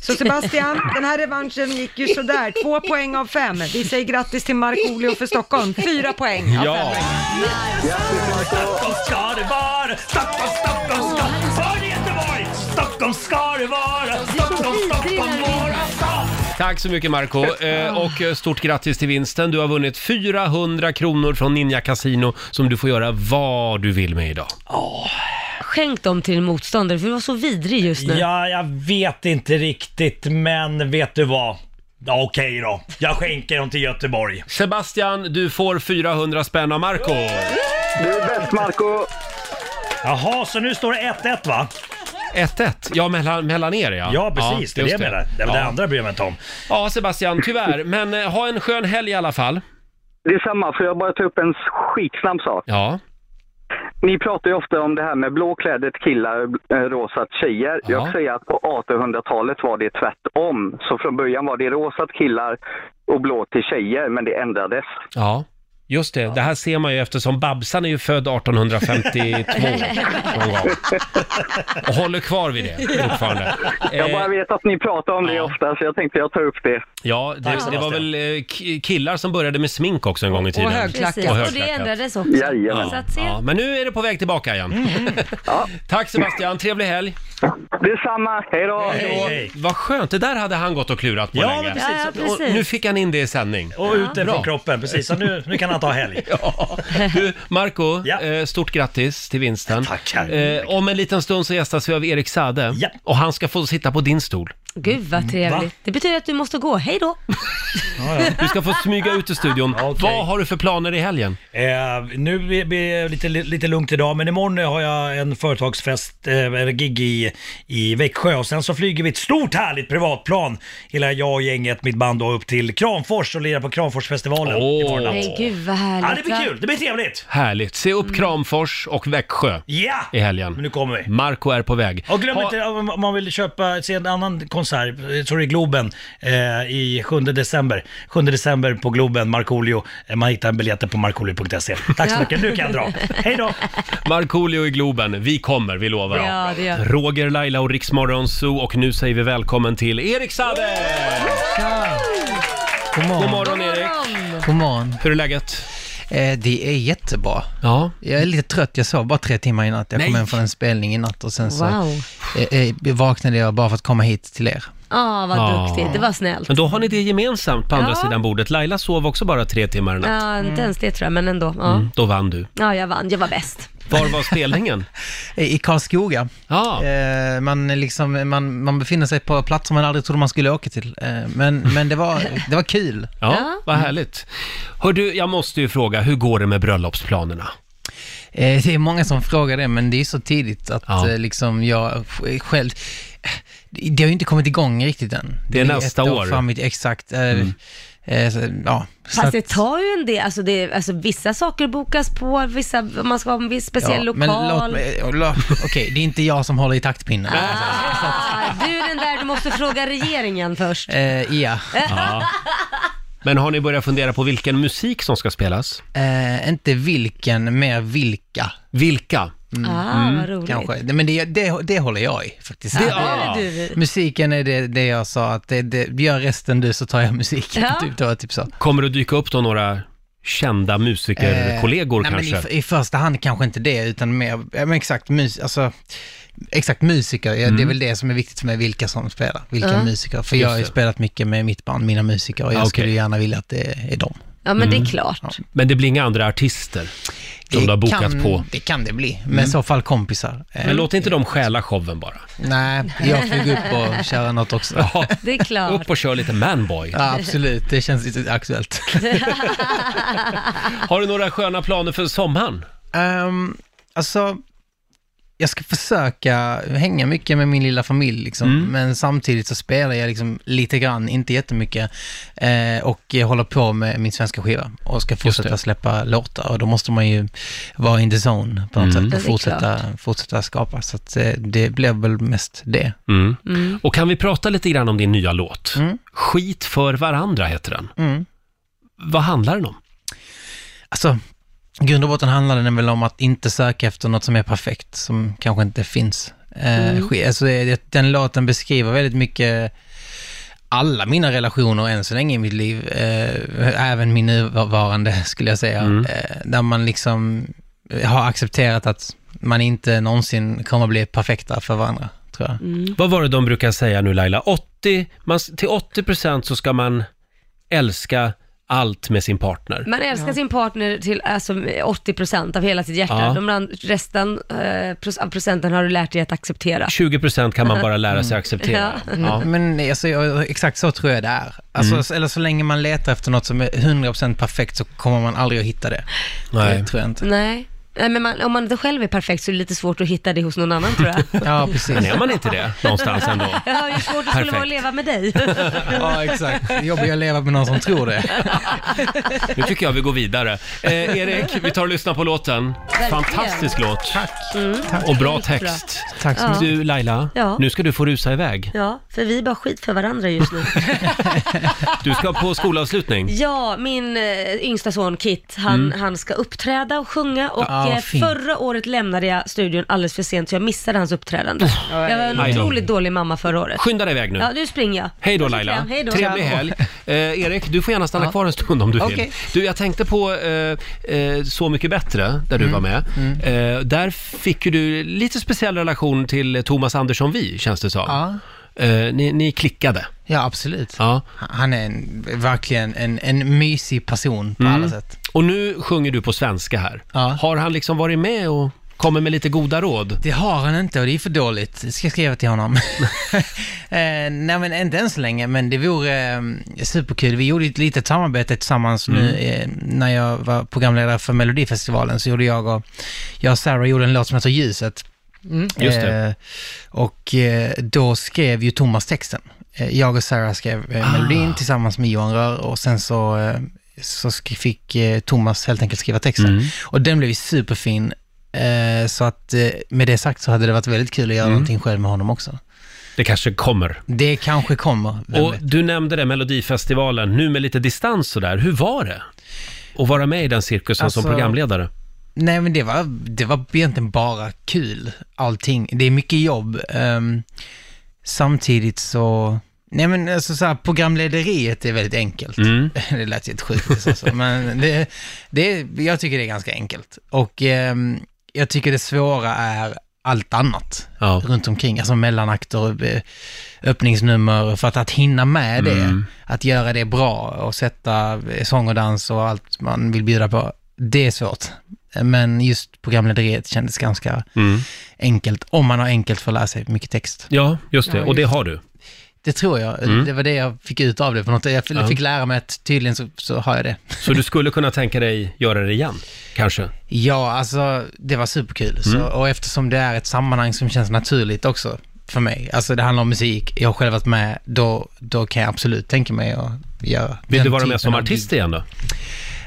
[SPEAKER 3] Så Sebastian, den här revanschen gick ju sådär. Två poäng av fem. Vi säger grattis till Markoolio för Stockholm. Fyra poäng av fem.
[SPEAKER 6] Stockholm ska det vara, Stockholm, Stockholm ska Var det Göteborg? Stockholm ska det vara, Stockholm, Stockholm, våra stad
[SPEAKER 1] Tack så mycket Marco eh, och eh, stort grattis till vinsten. Du har vunnit 400 kronor från Ninja Casino som du får göra vad du vill med idag.
[SPEAKER 2] Skänk dem till en motståndare för du var så vidrig just nu.
[SPEAKER 6] Ja, jag vet inte riktigt, men vet du vad? Ja, okej då. Jag skänker dem till Göteborg.
[SPEAKER 1] Sebastian, du får 400 spänn av Marco.
[SPEAKER 7] Du är bäst, Marco!
[SPEAKER 6] Jaha, så nu står det 1-1 va?
[SPEAKER 1] 1-1, ja mellan, mellan er ja.
[SPEAKER 6] Ja, precis. det är det jag menar. Det var det
[SPEAKER 1] Ja.
[SPEAKER 6] andra bryr jag mig inte om.
[SPEAKER 1] Ja, Sebastian, tyvärr. Men eh, ha en skön helg i alla fall.
[SPEAKER 7] Detsamma, får jag bara ta upp en skitsnabb sak?
[SPEAKER 1] Ja,
[SPEAKER 7] Ni pratar ju ofta om det här med blå kläder till killar och eh, rosa till tjejer.
[SPEAKER 1] Ja.
[SPEAKER 7] Jag kan säga att på 1800-talet var det tvärtom. Så från början var det rosa till killar och blå till tjejer, men det ändrades.
[SPEAKER 1] ja. Just det, det här ser man ju eftersom Babsan är ju född 1852 någon gång. Och håller kvar vid det fortfarande.
[SPEAKER 7] Jag bara
[SPEAKER 1] Eh,
[SPEAKER 7] vet att ni pratar om det
[SPEAKER 1] ja.
[SPEAKER 7] ofta, så jag tänkte jag tar upp det.
[SPEAKER 1] ja, det, det var
[SPEAKER 6] Sebastian.
[SPEAKER 1] väl eh, ki- killar som började med smink också en gång i tiden.
[SPEAKER 3] Och högklackat.
[SPEAKER 2] Precis.
[SPEAKER 1] Och
[SPEAKER 2] Och det
[SPEAKER 1] högklackat.
[SPEAKER 2] ändrades också.
[SPEAKER 7] Jajamän.
[SPEAKER 2] Så att se.
[SPEAKER 1] Ja, men nu är det på väg tillbaka igen.
[SPEAKER 6] Mm.
[SPEAKER 1] Tack Sebastian, trevlig helg.
[SPEAKER 7] Detsamma, hej då!
[SPEAKER 6] Hej, hej.
[SPEAKER 1] Vad skönt, det där hade han gått och klurat på
[SPEAKER 6] Ja,
[SPEAKER 1] länge.
[SPEAKER 6] men precis.
[SPEAKER 2] Ja, ja,
[SPEAKER 1] Och
[SPEAKER 2] precis.
[SPEAKER 1] nu fick han in det i sändning.
[SPEAKER 6] Och ut den
[SPEAKER 1] Bra.
[SPEAKER 6] från kroppen, precis. Så nu, nu kan han ta helg.
[SPEAKER 1] Du, Marco,
[SPEAKER 6] Ja.
[SPEAKER 1] eh, stort grattis till vinsten.
[SPEAKER 6] Tackar.
[SPEAKER 1] Eh, om en liten stund så gästas vi av Erik Sade
[SPEAKER 6] Ja.
[SPEAKER 1] och han ska få sitta på din stol.
[SPEAKER 2] Gud vad trevligt.
[SPEAKER 6] Va?
[SPEAKER 2] Det betyder att du måste gå. Hej då!
[SPEAKER 1] Du ska få smyga ut ur studion.
[SPEAKER 6] Okej.
[SPEAKER 1] Vad har du för planer i helgen?
[SPEAKER 6] Eh, nu blir blir det lite, lite lugnt idag, men imorgon har jag en företagsfest, eh, eller gig i, i Växjö och sen så flyger vi ett stort härligt privatplan, hela jag och gänget, mitt band då, upp till Kramfors och lirar på Kramforsfestivalen
[SPEAKER 1] Åh.
[SPEAKER 6] imorgon natt.
[SPEAKER 2] Men gud vad härligt.
[SPEAKER 6] Ja, det
[SPEAKER 2] va?
[SPEAKER 6] blir kul, det blir trevligt!
[SPEAKER 1] Härligt. Se upp Kramfors och Växjö
[SPEAKER 6] Ja!
[SPEAKER 1] i helgen.
[SPEAKER 6] Men nu kommer vi.
[SPEAKER 1] Marco är på väg.
[SPEAKER 6] Och glöm
[SPEAKER 1] Ha-
[SPEAKER 6] inte om om man vill köpa, se en annan konsert, eh, sorry, Globen, eh, i 7 december. 7 december på Globen, Markoolio. Eh, Man hittar biljetter på markoolio.se. Tack så mycket, nu kan jag dra. Hej då!
[SPEAKER 1] Markoolio i Globen, vi kommer, vi lovar.
[SPEAKER 2] Ja, det gör vi.
[SPEAKER 1] Roger, Laila och Riksmorgon Zoo och nu säger vi välkommen till Erik Saade!
[SPEAKER 9] God
[SPEAKER 1] God
[SPEAKER 9] morgon.
[SPEAKER 1] morgon Erik!
[SPEAKER 9] God morgon.
[SPEAKER 1] Hur är läget?
[SPEAKER 9] Eh, det är jättebra.
[SPEAKER 1] Ja.
[SPEAKER 9] Jag är lite trött, jag sov bara tre timmar i natt. Jag
[SPEAKER 1] Nej.
[SPEAKER 9] kom hem från en spelning i natt och sen så
[SPEAKER 2] Wow.
[SPEAKER 9] eh, eh, vaknade jag bara för att komma hit till er.
[SPEAKER 2] Ja, vad
[SPEAKER 9] Ah.
[SPEAKER 1] Ja.
[SPEAKER 2] duktig. Det var snällt.
[SPEAKER 1] Men då har ni det gemensamt på andra
[SPEAKER 2] Ja.
[SPEAKER 1] sidan bordet. Laila sov också bara tre timmar
[SPEAKER 9] Mm.
[SPEAKER 1] i natt.
[SPEAKER 2] Ja, inte ens det tror jag, men ändå. Ja,
[SPEAKER 1] Mm, då vann du.
[SPEAKER 2] ja jag vann. Jag var bäst.
[SPEAKER 1] Var var spelningen?
[SPEAKER 9] Eh, I Karlskoga.
[SPEAKER 1] Ja,
[SPEAKER 9] Eh, man, är liksom, man, man befinner sig på platser man aldrig trodde man skulle åka till. Eh, men men det, var, det var kul.
[SPEAKER 1] ja
[SPEAKER 2] Ja.
[SPEAKER 1] vad härligt. Hör du, jag måste ju fråga, hur går det med bröllopsplanerna?
[SPEAKER 9] Eh, det är många som frågar det, men det är så tidigt att
[SPEAKER 1] Ja.
[SPEAKER 9] eh, liksom jag sj- själv... eh, Det har ju inte kommit igång riktigt än.
[SPEAKER 1] Det är nästa
[SPEAKER 9] ett
[SPEAKER 1] år. Mm.
[SPEAKER 9] Fram, i- exakt. Eh, eh, så, ja. Så
[SPEAKER 2] Fast det
[SPEAKER 9] att-
[SPEAKER 2] tar ju en del, alltså, det, alltså vissa saker bokas på, vissa, man ska ha en viss speciell
[SPEAKER 9] Ja,
[SPEAKER 2] lokal.
[SPEAKER 9] Men låt mig, lå- okej, det är inte jag som håller i taktpinnen.
[SPEAKER 2] Ah, du är den där, du måste fråga regeringen först.
[SPEAKER 9] Eh, ja,
[SPEAKER 1] Men har ni börjat fundera på vilken musik som ska spelas?
[SPEAKER 9] eh, inte vilken, mer vilka Mm.
[SPEAKER 1] Vilka?
[SPEAKER 2] Ah, vad roligt.
[SPEAKER 9] kanske. Men det, det, det håller jag i faktiskt.
[SPEAKER 2] Ja, det
[SPEAKER 1] Ja.
[SPEAKER 2] är det du.
[SPEAKER 9] Musiken är det, det jag sa, att det, det, gör resten du så tar jag musiken.
[SPEAKER 2] Ja.
[SPEAKER 9] Typ, det var typ så.
[SPEAKER 1] Kommer det att dyka upp då några kända musikerkollegor
[SPEAKER 9] Eh, nej,
[SPEAKER 1] kanske?
[SPEAKER 9] Men i, I första hand kanske inte det, utan mer, ja, men exakt, mus, alltså, exakt musiker. Ja,
[SPEAKER 1] Mm.
[SPEAKER 9] Det är väl det som är viktigt för mig, vilka som spelar, vilka musiker. För jag har ju
[SPEAKER 1] Just det.
[SPEAKER 9] spelat mycket med mitt band, mina musiker, och jag
[SPEAKER 1] Ah, okej.
[SPEAKER 9] skulle ju gärna vilja att det är dem.
[SPEAKER 2] Ja, men det är klart.
[SPEAKER 1] Mm. Men det blir inga andra artister som du har bokat
[SPEAKER 9] kan,
[SPEAKER 1] på? Mm.
[SPEAKER 9] Det kan det bli, men i så fall kompisar. Eh,
[SPEAKER 1] Men låt inte dem stjäla showen bara.
[SPEAKER 9] Nej, jag får gå upp och köra något också. Ja.
[SPEAKER 2] Det är klart.
[SPEAKER 1] Upp och kör lite manboy.
[SPEAKER 9] absolut, det känns lite aktuellt.
[SPEAKER 1] Har du några sköna planer för sommaren?
[SPEAKER 9] Ehm, alltså, jag ska försöka hänga mycket med min lilla familj, liksom. men samtidigt så spelar jag liksom lite grann, inte jättemycket, eh, och jag håller på med min svenska skiva och ska fortsätta släppa låtar. Och då måste man ju vara in the zone på något
[SPEAKER 2] det
[SPEAKER 9] sätt
[SPEAKER 2] är
[SPEAKER 9] och fortsätta, fortsätta skapa. Så att, eh, det blev väl mest det.
[SPEAKER 1] Mm.
[SPEAKER 2] Mm.
[SPEAKER 1] Och kan vi prata lite grann om din nya låt?
[SPEAKER 9] Mm.
[SPEAKER 1] Skit för varandra heter den. Vad handlar den om?
[SPEAKER 9] Alltså, i grund och botten handlar den väl om att inte söka efter något som är perfekt, som kanske inte finns. Eh,
[SPEAKER 1] Mm.
[SPEAKER 9] ske- alltså, det- den låten beskriver väldigt mycket alla mina relationer än så länge i mitt liv, eh, även min nuvarande skulle jag säga,
[SPEAKER 1] Mm.
[SPEAKER 9] eh, där man liksom har accepterat att man inte någonsin kommer bli perfekta för varandra, tror jag.
[SPEAKER 2] Mm.
[SPEAKER 1] Vad var det de brukar säga nu Laila? 80, man, till 80 procent så ska man älska allt med sin partner.
[SPEAKER 2] Man älskar sin partner till alltså, 80% av hela sitt hjärta.
[SPEAKER 1] Ja.
[SPEAKER 2] De ran- resten eh, proc- av procenten har du lärt dig att acceptera.
[SPEAKER 1] 20 procent kan man bara lära sig acceptera. Ja. Mm.
[SPEAKER 9] Men alltså, jag- exakt så tror jag det är. Alltså, Eller så länge man letar efter något som är 100% perfekt så kommer man aldrig att hitta det.
[SPEAKER 1] Nej.
[SPEAKER 9] Det tror jag inte.
[SPEAKER 2] Nej. Nej, men man, om man inte själv är perfekt så är det lite svårt att hitta det hos någon annan tror jag.
[SPEAKER 9] Ja, precis.
[SPEAKER 1] Men är man inte det någonstans ändå?
[SPEAKER 2] Ja, hur svårt det skulle vara
[SPEAKER 1] Perfekt.
[SPEAKER 2] att leva med dig.
[SPEAKER 9] Ja, exakt. Det är Jobbigt att leva med någon som tror det.
[SPEAKER 1] Nu tycker jag vi går vidare. Eh, Erik, vi tar och lyssnar på låten. Fantastisk låt.
[SPEAKER 2] Mm.
[SPEAKER 1] Och bra text.
[SPEAKER 9] Tack så mycket.
[SPEAKER 1] Du Laila,
[SPEAKER 2] Ja.
[SPEAKER 1] nu ska du få rusa iväg.
[SPEAKER 2] Ja, för vi är bara skit för varandra just nu.
[SPEAKER 1] Du ska på skolavslutning.
[SPEAKER 2] Ja, min eh, yngsta son Kit, han,
[SPEAKER 1] Mm.
[SPEAKER 2] han ska uppträda och sjunga och
[SPEAKER 9] Ah, vad
[SPEAKER 2] eh,
[SPEAKER 9] fint.
[SPEAKER 2] förra året lämnade jag studion alldeles för sent så jag missade hans uppträdande. Jag var en
[SPEAKER 1] Aj då.
[SPEAKER 2] otroligt dålig mamma förra året.
[SPEAKER 1] Skynda dig iväg nu.
[SPEAKER 2] Ja, nu springer jag.
[SPEAKER 1] Hej då
[SPEAKER 2] Puss och
[SPEAKER 1] Laila.
[SPEAKER 2] kram, Hej då.
[SPEAKER 1] Trevlig helg. Eh, Erik, du får gärna stanna kvar en stund om du vill.
[SPEAKER 9] Okej.
[SPEAKER 1] Du, jag tänkte på eh, eh, Så mycket bättre, där du
[SPEAKER 9] Mm.
[SPEAKER 1] var med. Eh, där fick ju du lite speciell relation till Thomas Andersson Vi, känns det som.
[SPEAKER 9] Ja.
[SPEAKER 1] Eh, ni, ni klickade.
[SPEAKER 9] Ja, absolut.
[SPEAKER 1] Ja.
[SPEAKER 9] Han är en, verkligen en, en
[SPEAKER 1] Mm.
[SPEAKER 9] mysig person på alla sätt.
[SPEAKER 1] Och nu sjunger du på svenska här.
[SPEAKER 9] Ja.
[SPEAKER 1] Har han liksom varit med och kommer med lite goda råd?
[SPEAKER 9] Det har han inte och det är för dåligt. Det ska jag skriva till honom. eh, nej men inte än så länge, men det vore eh, superkul. Vi gjorde ett litet samarbete tillsammans
[SPEAKER 1] Mm.
[SPEAKER 9] nu eh, när jag var programledare för Melodifestivalen så gjorde jag och, jag och Sarah gjorde en låt som heter Ljuset.
[SPEAKER 1] Just det.
[SPEAKER 9] Eh, och eh, då skrev ju Thomas texten. Eh, jag och Sarah skrev eh,
[SPEAKER 1] Ah.
[SPEAKER 9] melodin tillsammans med Johan Rör och sen så, eh, så sk- fick eh, Thomas helt enkelt skriva texten.
[SPEAKER 1] Mm.
[SPEAKER 9] Och den blev ju superfin. Eh, så att eh, med det sagt så hade det varit väldigt kul att göra någonting själv med honom också.
[SPEAKER 1] Mm. Det kanske kommer.
[SPEAKER 9] Det kanske kommer. vem
[SPEAKER 1] Och
[SPEAKER 9] vet.
[SPEAKER 1] du nämnde det, Melodifestivalen, nu med lite distans sådär. Hur var det? Att vara med i den cirkusen som
[SPEAKER 9] Alltså-
[SPEAKER 1] programledare?
[SPEAKER 9] Nej men det var, det var egentligen bara kul, allting. Det är mycket jobb. ehm, samtidigt så, nej men alltså så här, programlederiet är väldigt enkelt. Det lät ju ett sjukt alltså, men det, det, jag tycker det är ganska enkelt. Och ehm, jag tycker det svåra är allt annat
[SPEAKER 1] Ja.
[SPEAKER 9] runt omkring, alltså mellanakter, eh, öppningsnummer, för att, att hinna med det, att göra det bra och sätta eh, sång och dans och allt man vill bjuda på, det är svårt. Men just programlederiet kändes ganska enkelt, om man har enkelt för att lära sig mycket text.
[SPEAKER 1] Mm. Ja, just det.
[SPEAKER 3] Ja,
[SPEAKER 1] Och det har du. Mm.
[SPEAKER 9] Det tror jag, det var det jag fick ut av det på något sätt. Jag fick lära mig att tydligen så, så har jag det.
[SPEAKER 1] Så du skulle kunna tänka dig göra det igen, kanske?
[SPEAKER 9] Ja, alltså det var superkul. Så,
[SPEAKER 1] Mm.
[SPEAKER 9] och eftersom det är ett sammanhang som känns naturligt också för mig, alltså det handlar om musik, jag har själv varit med, då, då kan jag absolut tänka mig att göra
[SPEAKER 1] Vill
[SPEAKER 9] den
[SPEAKER 1] du vara
[SPEAKER 9] typen
[SPEAKER 1] med som
[SPEAKER 9] av
[SPEAKER 1] artist
[SPEAKER 9] gig.
[SPEAKER 1] igen då?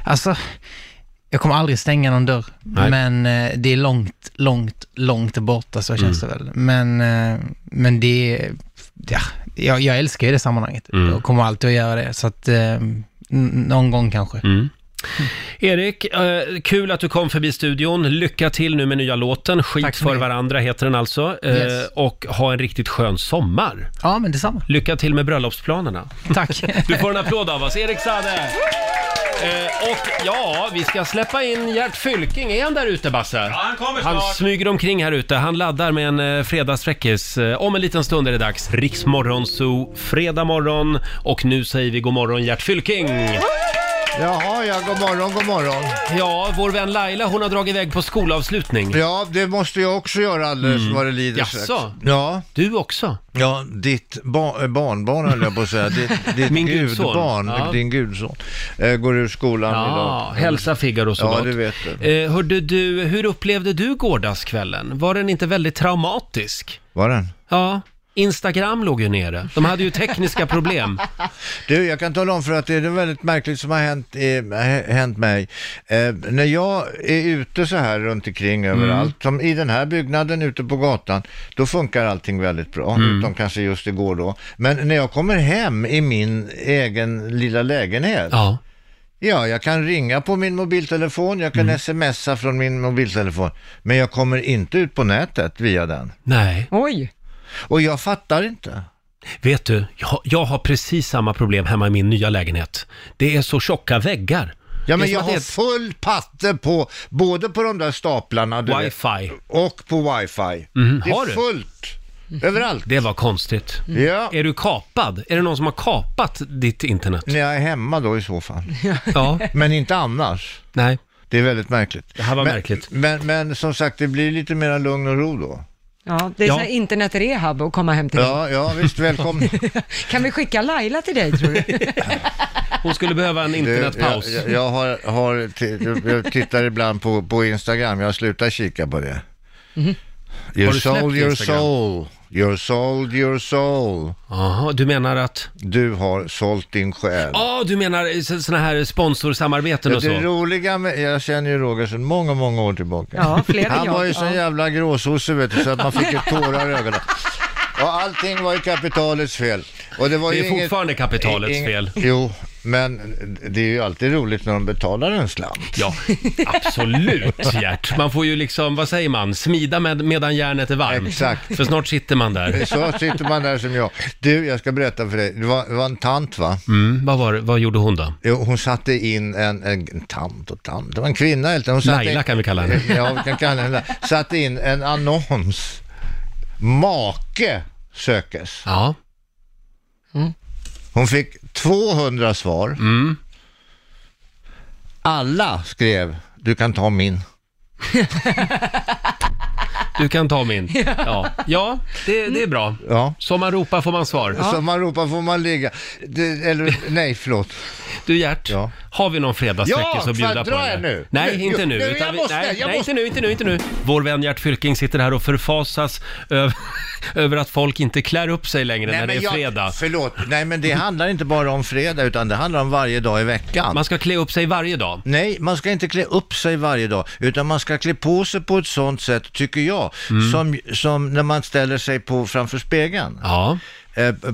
[SPEAKER 9] Alltså, jag kommer aldrig stänga någon dörr, men eh, det är långt, långt, långt borta så känns
[SPEAKER 1] Mm.
[SPEAKER 9] det väl. Men, eh, men det, ja, jag, jag älskar ju det sammanhanget
[SPEAKER 1] Mm.
[SPEAKER 9] och kommer alltid att göra det. Så att, eh, n- någon gång kanske.
[SPEAKER 1] Mm. Erik, eh, kul att du kom förbi studion. Lycka till nu med nya låten. Skit
[SPEAKER 9] Tack så
[SPEAKER 1] för
[SPEAKER 9] mycket.
[SPEAKER 1] varandra heter den alltså. Eh,
[SPEAKER 9] Yes.
[SPEAKER 1] Och ha en riktigt skön sommar.
[SPEAKER 9] Ja, men detsamma.
[SPEAKER 1] Lycka till med bröllopsplanerna.
[SPEAKER 9] Tack.
[SPEAKER 1] Du får en applåd av oss, Erik Sade. Eh, och ja, vi ska släppa in Gert Fylking. Är han där ute, Basse?
[SPEAKER 5] han kommer
[SPEAKER 1] Han smyger omkring här ute. Han laddar med en eh, fredagsfräckis. Eh, Om en liten stund är det dags. Riksmorgon, Zoo, fredag morgon. Och nu säger vi god morgon Gert Fylking.
[SPEAKER 10] Jaha, ja, god morgon, god morgon.
[SPEAKER 1] Ja, vår vän Laila, hon har dragit iväg på skolavslutning.
[SPEAKER 10] Ja, det måste jag också göra alldeles vad det lider.
[SPEAKER 1] Mm. Jaså?
[SPEAKER 10] strax. Ja,
[SPEAKER 1] Du också?
[SPEAKER 10] ja, ditt ba- eh, barnbarn höll jag på att säga. Ditt, ditt
[SPEAKER 1] Min gudson.
[SPEAKER 10] gudbarn,
[SPEAKER 1] Ja.
[SPEAKER 10] din gudson, eh, går ur skolan
[SPEAKER 1] Ja,
[SPEAKER 10] idag.
[SPEAKER 1] hälsa Figaro så
[SPEAKER 10] Ja,
[SPEAKER 1] gott.
[SPEAKER 10] det vet
[SPEAKER 1] Eh, hörde du, hur upplevde du gårdagskvällen? Var den inte väldigt traumatisk?
[SPEAKER 10] Var den?
[SPEAKER 1] Ja, Instagram låg ju nere. De hade ju tekniska problem.
[SPEAKER 10] Du, jag kan tala om för att det är något väldigt märkligt som har hänt, eh, hä- hänt mig. Eh, när jag är ute så här runt omkring överallt, som i den här byggnaden ute på gatan, då funkar allting väldigt bra, utom kanske just igår då. Men när jag kommer hem i min egen lilla lägenhet,
[SPEAKER 1] Ja.
[SPEAKER 10] Ja, jag kan ringa på min mobiltelefon, jag kan smsa från min mobiltelefon, men jag kommer inte ut på nätet via den.
[SPEAKER 1] Nej,
[SPEAKER 3] Oj,
[SPEAKER 10] Och jag fattar inte.
[SPEAKER 1] vet du, jag, jag har precis samma problem hemma i min nya lägenhet. Det är så tjocka väggar.
[SPEAKER 10] Ja, men
[SPEAKER 1] det är
[SPEAKER 10] jag
[SPEAKER 1] som
[SPEAKER 10] har
[SPEAKER 1] att
[SPEAKER 10] full patte på, både på de där staplarna du
[SPEAKER 1] det är
[SPEAKER 10] vet,
[SPEAKER 1] ett wifi. Mhm.
[SPEAKER 10] och på wifi. det
[SPEAKER 1] har
[SPEAKER 10] är
[SPEAKER 1] du?
[SPEAKER 10] fullt, överallt.
[SPEAKER 1] Det var konstigt.
[SPEAKER 10] Ja.
[SPEAKER 1] Mm. Är du kapad? Är det någon som har kapat ditt internet?
[SPEAKER 10] När jag är hemma då i så fall,
[SPEAKER 1] Ja,
[SPEAKER 10] men inte annars.
[SPEAKER 1] nej.
[SPEAKER 10] Det är väldigt märkligt.
[SPEAKER 1] Det här var
[SPEAKER 10] men,
[SPEAKER 1] märkligt.
[SPEAKER 10] Men, men som sagt, det blir lite mer lugn och ro då.
[SPEAKER 3] ja, det är
[SPEAKER 1] Ja.
[SPEAKER 3] ja. internetrehab att komma hem till dig.
[SPEAKER 10] Ja, ja visst, välkommen.
[SPEAKER 3] Kan vi skicka Laila till dig tror du?
[SPEAKER 1] Hon skulle behöva en
[SPEAKER 10] Du,
[SPEAKER 1] internetpaus.
[SPEAKER 10] Jag, jag, jag, har, har t- jag- jag tittar ibland på, på Instagram, jag slutar kika på det. You
[SPEAKER 1] Mhm. Har du släppt
[SPEAKER 10] sold your
[SPEAKER 1] Instagram?
[SPEAKER 10] soul, you sold your soul.
[SPEAKER 1] Jaha, du menar att...
[SPEAKER 10] Du har sålt din själ.
[SPEAKER 1] Ja, du menar så- såna här sponsorsamarbeten
[SPEAKER 10] Det,
[SPEAKER 1] och så?
[SPEAKER 10] det roliga med, jag känner ju Roger sedan många, många år tillbaka.
[SPEAKER 3] Ja, fler än
[SPEAKER 10] Han
[SPEAKER 3] jag.
[SPEAKER 10] var ju sån
[SPEAKER 3] ja.
[SPEAKER 10] jävla gråsosse vet du, så att man fick ju tårar i ögonen. Och allting var ju kapitalets fel. Och det, var
[SPEAKER 1] Det
[SPEAKER 10] ju
[SPEAKER 1] är
[SPEAKER 10] inget-
[SPEAKER 1] fortfarande kapitalets fel.
[SPEAKER 10] Jo, men det är ju alltid roligt när de betalar en slant.
[SPEAKER 1] Ja, absolut Gert. Man får ju liksom, vad säger man, smida med, medan järnet är varmt.
[SPEAKER 10] Exakt.
[SPEAKER 1] För snart sitter man där.
[SPEAKER 10] Så sitter man där som jag. Du, jag ska berätta för dig. Det var, det var en tant va?
[SPEAKER 1] Mm, vad, var, det- vad gjorde hon då?
[SPEAKER 10] Jo, Hon satte in en, en, en tant och tant. Det var en kvinna helt enkelt. Hon satte
[SPEAKER 1] Laila
[SPEAKER 10] in,
[SPEAKER 1] kan vi kalla henne.
[SPEAKER 10] Ja, vi kan kalla henne Laila. Satte in en annons. Make sökes.
[SPEAKER 1] Ja,
[SPEAKER 10] Hon fick 200 svar.
[SPEAKER 1] Mm.
[SPEAKER 10] Alla skrev, du kan ta min.
[SPEAKER 1] Du kan ta min. Ja, ja det, det är bra. Som man ropar får man svar.
[SPEAKER 10] Som man ropar får man ligga. Det, eller nej, förlåt.
[SPEAKER 1] Du Gert, har vi någon fredagssträckis
[SPEAKER 10] Ja,
[SPEAKER 1] att bjuda
[SPEAKER 10] får jag
[SPEAKER 1] på?
[SPEAKER 10] dra
[SPEAKER 1] eller?
[SPEAKER 10] er nu?
[SPEAKER 1] Nej,
[SPEAKER 10] Nu,
[SPEAKER 1] inte
[SPEAKER 10] jo,
[SPEAKER 1] nu.
[SPEAKER 10] nu,
[SPEAKER 1] utan
[SPEAKER 10] jag
[SPEAKER 1] vi-
[SPEAKER 10] måste,
[SPEAKER 1] nej,
[SPEAKER 10] jag
[SPEAKER 1] nej,
[SPEAKER 10] måste.
[SPEAKER 1] inte nu, inte nu, inte nu. Vår vän Gert Fylking sitter här och förfasas över, över att folk inte klär upp sig längre när det är
[SPEAKER 10] jag-
[SPEAKER 1] fredag.
[SPEAKER 10] Förlåt, nej men det handlar inte bara om fredag utan det handlar om varje dag i veckan.
[SPEAKER 1] Man ska klä upp sig varje dag?
[SPEAKER 10] Nej, man ska inte klä upp sig varje dag utan man ska klä på sig på ett sånt sätt, tycker jag,
[SPEAKER 1] Mm.
[SPEAKER 10] som, som när man ställer sig på, framför spegeln. Eh,
[SPEAKER 1] Ja.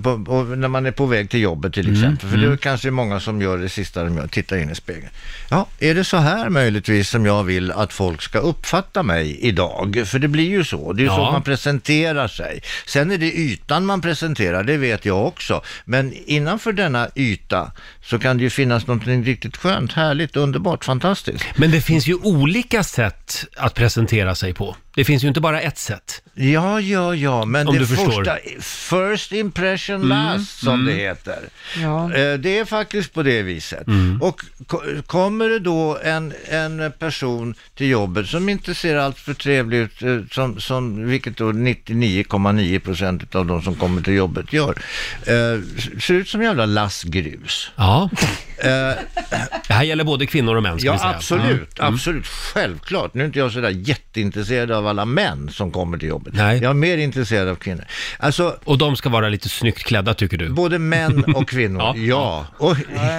[SPEAKER 10] På, och när man är på väg till jobbet till
[SPEAKER 1] Mm,
[SPEAKER 10] exempel, för det
[SPEAKER 1] mm.
[SPEAKER 10] är kanske många som gör det sista de gör, tittar in i spegeln. Ja, är det så här möjligtvis som jag vill att folk ska uppfatta mig idag? För det blir ju så, det är ju
[SPEAKER 1] Ja.
[SPEAKER 10] så man presenterar sig. Sen är det ytan man presenterar, det vet jag också. Men innanför denna yta så kan det ju finnas någonting riktigt skönt, härligt, underbart, fantastiskt.
[SPEAKER 1] Men det finns ju olika sätt att presentera sig på. Det finns ju inte bara ett sätt.
[SPEAKER 10] Ja, ja, ja, men
[SPEAKER 1] Om
[SPEAKER 10] det
[SPEAKER 1] du förstår.
[SPEAKER 10] första, first impression
[SPEAKER 1] Mm,
[SPEAKER 10] last som
[SPEAKER 1] mm.
[SPEAKER 10] det heter. Eh, Det är faktiskt på det viset.
[SPEAKER 1] Mm.
[SPEAKER 10] Och ko- kommer det då en, en person till jobbet som inte ser allt för trevlig ut, eh, som, som, vilket då 99,9 procent av de som kommer till jobbet gör, eh, s- ser ut som jävla lassgrus.
[SPEAKER 1] Ja. det här gäller både kvinnor och män, ska
[SPEAKER 10] Ja,
[SPEAKER 1] vi säga.
[SPEAKER 10] absolut,
[SPEAKER 1] Mm.
[SPEAKER 10] absolut, självklart. Nu är inte jag sådär jätteintresserad av alla män som kommer till jobbet.
[SPEAKER 1] Nej.
[SPEAKER 10] Jag är mer intresserad av kvinnor. Alltså,
[SPEAKER 1] och de ska vara lite snyggt klädda, tycker du?
[SPEAKER 10] Både män och kvinnor,
[SPEAKER 1] Ja.
[SPEAKER 10] ja. Och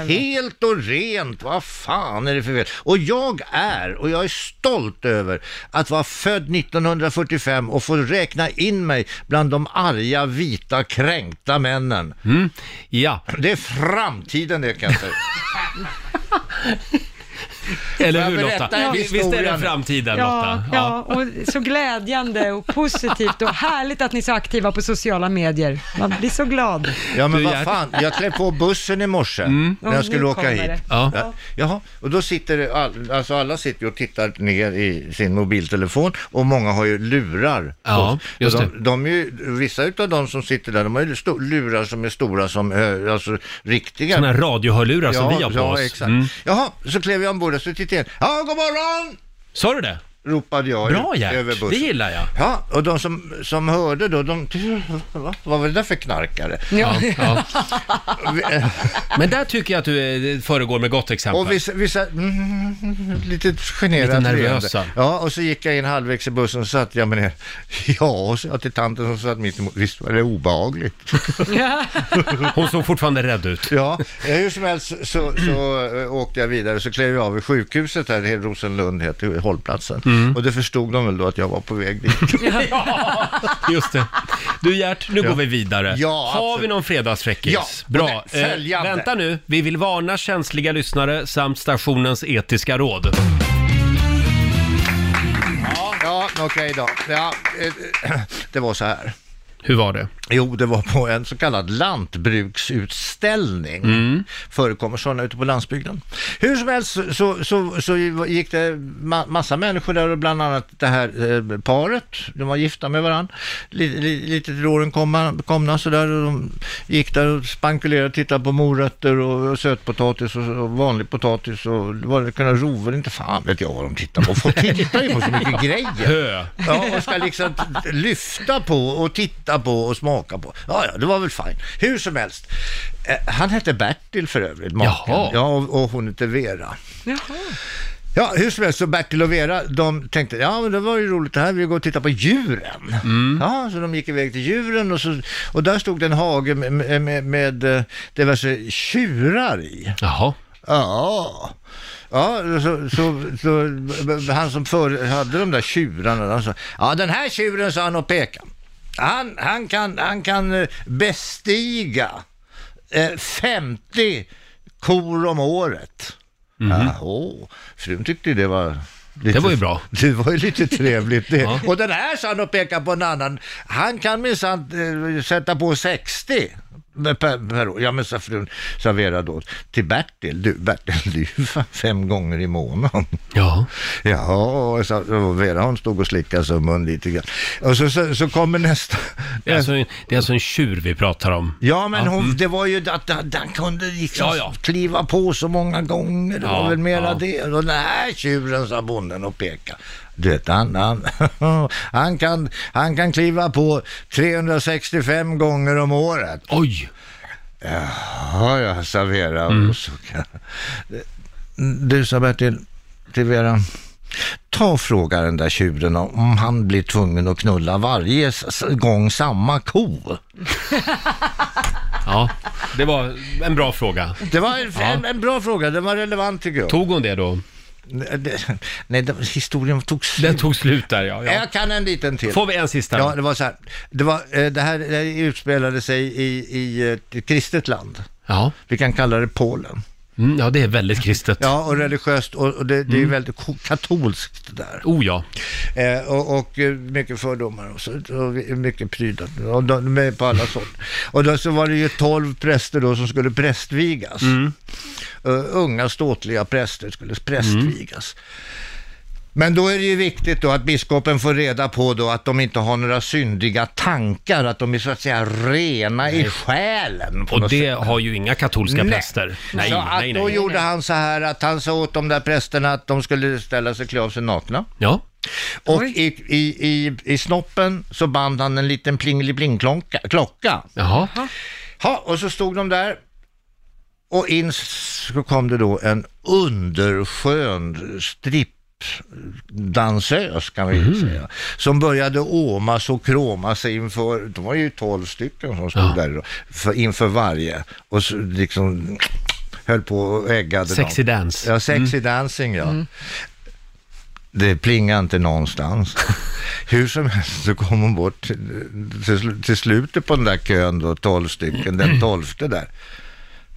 [SPEAKER 10] helt och rent, vad fan är det för fel? Och jag är, och jag är stolt över att vara född 1945 och få räkna in mig bland de arga, vita, kränkta männen.
[SPEAKER 1] Mm. Ja.
[SPEAKER 10] Det är framtiden det kan jag säga.
[SPEAKER 1] Eller
[SPEAKER 10] Får
[SPEAKER 1] hur
[SPEAKER 10] jag
[SPEAKER 1] Lotta?
[SPEAKER 10] berätta en
[SPEAKER 1] Vi- Visst är
[SPEAKER 10] historia
[SPEAKER 1] det
[SPEAKER 10] nu?
[SPEAKER 1] framtiden
[SPEAKER 3] Ja,
[SPEAKER 1] Lotta?
[SPEAKER 3] ja, och så glädjande och positivt och härligt att ni är så aktiva på sociala medier. Man blir så glad.
[SPEAKER 10] Ja men
[SPEAKER 3] Du,
[SPEAKER 10] vad
[SPEAKER 3] Gert.
[SPEAKER 10] fan, jag klev på bussen i morse när
[SPEAKER 3] Och nu
[SPEAKER 10] jag skulle åka
[SPEAKER 3] kommer
[SPEAKER 10] hit.
[SPEAKER 3] det.
[SPEAKER 1] Mm. Ja.
[SPEAKER 10] Jaha, och då sitter det all, alltså alla sitter ju och tittar ner i sin mobiltelefon och många har ju lurar.
[SPEAKER 1] Ja,
[SPEAKER 10] på.
[SPEAKER 1] just
[SPEAKER 10] de, de är ju, vissa utav de som sitter där, de har ju sto- lurar som är stora som, eh, alltså riktiga.
[SPEAKER 1] Såna här radiohörlurar som
[SPEAKER 10] ja,
[SPEAKER 1] vi har på
[SPEAKER 10] ja,
[SPEAKER 1] oss.
[SPEAKER 10] Exakt.
[SPEAKER 1] Mm.
[SPEAKER 10] Jaha, så klev jag ombord och så tittade jag in. Ja, god morgon!
[SPEAKER 1] Sa du det?
[SPEAKER 10] Ropade jag
[SPEAKER 1] Bra
[SPEAKER 10] ut över
[SPEAKER 1] Gert,
[SPEAKER 10] bussen.
[SPEAKER 1] det gillar jag.
[SPEAKER 10] Ja, och de som, som hörde då, de va? vad var det där för knarkare?
[SPEAKER 1] Ja, ja. Men där tycker jag att du eh, föregår med gott exempel.
[SPEAKER 10] Och vissa, vissa mm, lite generat
[SPEAKER 1] Lite nervösa.
[SPEAKER 10] leende. Ja, och så gick jag in halvvägs i bussen och satt jag med ner. Ja, och så till tanten som satt mitt emot. Visst var det obehagligt?
[SPEAKER 1] Hon såg fortfarande rädd ut.
[SPEAKER 10] Ja, eh, hur som helst så, så, eh, åkte jag vidare. Så klev jag av vid sjukhuset här, det heter Rosenlund heter hållplatsen.
[SPEAKER 1] Mm.
[SPEAKER 10] Och det förstod de väl då att jag var på väg dit.
[SPEAKER 1] Just det. Du Gert, nu
[SPEAKER 10] Ja.
[SPEAKER 1] går vi vidare.
[SPEAKER 10] Ja,
[SPEAKER 1] Har
[SPEAKER 10] absolut.
[SPEAKER 1] vi någon fredagsfräckis?
[SPEAKER 10] Ja,
[SPEAKER 1] Bra. Eh,
[SPEAKER 10] och det- följande.
[SPEAKER 1] vänta nu, vi vill varna känsliga lyssnare samt stationens etiska råd.
[SPEAKER 10] Ja, okej då. Ja, eh, det var så här.
[SPEAKER 1] Hur var det?
[SPEAKER 10] Jo, det var på en så kallad lantbruksutställning.
[SPEAKER 1] Mm.
[SPEAKER 10] Förekommer sådana ute på landsbygden. Hur som helst så, så, så, så gick det ma- massa människor där och bland annat det här eh, paret. De var gifta med varandra. Li- li- Lite till åren komna, komna sådär och de gick där och spankulerade och tittade på morötter och, och sötpotatis och, och vanlig potatis och vad det kunde rover, inte fan vet jag vad de tittar på. Folk tittar ju på så mycket grejer.
[SPEAKER 1] Hö.
[SPEAKER 10] Ja, och ska liksom t- lyfta på och titta på och smaka på. Ja, ja, det var väl fint. Hur som helst. Eh, han hette Bertil för övrigt, maken.
[SPEAKER 1] Jaha.
[SPEAKER 10] Ja, och, och hon hette Vera. Ja, hur som helst, så Bertil och Vera, de tänkte, ja men det var ju roligt det här, vi går och tittar på djuren. Ja, så de gick iväg till djuren och, så, och där stod det en hage med, med, med, med eh, diverse tjurar i.
[SPEAKER 1] Jaha.
[SPEAKER 10] Ja. Ja, så, så, så han som för, hade de där tjurarna, han sa, ja den här tjuren sa han och pekade. Han, han, kan, han kan eh, bestiga eh, 50 kor om året. Jaha, frun tyckte det var lite,
[SPEAKER 1] Mhm. Det var ju bra.
[SPEAKER 10] Det var ju lite trevligt det.
[SPEAKER 1] Ja.
[SPEAKER 10] Och den här sa han och pekade på en annan, han kan minsann eh, sätta på 60 per, per år. Ja men sa frun, sa Vera då till Bertil, du Bertil, du är ju fan fem gånger i månaden.
[SPEAKER 1] Ja.
[SPEAKER 10] Jaha, sa och Vera hon stod och slickade sig om mun lite grann. Och så, så, så kommer nästa.
[SPEAKER 1] Det är, alltså en, det är alltså en tjur vi pratar om.
[SPEAKER 10] Ja, men hon, det var ju att han han kunde liksom
[SPEAKER 1] Ja, ja.
[SPEAKER 10] kliva på så många gånger. Det
[SPEAKER 1] Ja,
[SPEAKER 10] var väl mera
[SPEAKER 1] ja.
[SPEAKER 10] det. Och den här tjuren, sa bonden och pekade. Du vet, han, han, han, kan, han kan kliva på 365 gånger om året.
[SPEAKER 1] Oj!
[SPEAKER 10] Jaha, jag sa Vera.
[SPEAKER 1] Mm.
[SPEAKER 10] Och så kan... Du sa Bertil, till Vera. Ta och fråga den där tjuren om han blir tvungen att knulla varje s- gång samma ko.
[SPEAKER 1] Ja, det var en bra fråga.
[SPEAKER 10] Det var en, en, en bra fråga, den var relevant tycker jag.
[SPEAKER 1] Tog hon det då?
[SPEAKER 10] Nej, det, historien tog slut.
[SPEAKER 1] Den tog slut där, ja. ja.
[SPEAKER 10] Jag kan en liten till.
[SPEAKER 1] Får vi en sista?
[SPEAKER 10] Ja, det var så här. Det, var, eh, det här det här utspelade sig i, i eh, ett kristet land.
[SPEAKER 1] Ja.
[SPEAKER 10] Vi kan kalla det Polen.
[SPEAKER 1] Mm, ja, det är väldigt kristet. Mm.
[SPEAKER 10] Ja, och religiöst, och, och det, det är ju väldigt ko- katolskt där.
[SPEAKER 1] Oh ja.
[SPEAKER 10] Eh, och, och eh, mycket fördomar och, så, och vi- mycket prydnad och de, de är på alla sånt. Och då så var det ju tolv präster då som skulle prästvigas.
[SPEAKER 1] Mm.
[SPEAKER 10] Eh, unga ståtliga präster skulle prästvigas.
[SPEAKER 1] Mm.
[SPEAKER 10] Men då är det ju viktigt då att biskopen får reda på då att de inte har några syndiga tankar, att de är så att säga rena i själen. På
[SPEAKER 1] Och
[SPEAKER 10] något
[SPEAKER 1] det
[SPEAKER 10] sätt.
[SPEAKER 1] har ju inga katolska
[SPEAKER 10] Nej.
[SPEAKER 1] präster. Nej,
[SPEAKER 10] så att
[SPEAKER 1] nej,
[SPEAKER 10] då
[SPEAKER 1] nej.
[SPEAKER 10] gjorde han så här att han sa åt de där prästerna att de skulle ställa sig klä av sig nakna.
[SPEAKER 1] Ja.
[SPEAKER 10] Och i, i, i, i snoppen så band han en liten plingeliplingklocka. Klocka.
[SPEAKER 1] Jaha.
[SPEAKER 10] Ha, och så stod de där. Och in så kom det då en underskön strippdansös kan vi
[SPEAKER 1] Mhm.
[SPEAKER 10] säga, som började åmas och kroma sig inför, de var ju tolv stycken som stod där då, för, inför varje och så liksom höll på och äggade
[SPEAKER 1] Sexy
[SPEAKER 10] dem.
[SPEAKER 1] dance. Mm.
[SPEAKER 10] Ja, sexy dancing ja. Det plingar inte någonstans. Hur som helst så kom hon bort till, till, slu- till slutet på den där kön då, tolv stycken, den tolfte där.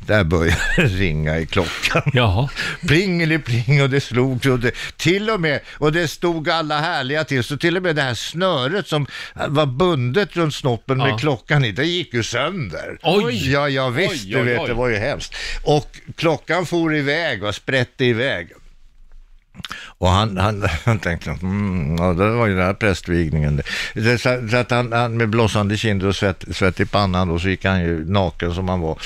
[SPEAKER 10] Där började det ringa i klockan.
[SPEAKER 1] Jaha.
[SPEAKER 10] Plingeli-pling och det slog och det, till och med, och det stod alla härliga till, så till och med det här snöret som var bundet runt snoppen
[SPEAKER 1] Ja.
[SPEAKER 10] med klockan i, det gick ju sönder.
[SPEAKER 1] Oj!
[SPEAKER 10] Ja, jag visst,
[SPEAKER 1] Oj,
[SPEAKER 10] du
[SPEAKER 1] oj,
[SPEAKER 10] vet,
[SPEAKER 1] oj.
[SPEAKER 10] det var ju hemskt. Och klockan for iväg och sprätte iväg. Och han, han, han tänkte, mm, ja, det var ju den här prästvigningen. Det, så, så att han, han med blossande kinder och svett, svett i pannan och så gick han ju naken som han var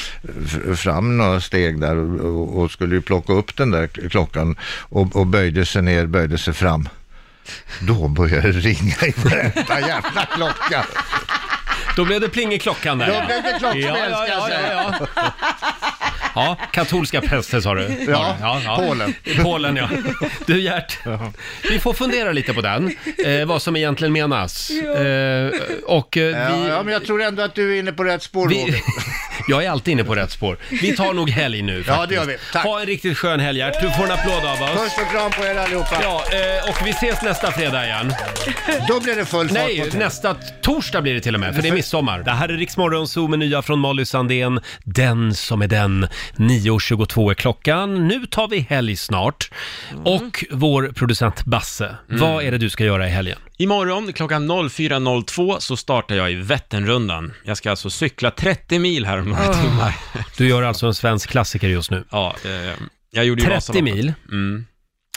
[SPEAKER 10] f- fram några steg där och, och- och skulle ju plocka upp den där klockan och, och böjde sig ner, böjde sig fram. Då började det ringa i varenda jävla klocka.
[SPEAKER 1] Då blev det pling i klockan där.
[SPEAKER 10] Då blev det klockspel
[SPEAKER 1] Ja, ja,
[SPEAKER 10] ska jag
[SPEAKER 1] ja,
[SPEAKER 10] säga.
[SPEAKER 1] ja, ja. ja katolska präster sa du.
[SPEAKER 10] Ja, Polen.
[SPEAKER 1] Polen, ja. Du Gert, vi får fundera lite på den, eh, vad som egentligen menas. Eh, och eh,
[SPEAKER 10] Ja,
[SPEAKER 1] vi,
[SPEAKER 10] ja, men jag tror ändå att du är inne på rätt spår,
[SPEAKER 1] vi,
[SPEAKER 10] Roger.
[SPEAKER 1] jag är alltid inne på rätt spår. Vi tar nog helg nu faktiskt.
[SPEAKER 10] Ja, det gör vi. Tack.
[SPEAKER 1] Ha en riktigt skön helg Gert. Du får en applåd av oss.
[SPEAKER 10] Puss och kram på er allihopa.
[SPEAKER 1] Ja, eh, och vi ses nästa fredag igen.
[SPEAKER 10] Då blir det full fart
[SPEAKER 1] Nej,
[SPEAKER 10] mot er.
[SPEAKER 1] nästa torsdag blir det till och med, för det är midsommar. Det här är Riksmorgon Zoo med nya från Molly Sandén. Den som är den. 9.22 är klockan. Nu tar vi helg snart. Och vår producent Basse, vad är det du ska göra i helgen?
[SPEAKER 5] Imorgon klockan 04.02 så startar jag i Vätternrundan. Jag ska alltså cykla 30 mil här om några timmar.
[SPEAKER 1] Ah. Du gör alltså en svensk klassiker just nu.
[SPEAKER 5] Ja, eh, jag gjorde ju
[SPEAKER 1] 30
[SPEAKER 5] Vasaloppet.
[SPEAKER 1] mil.
[SPEAKER 5] Mm.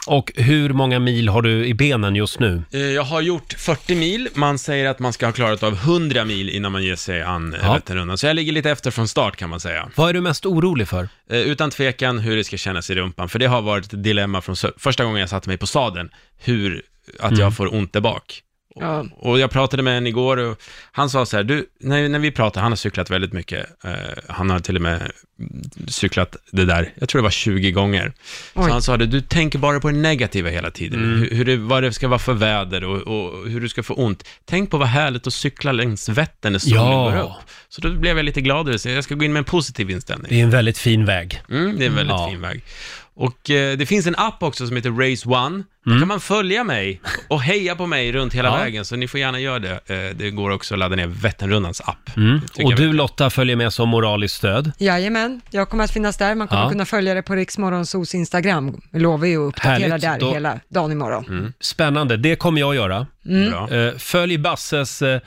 [SPEAKER 1] Och hur många mil har du i benen just nu?
[SPEAKER 5] Eh, Jag har gjort 40 mil. Man säger att man ska ha klarat av 100 mil innan man ger sig an eh,
[SPEAKER 1] Ja.
[SPEAKER 5] Vätternrundan. Så jag ligger lite efter från start kan man säga.
[SPEAKER 1] Vad är du mest orolig för?
[SPEAKER 5] Eh, Utan tvekan hur det ska kännas i rumpan, för det har varit ett dilemma från sö- första gången jag satte mig på sadeln, hur, att jag får ont där bak. Och,
[SPEAKER 3] Ja.
[SPEAKER 5] och jag pratade med en igår och han sa så här, du, när, när vi pratade, han har cyklat väldigt mycket, eh, han har till och med mm, cyklat det där, jag tror det var 20 gånger.
[SPEAKER 3] Oj.
[SPEAKER 5] Så han sa det, du tänker bara på det negativa hela tiden,
[SPEAKER 1] Mm.
[SPEAKER 5] hur, hur det, vad det ska vara för väder och, och hur du ska få ont. Tänk på vad härligt att cykla längs Vättern när solen
[SPEAKER 1] Ja.
[SPEAKER 5] går upp. Så då blev jag lite glad över det, så jag ska gå in med en positiv inställning.
[SPEAKER 1] Det är en väldigt fin väg.
[SPEAKER 5] Mm, det är en väldigt
[SPEAKER 1] Ja.
[SPEAKER 5] fin väg. Och eh, det finns en app också som heter Race One. Där kan man följa mig och heja på mig runt hela
[SPEAKER 1] Mm. Ja.
[SPEAKER 5] vägen, så ni får gärna göra det. Eh, det går också att ladda ner Vätternrundans app. Det tycker
[SPEAKER 1] Och
[SPEAKER 5] jag
[SPEAKER 1] du Lotta följer med Mm. som moraliskt stöd.
[SPEAKER 3] Jajamän, jag kommer att finnas där. Man kommer
[SPEAKER 1] Ja.
[SPEAKER 3] kunna följa det på Riksmorgonsos Instagram. Vi lovar ju att uppdatera
[SPEAKER 1] Härligt,
[SPEAKER 3] där
[SPEAKER 1] då-
[SPEAKER 3] hela dagen imorgon.
[SPEAKER 1] Spännande, det kommer jag göra.
[SPEAKER 5] är Mm. bra.
[SPEAKER 1] Eh, Följ Basses eh,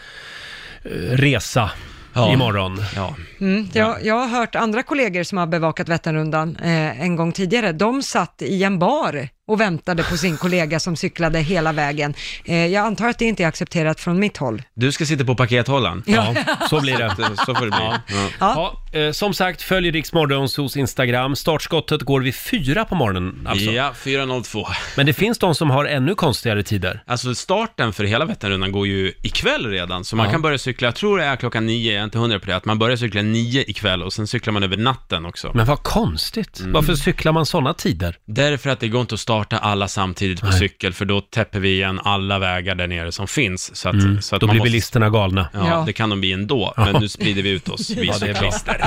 [SPEAKER 1] eh, resa
[SPEAKER 5] Ja.
[SPEAKER 1] imorgon.
[SPEAKER 5] Ja.
[SPEAKER 3] Mm, jag, jag har hört andra kollegor som har bevakat Vätternrundan eh, en gång tidigare, de satt i en bar och väntade på sin kollega som cyklade hela vägen. Eh, jag antar att det inte är accepterat från mitt håll.
[SPEAKER 5] Du ska sitta på pakethållaren.
[SPEAKER 3] Ja.
[SPEAKER 5] så blir det. Så får det bli. Ja.
[SPEAKER 1] Ja. eh, som sagt, följ Rix Morgonzoos Instagram. Startskottet går vid fyra på morgonen alltså.
[SPEAKER 5] Ja, 4.02.
[SPEAKER 1] Men det finns de som har ännu konstigare tider.
[SPEAKER 5] Alltså starten för hela Vätternrundan går ju ikväll redan, så man
[SPEAKER 1] Ja.
[SPEAKER 5] kan börja cykla, jag tror det är klockan nio, jag är inte hundra på det, att man börjar cykla nio ikväll och sen cyklar man över natten också.
[SPEAKER 1] Men vad konstigt.
[SPEAKER 5] Mm.
[SPEAKER 1] Varför cyklar man sådana tider?
[SPEAKER 5] Därför att det går inte att starta alla samtidigt på cykel, för då täpper vi igen alla vägar där nere som finns. Så att,
[SPEAKER 1] Mm.
[SPEAKER 5] så att
[SPEAKER 1] Då
[SPEAKER 5] man
[SPEAKER 1] blir
[SPEAKER 5] måste-
[SPEAKER 1] bilisterna galna.
[SPEAKER 5] Ja,
[SPEAKER 1] Ja.
[SPEAKER 5] det kan de bli ändå,
[SPEAKER 1] Ja.
[SPEAKER 5] men nu sprider vi ut oss, vi
[SPEAKER 1] Ja, det är bra. Mm.
[SPEAKER 5] cyklister.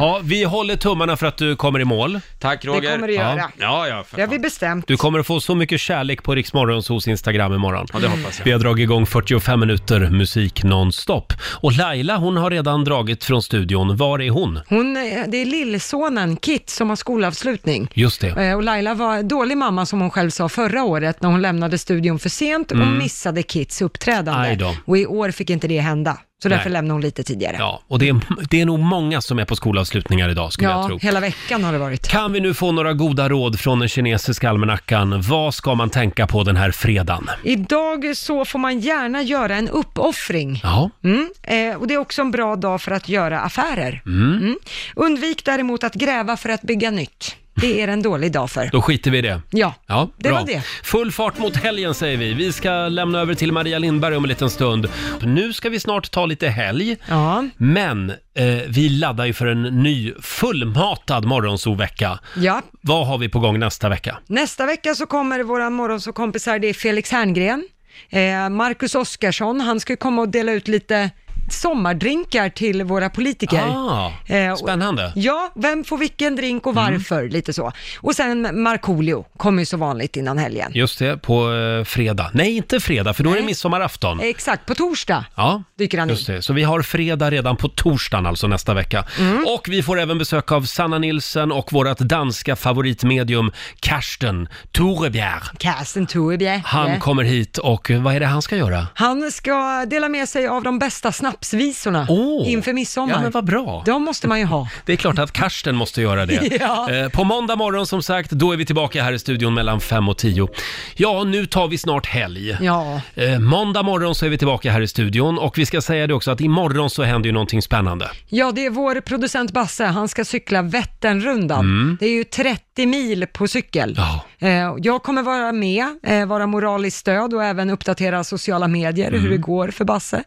[SPEAKER 1] Ja, vi håller tummarna för att du kommer i mål.
[SPEAKER 5] Tack
[SPEAKER 3] Roger. kommer du göra.
[SPEAKER 1] Ja.
[SPEAKER 5] Ja, ja, för
[SPEAKER 3] Det har vi bestämt.
[SPEAKER 1] Du kommer att få så mycket kärlek på Riksmorgonsos Instagram imorgon.
[SPEAKER 5] Ja, det hoppas jag.
[SPEAKER 1] Vi har dragit igång 45 minuter musik nonstop. Och Laila, hon har redan dragit från studion. Var är hon?
[SPEAKER 3] Hon, eh, det är lillsonen Kit som har skolavslutning.
[SPEAKER 1] Just det.
[SPEAKER 3] Eh, Och Laila var en dålig mamma som hon själv sa förra året när hon lämnade studion för sent och
[SPEAKER 1] Mm.
[SPEAKER 3] missade Kits uppträdande.
[SPEAKER 1] Aj då.
[SPEAKER 3] Och i år fick inte det hända, så därför
[SPEAKER 1] Nej.
[SPEAKER 3] lämnade hon lite tidigare.
[SPEAKER 1] Ja, och det är, det är nog många som är på skolavslutningar idag skulle jag
[SPEAKER 3] Ja,
[SPEAKER 1] tro.
[SPEAKER 3] hela veckan har det varit.
[SPEAKER 1] Kan vi nu få några goda råd från den kinesiska almanackan? Vad ska man tänka på den här fredagen?
[SPEAKER 3] Idag så får man gärna göra en uppoffring.
[SPEAKER 1] Ja.
[SPEAKER 3] Mm, eh, och det är också en bra dag för att göra affärer.
[SPEAKER 1] Mm.
[SPEAKER 3] Mm. Undvik däremot att gräva för att bygga nytt. Det är en dålig dag för.
[SPEAKER 1] Då skiter vi i det.
[SPEAKER 3] Ja,
[SPEAKER 1] Ja,
[SPEAKER 3] Det
[SPEAKER 1] bra.
[SPEAKER 3] var det.
[SPEAKER 1] Full fart mot helgen säger vi. Vi ska lämna över till Maria Lindberg om en liten stund. Nu ska vi snart ta lite helg.
[SPEAKER 3] Ja.
[SPEAKER 1] Men eh, vi laddar ju för en ny fullmatad morgonsovecka.
[SPEAKER 3] ja.
[SPEAKER 1] Vad har vi på gång nästa vecka?
[SPEAKER 3] Nästa vecka så kommer våra morgonsåkompisar, det är Felix Herngren, eh, Marcus Oskarsson, han ska ju komma och dela ut lite sommardrinkar till våra politiker.
[SPEAKER 1] Ah,
[SPEAKER 3] Eh, och-
[SPEAKER 1] spännande. Mm.
[SPEAKER 3] Ja, vem får vilken drink och varför, lite så. Och sen Markoolio kommer ju som vanligt innan helgen.
[SPEAKER 1] Just det, på eh, fredag. Nej, inte fredag, för då är det midsommarafton.
[SPEAKER 3] Exakt, på torsdag.
[SPEAKER 1] Ja,
[SPEAKER 3] Eh, dyker han in.
[SPEAKER 1] just det. Så vi har fredag redan på torsdagen alltså nästa vecka.
[SPEAKER 3] Mm.
[SPEAKER 1] Och vi får även besök av Sanna Nilsson och vårt danska favoritmedium Karsten Torebjer.
[SPEAKER 3] Carsten Torebjer.
[SPEAKER 1] Han kommer hit och eh, vad är det han ska göra?
[SPEAKER 3] Han ska dela med sig av de bästa snapsvisorna inför midsommar.
[SPEAKER 1] Ja, men vad bra.
[SPEAKER 3] De måste man ju ha.
[SPEAKER 1] Det är klart att Karsten måste göra det.
[SPEAKER 3] Ja.
[SPEAKER 1] Eh, På måndag morgon som sagt, då är vi tillbaka här i studion mellan fem och tio. Ja, nu tar vi snart helg.
[SPEAKER 3] Ja.
[SPEAKER 1] Eh, Måndag morgon så är vi tillbaka här i studion och vi ska säga det också att imorgon så händer ju någonting spännande.
[SPEAKER 3] ja, det är vår producent Basse. Han ska cykla Vätternrundan.
[SPEAKER 1] Mm.
[SPEAKER 3] Det är ju 30 mil på cykel. Eh, Jag kommer vara med, eh, vara moraliskt stöd och även uppdatera sociala medier hur
[SPEAKER 1] Mm.
[SPEAKER 3] det går för Basse.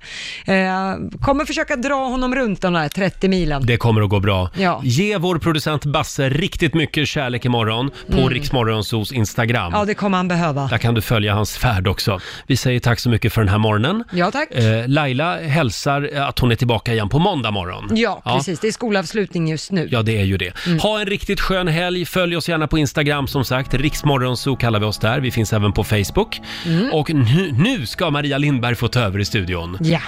[SPEAKER 3] Eh, Kommer försöka dra honom runt de där 30 milen.
[SPEAKER 1] Det kommer att gå bra.
[SPEAKER 3] Ja.
[SPEAKER 1] Ge vår producent Basse riktigt mycket kärlek imorgon på
[SPEAKER 3] Mm.
[SPEAKER 1] mm. Riksmorgonsos Instagram.
[SPEAKER 3] Ja, det kommer han behöva.
[SPEAKER 1] Där kan du följa hans färd också. Vi säger tack så mycket för den här morgonen.
[SPEAKER 3] Ja, tack.
[SPEAKER 1] Eh, Laila hälsar eh, att hon är tillbaka igen på måndag morgon.
[SPEAKER 3] Ja, precis. Det är skolavslutning just nu. Mm.
[SPEAKER 1] Ja, det är ju det. Ha en riktigt skön helg. Följ oss gärna på Instagram som sagt. Riksmorgonso kallar vi oss
[SPEAKER 3] Mm.
[SPEAKER 1] där. Vi finns även på Facebook. Och nu, nu ska Maria Lindberg få ta över i studion.
[SPEAKER 3] Ja.